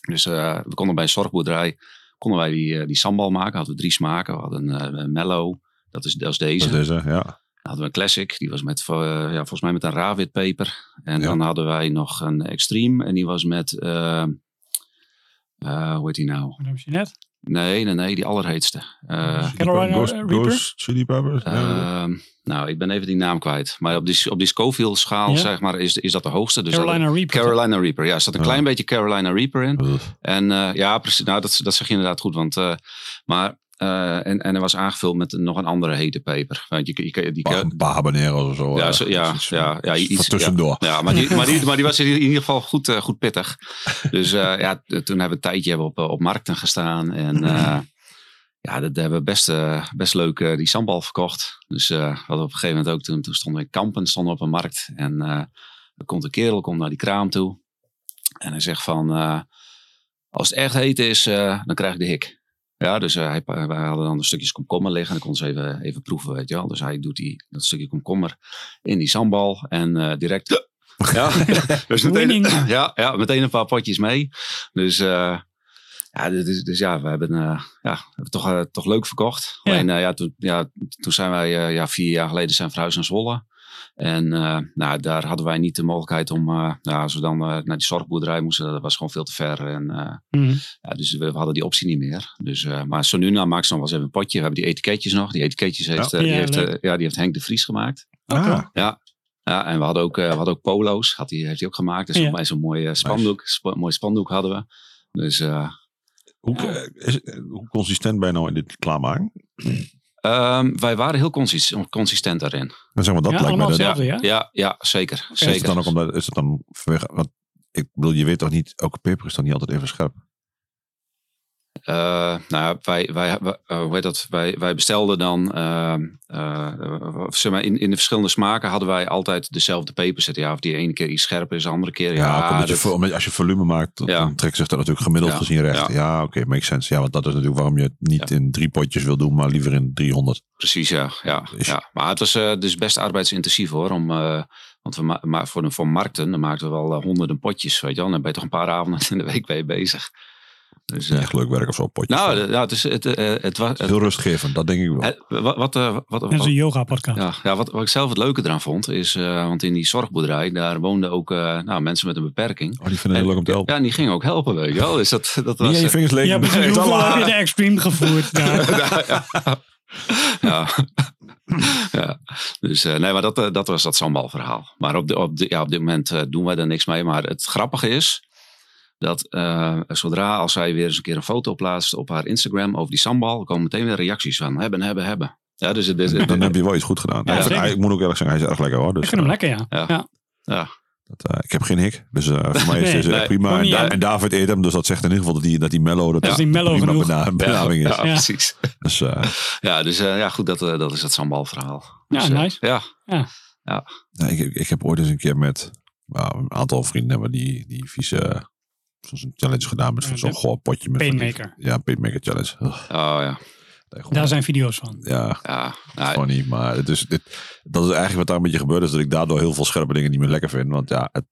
Dus eh, we konden bij een zorgboerderij konden wij die, eh, die sambal maken. Hadden we drie smaken. We hadden eh, een mellow, dat is, dat is deze.
Dat is, eh, ja.
Dan hadden we een classic, die was met, eh, ja, volgens mij met een raawitpeper. En
Ja.
dan hadden wij nog een extreme en die was met, eh, eh, hoe heet die nou?
Wat noem je net?
Nee, nee, nee, die allerheetste. Eh,
Carolina
Ghost,
Reaper?
Ghost Chili Peppers. dus- ja.
ehm, nou, ik ben even die naam kwijt. Maar op die, op die Scoville-schaal,
Ja.
zeg maar, is, is dat de hoogste. Dus dat-
Carolina Reaper.
Carolina Reaper, ja. Er zat een
Ja.
klein beetje Carolina Reaper in.
Ugh.
En eh, ja, precies. Nou, dat, dat zeg je inderdaad goed. Want, eh, maar, eh, en, en er was aangevuld met nog een andere hete peper. Want je, je, je, die,
Een paar habaneros of zo.
Ja,
eh,
zo- ja,
iets-
ja, ja,
iets
iets-
voor tussendoor.
Ja, maar die, maar, die, maar die was in ieder geval goed, eh, goed pittig. Dus eh, ja, t- toen hebben we een tijdje hebben we op, eh, op markten gestaan. En eh, ja, dat daar hebben we best, eh, best leuk eh, die sambal verkocht. Dus eh, we hadden op een gegeven moment ook, toen, toen stonden we in Kampen, stonden we op een markt. En eh er komt een kerel, komt naar die kraam toe. En hij zegt van, eh, als het echt heet is, eh, dan krijg ik de hik. Ja, dus eh, hij, pa- wij hadden dan de stukjes komkommer liggen. En dan konden ze even, even proeven, weet je wel. Dus hij doet die, dat stukje komkommer in die sambal. En eh, direct... Ja, dus meteen,
Winning.
ja, ja, meteen een paar potjes mee. Dus eh, Ja, dus, dus ja, we hebben, eh, ja, we hebben het toch, eh, toch leuk verkocht.
Ja.
Alleen eh, ja, toen, ja, toen zijn wij eh, ja, vier jaar geleden zijn we verhuisd naar Zwolle. En eh, nou, daar hadden wij niet de mogelijkheid om, eh nou, als we dan eh, naar die zorgboerderij moesten, dat was gewoon veel te ver. En, eh,
Mhm.
ja, dus we, we hadden die optie niet meer. Dus, eh, maar zo nu nou maakt ze nog wel eens even een potje. We hebben die etiketjes nog. Die etiketjes heeft, eh,
Ja,
die, heeft, eh,
leuk.
ja, die heeft Henk de Vries gemaakt.
Ah,
Ja, en we hadden ook, eh, we hadden ook polo's, had hij heeft hij ook gemaakt. Dus
Ja.
zo'n zo'n mooi eh, spandoek, spa- mooi spandoek hadden we. Dus eh,
Hoe,
Oh.
eh, is- eh, hoe consistent ben je nou in dit klaarmaken?
ehm, wij waren heel consistent, consistent daarin.
Dan zeg maar, dat
Ja,
lijkt mij
allemaal
dat,
hetzelfde, ja?
Ja, ja zeker.
Is het
zeker.
dan ook omdat, is het dan vanwege, want ik bedoel, je weet toch niet, elke peper is dan niet altijd even scherp.
Eh, nou, ja, wij, wij, wij, eh, hoe heet dat? wij, wij bestelden dan, ehm, eh, eh, zeg maar, in, in de verschillende smaken hadden wij altijd dezelfde peper zitten. Ja, of die ene keer iets scherper is, de andere keer. Ja,
Ja, ook omdat je
dat-
vo- omdat als je volume maakt, dan,
Ja.
dan trekt zich dat natuurlijk gemiddeld
Ja.
gezien recht. Ja,
Ja.
oké, makes sense. Ja, want dat is natuurlijk waarom je het niet in drie potjes wil doen, maar liever in 300.
Precies, ja. ja,
Is-
ja. Maar het was eh, dus best arbeidsintensief hoor. Om, eh, want we ma- maar voor, de- voor markten dan maakten we wel eh, honderden potjes. Weet je wel. En dan ben je toch een paar avonden in de week mee bezig. Dus, eh,
Echt leuk werk of zo, potjes.
nou, d- ja, het, is, het, eh, het was. het-
Heel rustgevend, dat denk ik wel.
het- wat, wat, eh, wat,
Dat is
wat,
een yoga-podcast.
ja, ja, wat, wat ik zelf het leuke eraan vond, is, eh, want in die zorgboerderij, daar woonden ook eh, nou, mensen met een beperking.
Oh, die vinden het
En-
leuk om te helpen.
Ja, en die gingen ook helpen, weet je wel. Dus dat, dat
niet
was,
aan je
eh,
vingers
Ja,
leken.
precies.
Nee,
Hoeveel
dat-
heb je de extreme gevoerd? daar?
ja. ja. Dus eh, nee, maar dat, eh, dat was dat sambalverhaal. Maar op, de, op, de, ja, op dit moment eh, doen wij daar niks mee. Maar het grappige is dat eh, zodra als zij weer eens een keer een foto plaatst op haar Instagram over die sambal, komen meteen weer reacties van hebben, hebben, hebben. Ja, dus het is.
Dan heb je wel iets goed gedaan.
Ja,
Ik vind-
zeker.
ik moet ook eerlijk zeggen, hij is erg lekker hoor.
Ik
Dus,
vind hem
eh,
lekker, ja.
Ja.
ja.
dat, eh, ik heb geen hik, dus eh, voor mij is
Nee,
deze echt
nee.
prima.
Gewoon
En,
niet,
Da-
hè?
en David eet hem, dus dat zegt in ieder geval dat die, dat die mellow, dat,
is
dat
die mellow
prima
genoeg.
bena- benaming
ja,
is.
Ja.
precies.
Dus, eh,
Ja, dus eh, ja, goed, dat, eh, dat is dat sambalverhaal.
Ja,
Dus, eh,
nice.
Ja,
Nou, ik, ik heb ooit eens een keer met nou, een aantal vrienden hebben die, die vieze zoals een challenge gedaan met
Ja,
zo'n
de
goor potje. Met van die-
Painmaker.
ja, Painmaker challenge. Ugh,
oh ja.
nee, gewoon-
Daar zijn video's van.
ja,
ja.
Ah.
Nou,
funny. Maar het is, dit, dat is eigenlijk wat daar een beetje gebeurd is. Dat ik daardoor heel veel scherpe dingen niet meer lekker vind. Want ja, het-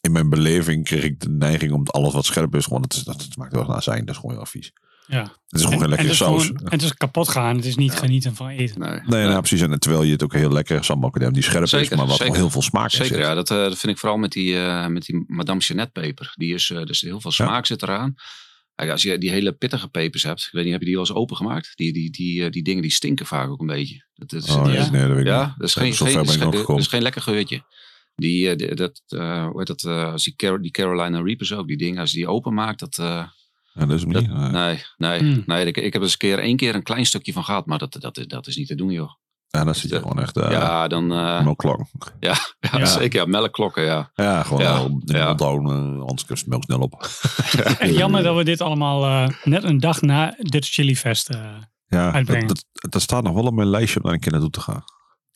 in mijn beleving kreeg ik de neiging om alles wat scherp is. Gewoon, dat, is- dat, dat maakt wel naar zijn. Dat is gewoon heel vies.
Ja.
Het is gewoon geen
en het
lekkere
is
saus.
gewoon- en het is kapot gaan. Het is niet genieten van eten.
nee.
Nee, nou, precies. En terwijl je het ook heel lekker sambal kan hebben die scherp is,
Zeker,
maar wat gewoon
zeker.
heel veel smaak in
Zeker,
zit.
ja. Dat, eh, dat vind ik vooral met die, eh, met die Madame Jeanette peper. Die is, eh, er zit heel veel smaak zit eraan. Kijk, als je die hele pittige pepers hebt, ik weet niet, heb je die wel eens opengemaakt? Die, die, die, eh, die dingen die stinken vaak ook een beetje. Dat, dat zit-
Oh,
Ja.
nee, nee, dat weet ik
ja,
niet.
dat is
Ja,
geen,
zo ver
geen,
ben
dat is
ik
geen,
nog
dat
gekomen.
is geen lekker geurtje. Die, eh, die- dat, eh, hoe heet dat, eh, als die, Car- die Carolina Reapers ook, die dingen, als je die openmaakt, dat, eh,
Ja, dat is hem
dat-
niet. Nee.
nee, nee,
Hmm.
nee. Ik, ik heb er eens een keer, één keer een klein stukje van gehad, maar dat, dat, dat is niet te doen, joh.
Ja, dan zit je
Ja.
gewoon echt eh
ja, dan, eh,
melkklok.
ja,
Ja.
zeker, ja, melkklokken, ja.
Ja, gewoon
Ja,
wel in
ja.
onthouden, eh, anders kust melk snel op.
Echt jammer dat we dit allemaal eh, net een dag na Dutch Chili Fest... eh,
Ja, dat,
Uitbrengen.
dat, dat staat nog wel op mijn lijstje om daar een keer naartoe te gaan.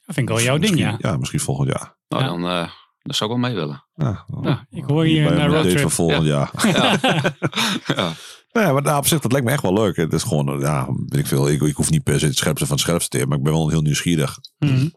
dat vind ik wel jouw ding,
Misschien-
ja.
Ja, misschien volgend jaar.
Nou,
Ja.
dan eh, dat zou ik wel mee willen.
Ja,
Ja, ik hoor hier
Bij
een eh,
een date
roadtrip.
van volgend jaar.
Ja. ja.
Nou ja, maar nou, op zich, dat lijkt me echt wel leuk. Het is gewoon, eh, ja, weet ik veel. Ik, ik hoef niet per se het scherpste van het scherpste te hebben, maar ik ben wel heel nieuwsgierig.
Mhm.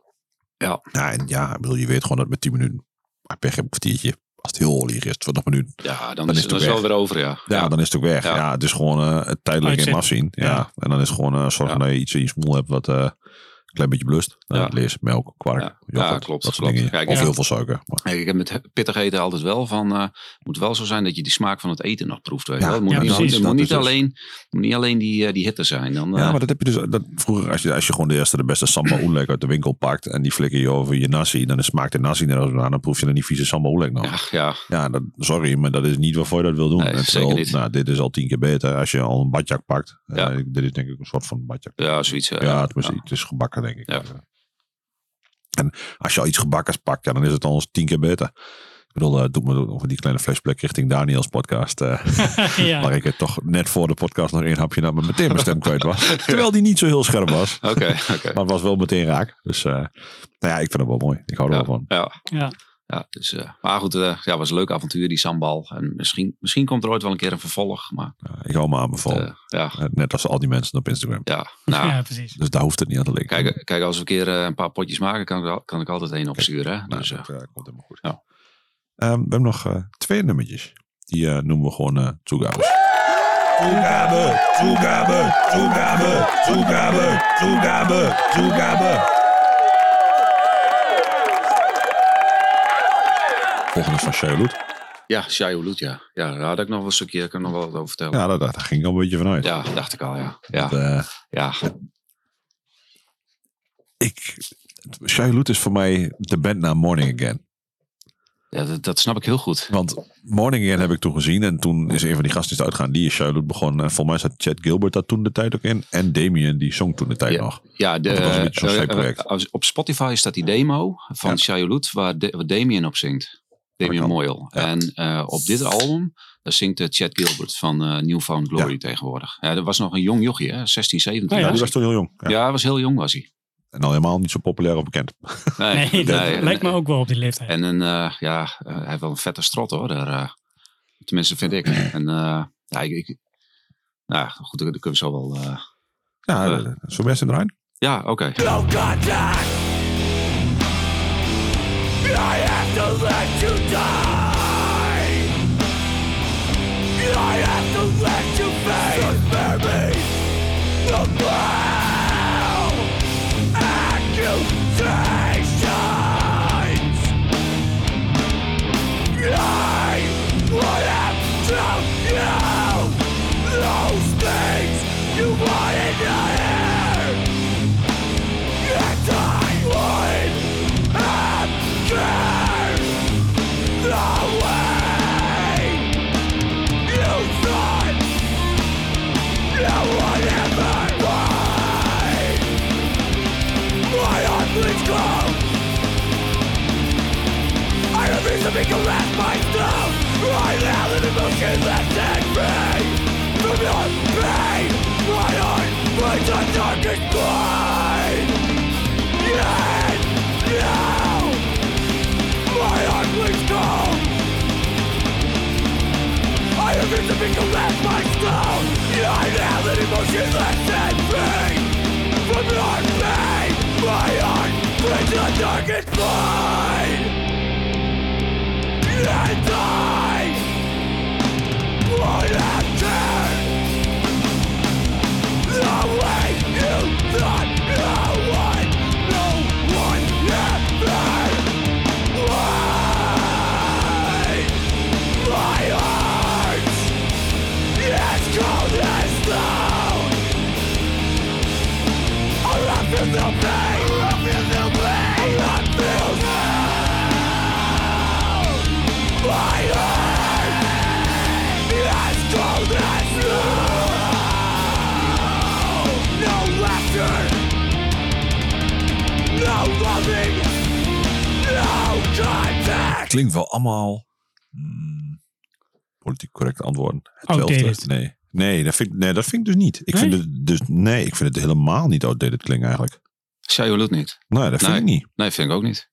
Ja, en ja, ik bedoel, je weet gewoon dat met 10 minuten, maar pech heb een kwartiertje. Als het heel olie is, 20 minuten.
Ja, dan,
Dan
is,
is het
het dan is het
weg.
wel weer over, ja.
Ja, dan is het ook weg. Ja,
Ja.
het is gewoon eh, het tijdelijk in
Uitzet.
afzien. Ja.
Ja.
en dan is het gewoon eh zorgen
Ja.
dat je iets in je smoel hebt wat eh, een klein beetje blust. Nou,
Ja.
het Lees, melk, kwark,
Ja.
yoghurt,
Ja, klopt,
dat soort
klopt.
dingen.
Kijk,
of
ja.
heel veel suiker. Maar,
Hey, Ik heb met pittig eten altijd wel van, eh, het moet wel zo zijn dat je die smaak van het eten nog proeft. Weet je
Ja,
wel. Het moet,
ja,
niet,
precies.
het moet
Dat
niet
is dus-
alleen, het moet niet alleen die, eh, die hitte zijn. Dan,
ja,
eh,
maar dat heb je dus. Dat, vroeger, als je, als je gewoon de eerste, de beste sambal oelek uit de winkel pakt en die flikker je over je nasi, dan is- smaakt de nasi er als aan. Dan proef je dan die vieze sambal oelek nog. Ja,
ja, ja,
dat, sorry, maar dat is niet waarvoor je dat wil doen.
Nee,
En
zeker
terwijl,
niet.
Nou, dit is al tien keer beter als je al een badjak pakt.
Ja.
Eh, dit is denk ik een soort van badjak.
ja, zoiets. eh,
Ja, het, was, het is gebakken, denk ik. Eh,
Ja.
En als je al iets gebakkers pakt, ja, dan is het al eens tien keer beter. Ik bedoel, eh, doet me over die kleine flashback richting Daniels podcast. eh,
ja.
Waar ik het toch net voor de podcast nog één hapje nam en meteen mijn stem kwijt was. Terwijl die niet zo heel scherp was.
Oké, oké.
Maar het was wel meteen raak. Dus eh, nou ja, ik vind het wel mooi. Ik hou er wel van.
Ja.
Ja.
Ja, dus, eh, maar goed, eh ja, was een leuk avontuur, die sambal. En misschien, misschien komt er ooit wel een keer een vervolg. Maar
Ja, ik hou me aanbevolen.
eh, ja,
Eh, net als al die mensen op Instagram.
ja, nou,
ja, precies.
Dus daar hoeft het niet aan te liggen.
Kijk, kijk, als we een keer eh, een paar potjes maken, kan ik, wel- kan ik altijd één opsturen. Hè?
Nou,
Dus, eh,
dat eh, komt helemaal goed.
ja.
Ehm, we hebben nog eh, twee nummertjes. Die eh, noemen we gewoon eh Tsugao's.
Toegabe, toegabe, toegabe, toegabe, toegabe, toegabe.
Volgende van Charlotte.
Ja, Shai Hulud, ja. Ja, daar had ik nog wel een stukje, kan ik nog wel wat over vertellen.
Ja, daar, daar ging ik al een beetje vanuit.
Ja, dacht ik al, ja. Ja,
Want, eh,
ja.
ik, Charlotte is voor mij de bandnaam Morning Again.
ja dat, dat snap ik heel goed.
Want Morning Again heb ik toen gezien. En toen is een van die gasten die uitgaan. Die is Charlotte begonnen. En volgens mij zat Chad Gilbert daar toen de tijd ook in. En Damien, die zong toen de tijd nog.
Ja, de,
Want het was een beetje zo'n
eh,
zijproject.
eh, als- op Spotify staat die demo van
Ja.
ja. waar, de, waar Damien op zingt. Damien
Kan.
Moyle.
Ja.
En eh, op dit album daar zingt eh, Chad Gilbert van eh Newfound Glory tegenwoordig. Ja, dat was nog een jong jochie, hè? 16, 17
Oh
Ja,
Ja.
was
die was
hij.
toen heel jong. Ja.
ja. hij was heel jong was hij.
En al helemaal niet zo populair of bekend.
Nee,
Nee, dat
nee, en-
lijkt me ook wel op die leeftijd.
En een, eh, ja, eh, hij heeft wel een vette strot hoor. Daar, eh. tenminste vind ik. En eh, ja, ik, ik- nou, goed, dat dat kunnen we zo wel. eh,
Ja,
Ja.
eh, zo best in de Rijn.
ja, oké.
Klinkt wel allemaal... hmm, politiek correcte antwoorden.
Outdated.
Nee. Nee, dat vind, ik- nee, dat vind ik dus niet. Ik vind
Nee?
het dus... Nee, ik vind het helemaal niet outdated klinken eigenlijk.
Zij wil het niet.
Nee, dat vind
Nee.
ik niet.
Nee, vind ik ook niet.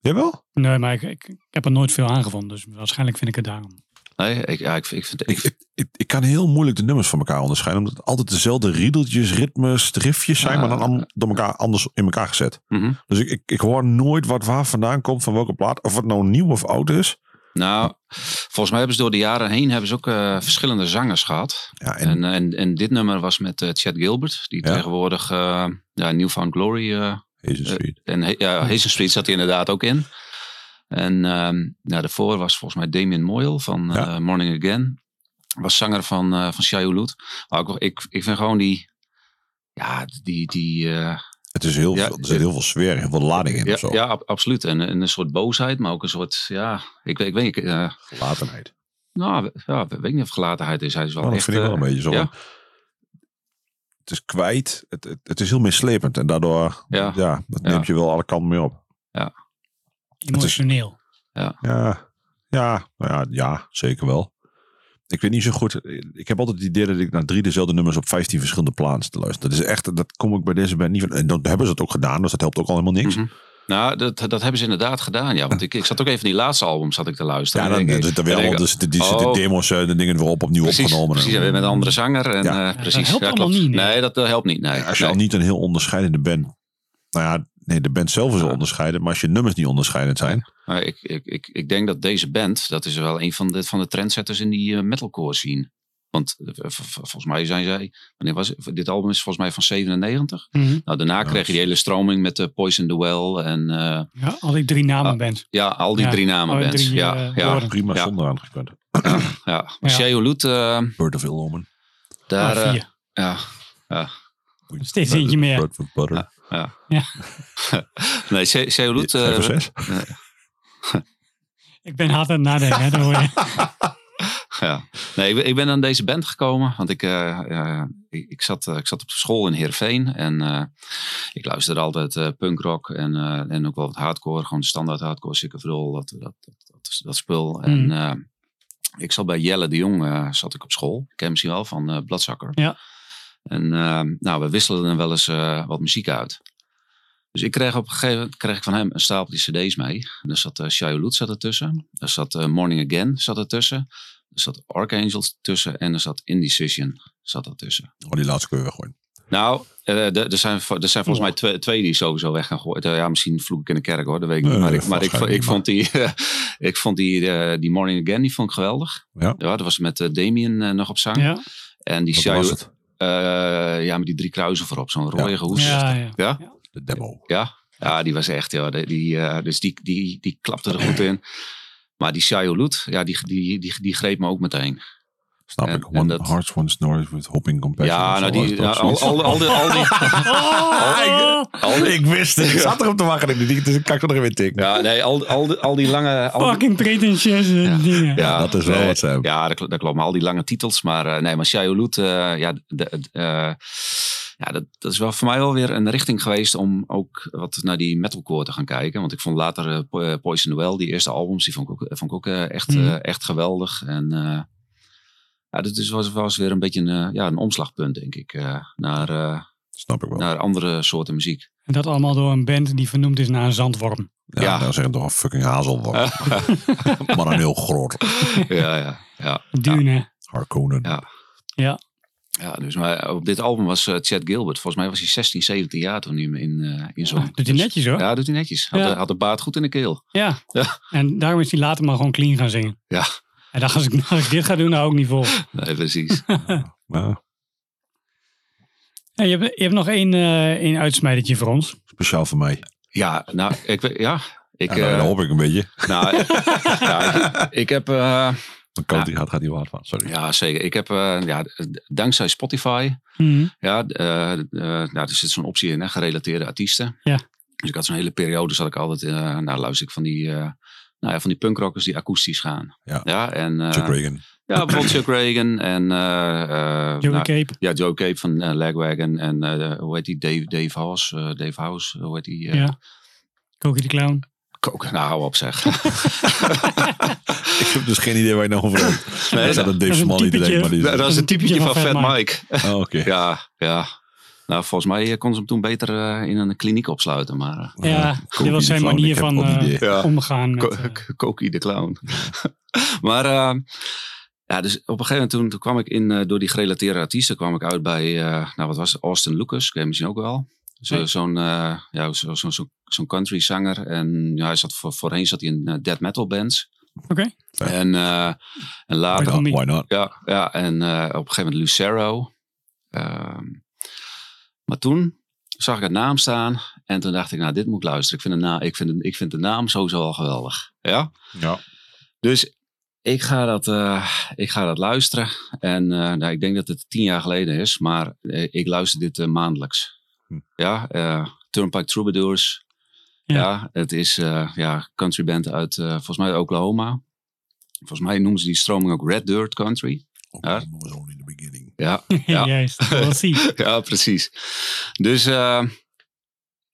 Jawel?
Nee, maar ik, ik, ik heb er nooit veel aan gevonden. Dus waarschijnlijk vind ik het daarom.
Nee, ik, ja, ik, ik vind
Ik, ik, ik, ik kan heel moeilijk de nummers van elkaar onderscheiden. Omdat het altijd dezelfde riedeltjes, ritmes, driftjes zijn.
Ah, Ja.
Maar dan am- door elkaar anders in elkaar gezet.
Mhm.
Dus ik, ik, ik hoor nooit wat waar vandaan komt. Van welke plaat. Of het nou nieuw of oud is.
Nou, volgens mij hebben ze door de jaren heen hebben ze ook eh, verschillende zangers gehad.
Ja, en,
En, en, en, dit nummer was met eh, Chad Gilbert, die
Ja.
tegenwoordig eh ja, Newfound Glory eh,
Hazen Street.
en He- ja, Hazen Street zat hij inderdaad ook in. En ehm nou, daarvoor was volgens mij Damien Moyle van eh,
Ja.
Morning Again. Was zanger van, eh van Shai Hulud. Maar ook, ik, ik vind gewoon die... Ja, die... die eh,
Het is heel,
Ja,
veel, er zit heel veel sfeer, heel veel lading in.
ja,
of zo.
ja, ab- absoluut. En, en een soort boosheid, maar ook een soort... Ja, ik, weet- ik weet niet... eh,
Gelatenheid.
nou, we- ja, we- weet ik niet of gelatenheid is. Hij is wel
Nou,
echt...
dat vind ik wel
eh,
een beetje zo.
ja.
Het is kwijt. Het, het, het is heel mislepend. En daardoor, ja,
Ja.
dat
Ja.
neemt je wel alle kanten mee op. is-
Emotioneel.
Ja, ja, nou ja, ja, zeker wel. Ik weet niet zo goed. Ik heb altijd het idee dat ik naar drie dezelfde nummers op 15 verschillende plaatsen te luisteren. Dat is echt, dat kom ik bij deze band niet van. En dan hebben ze het ook gedaan, dus dat helpt ook al helemaal niks.
Mhm. Nou, dat, dat hebben ze inderdaad gedaan, ja. Want ik, ik zat ook even die laatste album zat ik te luisteren.
Ja,
En
dan,
ik-
dan zitten wel
en ik-
al dus de, die
oh.
zitten demos eh, de dingen weer op opnieuw
precies,
opgenomen.
Precies, en weer met een andere zanger. En,
Ja.
eh,
Ja,
dat
precies,
helpt allemaal
klopt.
niet, nee.
Nee, dat eh, helpt niet. Nee.
Ja, als je
Nee.
al niet een heel onderscheidende band. Nou ja, nee, de band zelf is wel
Ja.
onderscheidend, maar als je nummers niet onderscheidend zijn.
Maar ik, ik, ik, ik denk dat deze band, dat is wel een van de, van de trendsetters in die eh, metalcore scene. Want eh, v- v- volgens mij zijn zij, wanneer was het? dit album is volgens mij van 97.
Mhm.
Nou, daarna kreeg je die hele stroming met de Poison the Well en eh,
Ja, al die drie namen Ah, bands.
ja, al die
Ja,
drie namen
alle
bands.
drie,
ja,
eh,
ja,
woorden.
Prima
Ja.
zonder aangekund.
ja.
Ja.
Maar Shea Hulud, eh,
Bird of Ill Omen.
daar,
Ah,
eh,
vier.
ja,
Steeds eentje meer.
Bird of Butter.
Ja, ja.
Ja.
nee, Shea Shea Hulud,
Vijf
eh,
of zes.
Ik ben hard aan het nadenken. Hè, dat hoor je.
Ja. Nee, ik ben- ik ben aan deze band gekomen, want ik, eh, eh, ik, ik zat, eh, ik zat op school in Heerenveen en eh, ik luisterde altijd eh, punkrock en, eh, en ook wel wat hardcore, gewoon standaard hardcore, sikke Vrol, dat, dat, dat, dat, dat spul. En eh, ik zat bij Jelle de Jong, eh, zat ik op school, ik ken hem misschien wel, van eh Bladzakker.
Ja.
En eh, nou, we wisselden wel eens eh, wat muziek uit. Dus ik kreeg op een gegeven moment kreeg ik van hem een stapel die cd's mee. En daar zat uh, Shia Lute zat ertussen. Er zat eh, Morning Again zat ertussen. Er zat Archangels tussen en er zat Indecision zat er tussen.
Oh, die laatste kun je weggooien.
Nou, eh, er er zijn, vo- er zijn volgens mij twee, twee die sowieso weg gaan gooien. Eh, Ja, misschien vloek ik in de kerk hoor, dat weet ik niet.
Nee,
Maar
nee,
ik, maar ik, vond- ik vond die, ik vond die, eh, die Morning Again, die vond ik geweldig.
Ja.
dat was met eh, Damien eh, nog op zang.
Ja,
En die
Wat
Shia-
was het?
eh, ja, met die drie kruisen voorop, zo'n rode hoes.
ja, ja.
ja?
De demo.
Ja, ja die was echt, ja, die, die, eh, dus die, die, die klapte er goed in. Maar die Shia Loot, ja, die, die, die, die greep me ook meteen.
Snap
En-
ik.
en
One
dat-
Hearts One Snores with Hopping Compassion.
ja,
Of
nou,
zo,
die,
is dat
nou, al,
zoiets?
al, al, die- al die...
Oh,
al die-
Ik wist het. Ik zat erop te wachten. Ik dacht, dus ik kan er nog even tikken.
ja, nee, al, al, die- al die lange... Al die-
Oh, fucking pretentieuze dingen.
Ja, dat is wel
nee,
wat ze hebben.
Ja, dat, kl- dat klopt. Maar al die lange titels. Maar eh, nee, maar Shia Loot, eh, ja, de, de- eh, ja dat, dat is wel voor mij wel weer een richting geweest om ook wat naar die metalcore te gaan kijken. Want ik vond later eh, Po- eh, Poison the Well, die eerste albums, die vond ik ook, vond ik ook eh, echt,
Mhm.
eh, echt geweldig. En eh, ja, dat is, was, was weer een beetje een, eh, ja, een omslagpunt, denk ik, eh, naar, eh,
Snap ik wel.
naar andere soorten muziek.
En dat allemaal door een band die vernoemd is naar een zandworm.
Ja,
ja.
nou zeggen toch een fucking hazelworm. maar een heel groot.
ja, ja, ja.
Dune.
Harkonnen.
Ja.
Ja.
Ja, dus maar op dit album was eh, Chad Gilbert. Volgens mij was hij 16, 17 jaar toen hij me in, eh in zo'n...
Ah, doet hij netjes hoor. Ja.
Ja, doet hij netjes. Had,
Ja.
de, had de baard goed in de keel. Ja.
En daarom is hij later maar gewoon clean gaan zingen.
Ja.
En dacht, als ik, als ik dit ga doen, nou ook niet vol.
Nee, precies.
Ja,
En je, hebt, je hebt nog één, eh één uitsmijdertje voor ons.
speciaal voor mij.
ja, nou, ik... weet- Ja, ik...
Ja, nou,
eh,
dat hoop ik een beetje.
nou, ja, ik, ik heb... eh,
Dan kan die gaat, gaat die wel hard van. Sorry.
ja, zeker. Ik heb... eh, ja, d- dankzij Spotify...
Mhm.
Ja, eh, eh, nou, er zit zo'n optie in, hè, gerelateerde artiesten.
Ja.
Dus ik had zo'n hele periode, zat ik altijd... eh, nou, luister ik van die... eh, nou ja, van die punkrockers die akoestisch gaan.
Ja.
en... eh,
Chuck Reagan.
Ja, bijvoorbeeld Chuck Reagan en... eh, eh,
Joey
nou,
Cape.
Ja, Joe Cape van eh, Lagwagon en eh, hoe heet die? Dave, Dave House. eh, Dave House, hoe heet die? eh,
Ja. Cookie de Clown.
Coke. Nou, hou op zeg.
Ik heb dus geen idee waar je nou over hebt.
Nee,
Nee, dat
dat-
een
dat
Dave
is een
Small
typetje.
idee. Maar die is-
Ja, dat is een typetje van Fat Mike.
Oh, oké.
Ja, ja. Nou, volgens mij eh, kon ze hem toen beter eh, in een kliniek opsluiten. Maar, eh,
Ja,
Cookie
dit was zijn
de Clown, ik
manier
heb
van
wat
eh,
idee.
Ja.
omgaan met...
Co-
eh,
K- Koki de clown. maar eh, ja, dus op een gegeven moment toen, toen kwam ik in, eh, door die gerelateerde artiesten kwam ik uit bij, eh, nou wat was het? Austin Lucas, ken je misschien ook wel. Zo,
Nee.
Zo'n eh, ja, zo, zo, zo, zo'n country zanger. En ja, hij zat voor, voorheen zat hij in eh, death metal bands.
Oké.
En, eh, en later
Pardon me.
Why not?
ja, ja en eh, op een gegeven moment Lucero. Ehm, maar toen zag ik het naam staan en toen dacht ik, nou, dit moet ik luisteren. Ik vind de, na ik vind ik vind de naam sowieso al geweldig. Ja?
Ja.
Dus ik ga dat, eh, ik ga dat luisteren. En eh, nou, ik denk dat het tien jaar geleden is, maar eh, ik luister dit eh, maandelijks.
Hm.
Ja, eh, Turnpike Troubadours.
Ja.
Ja. het is eh ja, country band uit eh, volgens mij Oklahoma. Volgens mij noemen ze die stroming ook Red Dirt Country. Ja.
Oklahoma was only the beginning.
Ja,
ja.
Ja.
Juist, wel zie.
ja precies. Dus eh,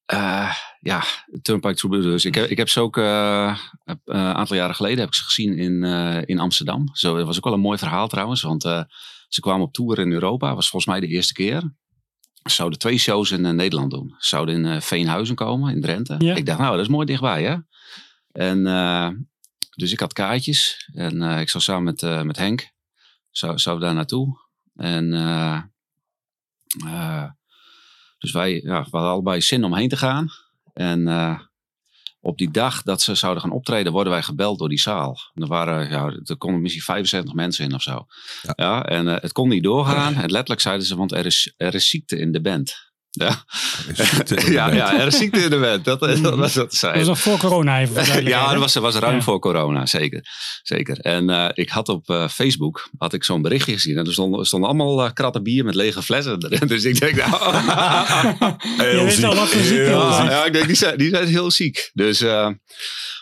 eh, ja, Turnpike Troubadours. Ik heb, ik heb ze ook eh, een aantal jaren geleden heb ik ze gezien in, eh, in Amsterdam. Zo, dat was ook wel een mooi verhaal trouwens, want eh, ze kwamen op tour in Europa. was volgens mij de eerste keer. Ze zouden twee shows in eh, Nederland doen. Ze zouden in eh, Veenhuizen komen, in Drenthe.
Ja.
Ik dacht, nou, dat is mooi dichtbij, hè? En eh, dus ik had kaartjes en eh, ik zou samen met, eh, met Henk zou, zou daar naartoe. En eh, eh, dus wij, ja, we hadden allebei zin om heen te gaan. En eh, Op die dag dat ze zouden gaan optreden, worden wij gebeld door die zaal. En Er, waren, ja, er konden misschien 75 mensen in of zo. Ja. en eh, het kon niet doorgaan. En letterlijk zeiden ze, want er is, er is ziekte in de band. Ja, ja, ja, er is ziekte in de band. Dat, eh, dat was wat ze
Dat was
zeiden.
nog voor corona even. voor
Ja,
duidelijkheid,
dat was, dat was ruim
Ja.
voor corona, zeker. zeker. En eh, ik had op eh, Facebook had ik zo'n berichtje gezien. En er stonden, er stonden allemaal eh, kratten bier met lege flessen erin. Dus ik denk, nou,
hè? Je weet al wat voor ziekte dat
ja,
is.
ja, ik denk, die zijn, die zijn heel ziek. Dus, eh,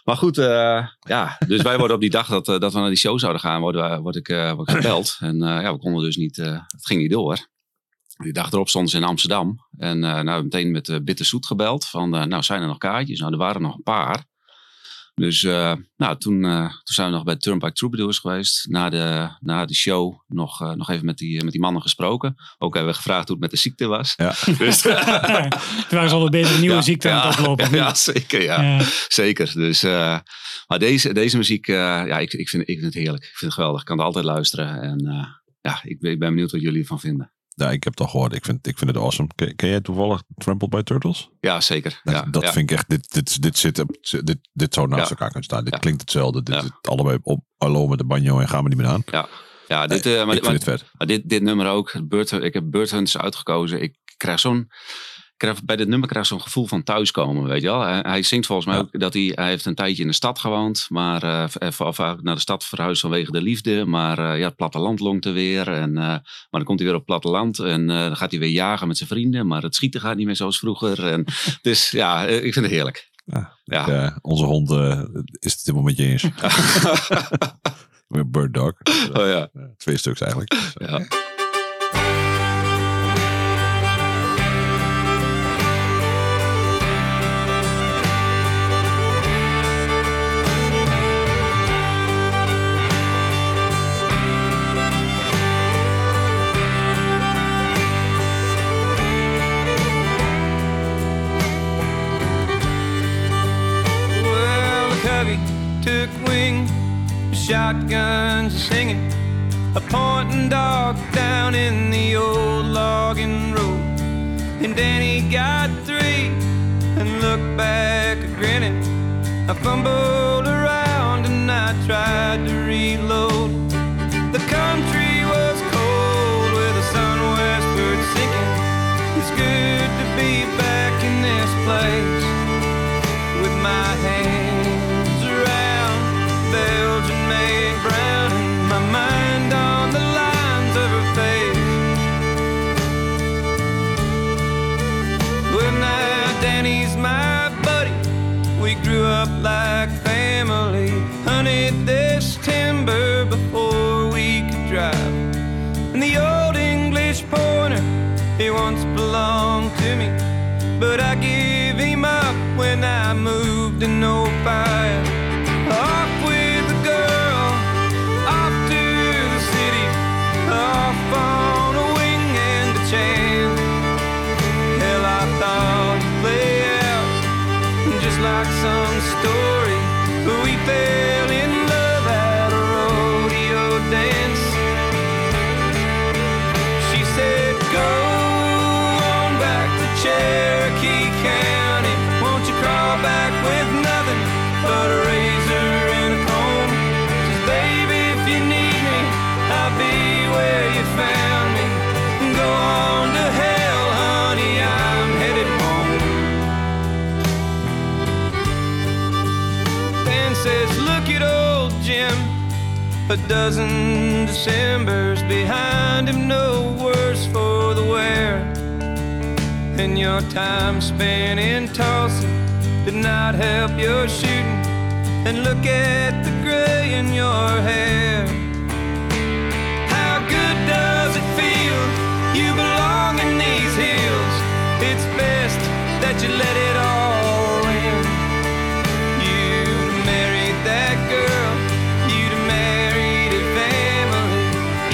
maar goed, eh, ja. Dus wij worden op die dag dat, eh, dat we naar die show zouden gaan, worden, we- word ik, eh, word ik gebeld. En eh, ja, we konden dus niet, eh, het ging niet door. Die dag erop stonden ze in Amsterdam. En eh nou, meteen met eh Bitterzoet gebeld. Van, eh, nou, zijn er nog kaartjes? Nou, er waren nog een paar. Dus eh, nou, toen, eh, toen zijn we nog bij Turnpike Troubadours geweest. Na de, na de show nog, eh, nog even met die, met die mannen gesproken. Ook hebben we gevraagd hoe het met de ziekte was.
Ja.
Dus,
Toen waren ze alweer bezig een nieuwe
ja,
ziekte aan het
ja,
oplopen.
Ja, zeker. Ja.
Ja.
Zeker. Dus, eh, maar deze, deze muziek, eh, ja, ik, ik, vind, ik vind het heerlijk. Ik vind het geweldig. Ik kan het altijd luisteren. En eh, ja, ik, ben- ik ben benieuwd wat jullie ervan vinden.
Ja, ik heb het al gehoord. Ik vind, ik vind het awesome. Ken, ken jij toevallig Trampled by Turtles?
Ja, zeker.
Nou,
ja,
dat
ja.
vind ik echt, dit, dit, dit, zit, op- dit, dit zou naast
Ja.
elkaar kunnen staan. Dit
Ja.
klinkt hetzelfde. Dit,
Ja.
dit- allebei op Allo met de banjo en gaan we niet meer aan.
Ja, dit, eh, maar,
ik
maar-
vind het vet.
maar dit, dit nummer ook. Bird, ik heb Bird Hunters uitgekozen. Ik krijg zo'n... ik Krijg, bij dit nummer krijg ik zo'n gevoel van thuiskomen, weet je wel. Hij, hij zingt volgens mij
Ja.
ook dat hij... Hij heeft een tijdje in de stad gewoond, maar... eh, of, of hij naar de stad verhuisd vanwege de liefde. Maar eh, ja, het platteland longt er weer. En, eh, maar dan komt hij weer op het platteland. En eh, dan gaat hij weer jagen met zijn vrienden. Maar het schieten gaat niet meer zoals vroeger. En, dus ja, eh, ik vind het heerlijk.
Ja.
Ja.
Eh, onze hond eh, is het dit moment je eens. Weer Bird Dog.
oh ja.
Eh, Twee stuks eigenlijk. Dus, eh,
Ja.
Well, the covey took wing, the shotguns are singing, a pointing dog down in the old logging road. And Danny got three and looked back grinning. I fumbled around and I tried to reload. The country was cold with the sun westward sinking. It's good to be back in this place with my hands around Belgian made brown and my mind on the lines of her face. Well, now Danny's my buddy. We grew up like family, hunted this timber before we could drive. And the old English pointer, he once belonged to me. But I gave him up when I moved in no fire. Off with the girl, off to the city, off on a wing and a chance. Hell, I thought it'd play out just like some story. But we fell in love at a rodeo dance. She said, Go on back to Cherokee County. Won't you crawl back with nothing but a razor and a comb? Says, Baby, if you need me, I'll be where you found me. Go on to hell, honey, I'm headed home. Dan says, Look at old Jim. A dozen Decembers behind him, no worse for the wear. And your time spent in tossing did not help your shooting. And look at the gray in your hair. How good does it feel? You belong in these hills. It's best that you let it all in. You'd married that girl. You'd married a family.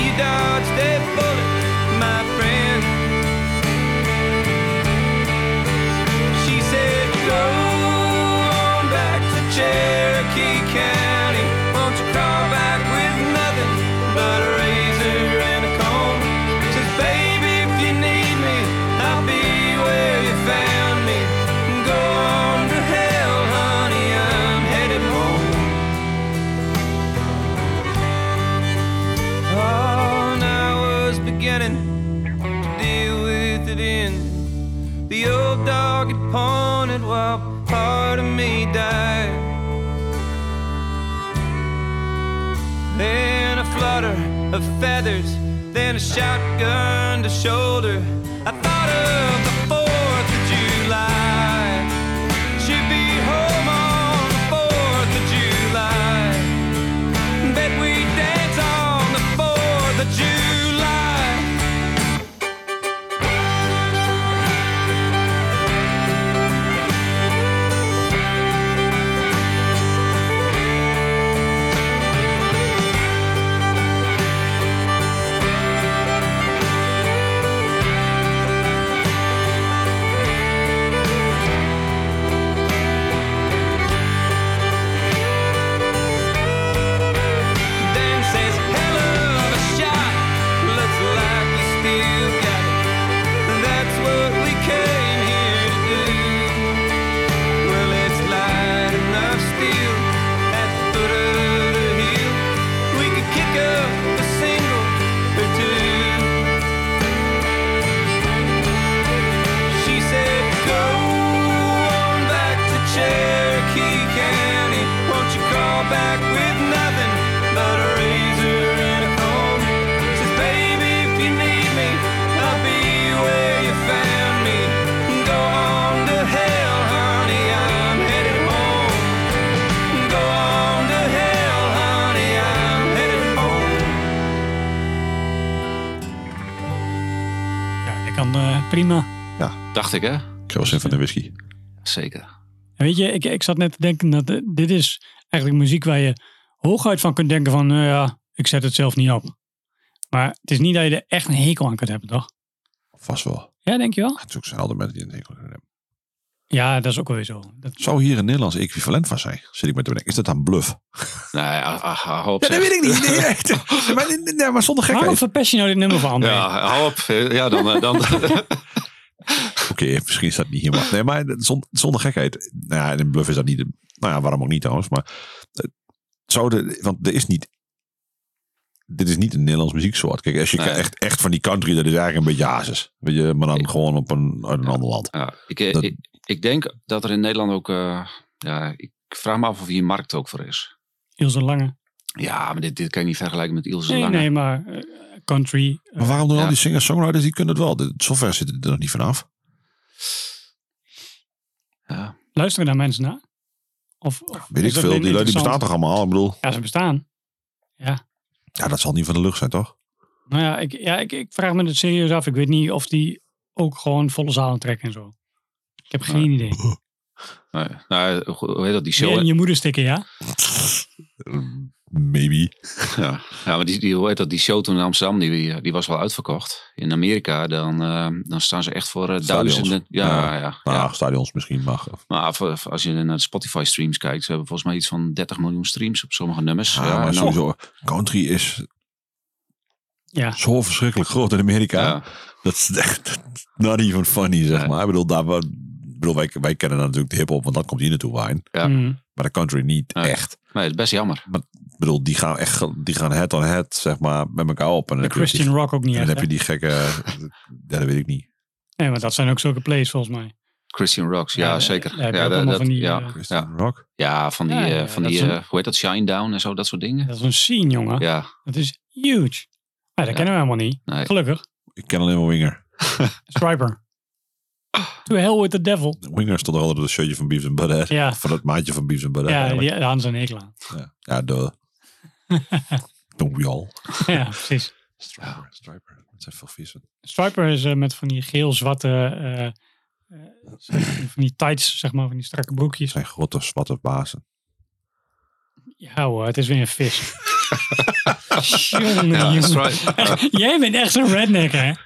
You dodged that bullet, my friend. She said, Go on back to Cherokee County. Won't you call back with Oh, powder of feathers, then a shotgun to shoulder. I thought of the 4th of July. Should be home on the 4th of July. Bet we dance on the 4th of July. Then says, hell of a shot. Looks like you still got it. That's what we came here to do. Well, it's light enough still at the foot of the hill. We could kick up a single or two. She said, Go on back to Cherokee County. Won't you call back with nothing but a razor and a comb? Says, Baby, if you need me, I'll be where you found me. Go on to hell, honey, I'm headed home. Go on to hell, honey, I'm headed home.
Ja, ik kan eh, prima.
Dacht ik, hè?
Ik heb wel zin van de whisky.
Zeker.
En weet je, ik, ik zat net te denken dat eh, dit is eigenlijk muziek waar je hooguit van kunt denken van, nou ja, ik zet het zelf niet op. Maar het is niet dat je er echt een hekel aan kunt hebben, toch?
Vast wel. Ah,
Ja, denk je wel?
Het is ook zelden mensen die een hekel aan hebben.
Ja, dat is ook wel weer zo. Dat,
Zou hier een Nederlands equivalent van zijn? Zit ik met te bedenken. Is dat dan bluff?
Nee, ah, ah, hou op.
Ja, dat
zeg.
weet ik niet. Nee, echt. maar, nee, nee, maar zonder gekheid.
waarom verpest je nou dit nummer van André?
Ja, hou op. Ja, dan... eh, dan
Oké, misschien staat niet hier, maar nee, maar zon- zonder gekheid. Nou ja, in een bluff is dat niet. de- Nou ja, waarom ook niet trouwens? Maar eh, zou de, want er is niet. Dit is niet een Nederlands muzieksoort. Kijk, als je
Nee.
kijkt, echt, echt van die country, dat is eigenlijk een beetje hazes. Weet je, maar dan gewoon op een, uit een ander land.
ja, ik, eh,
Dat-
ik, ik denk dat er in Nederland ook... eh, ja, ik vraag me af of hier markt ook voor is.
Ilse Lange.
Ja, maar dit, dit kan je niet vergelijken met Ilse
Nee,
Lange.
nee, maar eh, country. eh,
Maar waarom doen
ja.
al die singer-songwriters, die kunnen het wel. De- Zover zit het er nog niet vanaf.
Ja.
luisteren daar mensen naar? Of, of
Weet
is
ik
dat
veel.
alleen
Die lui die bestaan
interessant?
toch allemaal? Ik bedoel,
Ja, ze bestaan.
ja, dat zal niet van de lucht zijn, toch?
Nou ja, ik, ja ik, ik vraag me het serieus af. Ik weet niet of die ook gewoon volle zalen trekken en zo. Ik heb geen
Nee.
idee.
Nee, nou, hoe hoe heet dat? Die show...
Weer in je moeder stikken, ja?
Maybe.
Ja, ja maar die, die, hoe heet dat, die show toen in Amsterdam, die, eh, die was wel uitverkocht. In Amerika, dan, eh, dan staan ze echt voor eh,
Stadions.
duizenden. Ja, ja. ja, Ah,
Nou, stadions misschien mag.
Maar voor- voor- als je naar de Spotify streams kijkt, ze hebben volgens mij iets van 30 miljoen streams op sommige nummers.
Ja,
Ja, en
maar
dan-
sowieso. Country is
Ja.
zo verschrikkelijk groot in Amerika.
ja,
Dat is echt not even funny, zeg
Nee.
maar. Ik bedoel, daar, wa- ik bedoel wij, wij kennen dan natuurlijk de hip-hop, want dat komt hier naartoe wijn.
Ja.
Mm.
Maar de country niet
Nee.
echt.
nee, het is best jammer.
Ik bedoel, die gaan echt die gaan head-on-head, zeg maar, met elkaar op. En dan
De
heb je
Christian
die-
Rock ook niet
en
echt,
dan heb
hè?
je die gekke. ja, dat weet ik niet.
Nee, maar dat zijn ook zulke plays volgens mij.
Christian Rocks, ja,
Ja,
zeker.
ja, heb je
Ja,
ook
dat,
allemaal van die,
ja,
eh,
Christian Rock.
ja, van die,
Ja, ja,
eh,
ja,
van
dat
die
is een-
eh, hoe heet dat, Shine Down en zo, dat soort dingen.
Dat is een scene, jongen.
Ja,
Dat is huge. Maar dat
Ja.
kennen we helemaal niet.
nee.
Gelukkig.
Ik ken alleen maar Winger.
Striper.
Ah.
To hell with the devil.
Winger stond er altijd op het shirtje van Beavis and Butthead.
Ja,
Van het maatje van Beavis and Butthead.
ja
eigenlijk.
die, daar hadden ze een hekel aan.
ja. ja duh. Don't we all.
Ja, precies.
Striper, Striper. Dat zijn veel vieze.
Striper is eh, met van die geel-zwarte... eh, eh, van die tights, zeg maar, van die strakke
Dat
broekjes.
zijn grote, zwarte bazen.
Ja hoor, het is weer een vis. jongen,
Ja,
jongen.
stri-
Jij bent echt een redneck, hè?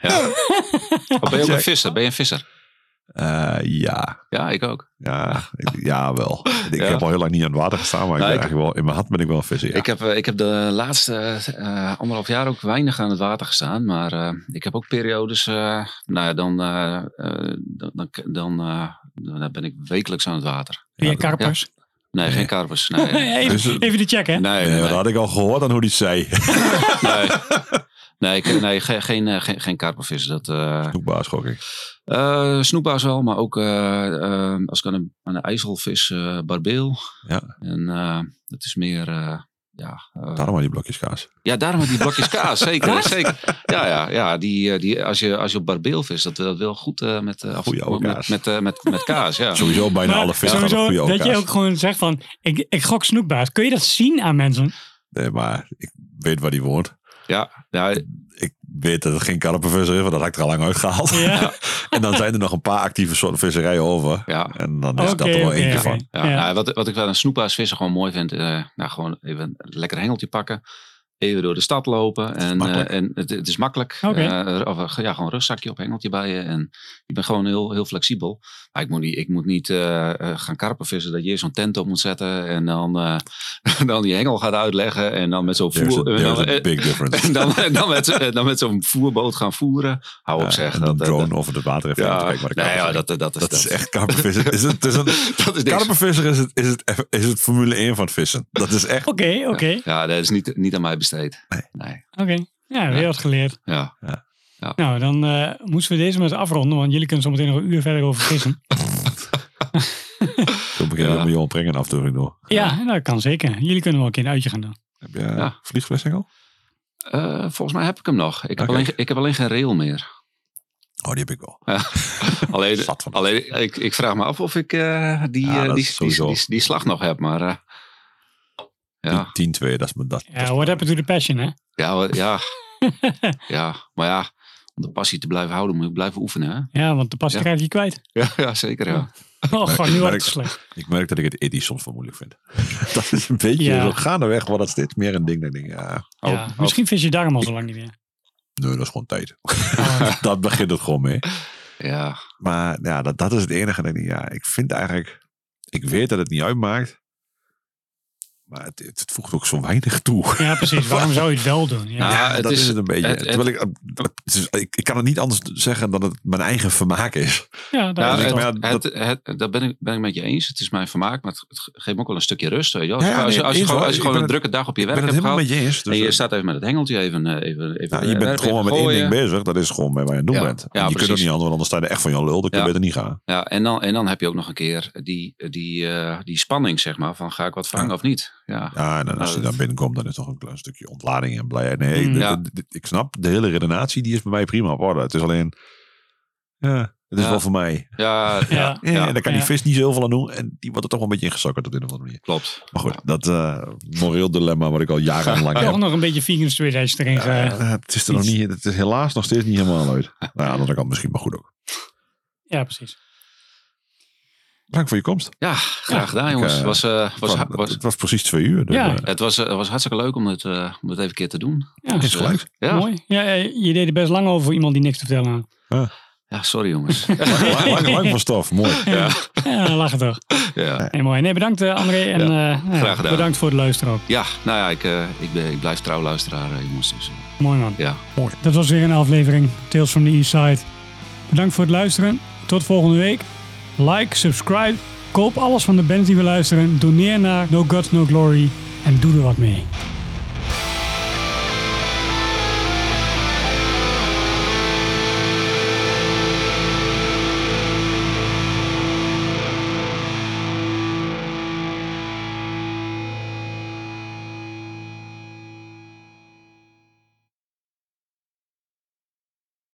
Oh, ben je ook een
Jack.
visser? Ben je een visser?
Eh, ja.
Ja, ik ook.
Ja, ik- ja wel. Ik
Ja.
heb al heel lang niet aan het water gestaan, maar ik
Nou,
ben
ik-
eigenlijk wel, in mijn hart ben ik wel een visser. Ja.
Ik, heb, eh, ik heb de laatste eh, anderhalf jaar ook weinig aan het water gestaan. Maar eh, ik heb ook periodes. eh, nou ja, dan, eh, eh, dan, dan, dan, eh, dan ben ik wekelijks aan het water.
Weer
Ja,
karpers.
Nee, geen karpers. Nee, nee,
even,
Dus, eh,
even de check, hè?
nee,
Nee,
nee,
dat had ik al gehoord aan hoe die het zei.
nee. Nee, ik- nee, ge- geen, eh, geen, geen karpervis. Dat, eh,
Doekbaar schok ik.
eh, snoepbaars wel, maar ook eh, eh, als ik aan de, aan de IJsselvis, eh, barbeel.
Ja.
En eh, dat is meer eh, ja, eh,
Daarom maar die blokjes kaas.
ja, daarom met die blokjes kaas. Zeker, zeker. Ja, ja, ja die, eh, die, als, je, als je op barbeel vist, dat dat wel goed eh, met, eh, af-
Goeie oude
met,
kaas.
met, eh, met, met kaas. Ja.
Sowieso bijna
Maar
alle vis gaan op
sowieso,
goede oude
dat je
kaas.
ook gewoon zegt van, ik, ik gok snoekbaars. Kun je dat zien aan mensen?
Nee, maar ik weet waar die woont.
Ja, ja,
Ik weet dat het geen karpenvisser is, want dat had ik er al lang uitgehaald.
Ja.
en dan zijn er nog een paar actieve soorten visserijen over.
ja.
En dan is dus dat
Oké,
er wel
oké,
eentje
oké.
van.
Ja,
Ja.
nou, wat, wat ik wel aan snoephuisvissen gewoon mooi vind, eh, nou, gewoon even een lekker hengeltje pakken. Even door de stad lopen. En,
makkelijk.
eh, en het, het is makkelijk.
Oké.
Eh, of eh, ja, gewoon een rugzakje op, hengeltje bij je. En ik ben gewoon heel, heel flexibel. Maar ik moet niet, ik moet niet eh, eh, gaan karpenvissen dat je eerst zo'n tent op moet zetten. En dan, eh, dan die hengel gaat uitleggen. En dan met zo'n
There's a,
voer- en dan-
there's a
eh,
big difference.
en dan, en dan met, zo- en dan met zo'n voerboot gaan voeren. Hou op
Ja,
zeg.
en een
dat-
drone over het water even aan te
ja,
kijken waar de
nee,
karpers
ja,
zijn.
dat, dat, dat is
Dat is
dat-
echt karpenvissen. Is het, het is een,
dat is niks.
karpenvisser is het, is, het, is het Formule 1 van het vissen. Dat is echt...
Oké, oké,
Ja, dat is niet, niet aan mij besteed.
Nee.
nee.
oké. Ja, weer
Ja.
wat geleerd.
Ja.
Nou, dan eh, moesten we deze maar eens afronden, want jullie kunnen zometeen nog een uur verder over vissen.
Toen beginnen we
Ja.
met Johan Pring een afdrukking door.
ja, nou, dat kan zeker. Jullie kunnen wel een keer een uitje gaan doen.
Heb je
Ja.
vliegvlessing al?
Eh, volgens mij heb ik hem nog. Ik, heb,
Oké.
alleen, ge- ik heb alleen geen rail meer.
Oh, die heb ik wel.
Alleen,
Zat van.
alleen ik, ik vraag me af of ik eh, die,
Ja,
eh,
dat
die,
is
die,
sowieso.
die- die slag nog heb. Maar eh, ja.
10-2, dat is mijn dat.
Ja, what happened to the passion, hè?
Ja, wat- ja. ja, maar ja. Om de passie te blijven houden moet je blijven oefenen. Hè?
Ja, want de passie
Ja.
raak je kwijt.
Ja, ja, zeker. Ja.
Oh,
merk-
god, nu
ik
wordt
merk-
het slecht.
Ik merk dat ik het eddy soms wel moeilijk vind. Dat is een beetje
Ja.
zo gaandeweg wordt dat steeds meer een ding. Dat ik denk, ja,
Ja, misschien vis je daarom al zo lang niet meer.
nee, dat is gewoon tijd.
Oh,
dat begint het gewoon mee.
Ja,
Maar ja, dat, dat is het enige. Dat ik, denk, ja, ik vind eigenlijk, ik weet dat het niet uitmaakt. Maar het, het, het voegt ook zo weinig toe.
ja, precies. Waarom zou je het wel doen? Ja,
Nou,
Ja,
het
dat
is-
is, het een beetje.
het-
Terwijl ik, eh, het is- ik, ik kan het niet anders zeggen dan dat het mijn eigen vermaak is.
ja
Ja,
daar is
ik
het
het,
denk,
al.
maar
het, het, dat ben ik, ben ik met je eens. Het is mijn vermaak, maar het, het geeft me ook wel een stukje rust. Weet je wel. Als,
Ja, ja,
je- als, je-
nee,
als je
eens
gewoon,
hoor.
als je
Ik
gewoon
ben
een
het-
drukke dag op je
Ik ben
werk
het
hebt
helemaal
gehad.
met je eens. Dus
en je
eh,
staat even met het hengeltje even... eh, even, even
nou, je
eh,
bent gewoon maar met één
gooien.
ding bezig. Dat is gewoon waar je aan het doen
Ja.
bent. En
Ja,
je kunt ook
precies.
niet anders, want anders sta je er echt van je lul. Dan kun je
Ja.
beter niet gaan.
Ja, en dan, en dan heb je ook nog een keer die, die, eh, die spanning, zeg maar, van ga ik wat vangen
Ja.
of niet? Ja,
Ja, en dan als je
dat-
daar binnenkomt, dan is toch een klein stukje ontlading en blijheid. Nee,
Mm.
dit-
Ja.
dit- dit- ik snap de hele redenatie, die is bij mij prima op orde. Het is alleen, ja, het is
Ja.
wel voor mij.
ja, ja,
Ja.
Ja, en daar kan
Ja.
die vis niet zo heel veel aan doen. En die wordt er toch wel een beetje ingezakkerd op de een of andere manier.
klopt.
Maar goed, dat eh, moreel dilemma wat ik al jarenlang
Toch
heb.
nog een beetje vegans 2000 erin
Ja,
ge...
het is er nog niet, het is helaas nog steeds niet helemaal uit. Nou ja, aan de andere kant misschien maar goed ook.
Ja, precies.
Dank voor je komst.
Ja, graag
Ja,
gedaan,
ik,
jongens.
eh,
Het was, eh, was, ha-
het,
was,
was precies twee uur. Dus,
Ja.
eh,
het, was, eh, het was hartstikke leuk om dit, eh, om dit even een keer te doen. Dus, eh,
Ja,
is gelijk.
Ja,
Mooi. Ja, eh, je deed er best lang over voor iemand die niks te vertellen had.
ja sorry jongens.
Lang, lang, lang van stof, mooi.
ja,
Ja, lachen toch.
ja.
Nee, mooi. Nee, bedankt eh, André. En eh, nou ja,
graag gedaan.
bedankt voor het luisteren ook.
ja, nou ja, ik, eh, ik, ben, ik blijf trouw luisteraar, eh, jongens. Dus, eh,
Mooi man.
ja.
Dat was weer een aflevering Tales from the East Side. Bedankt voor het luisteren. Tot volgende week. Like, subscribe. Koop alles van de bands die we luisteren. Doneer naar No Gods No Glory. En doe er wat mee.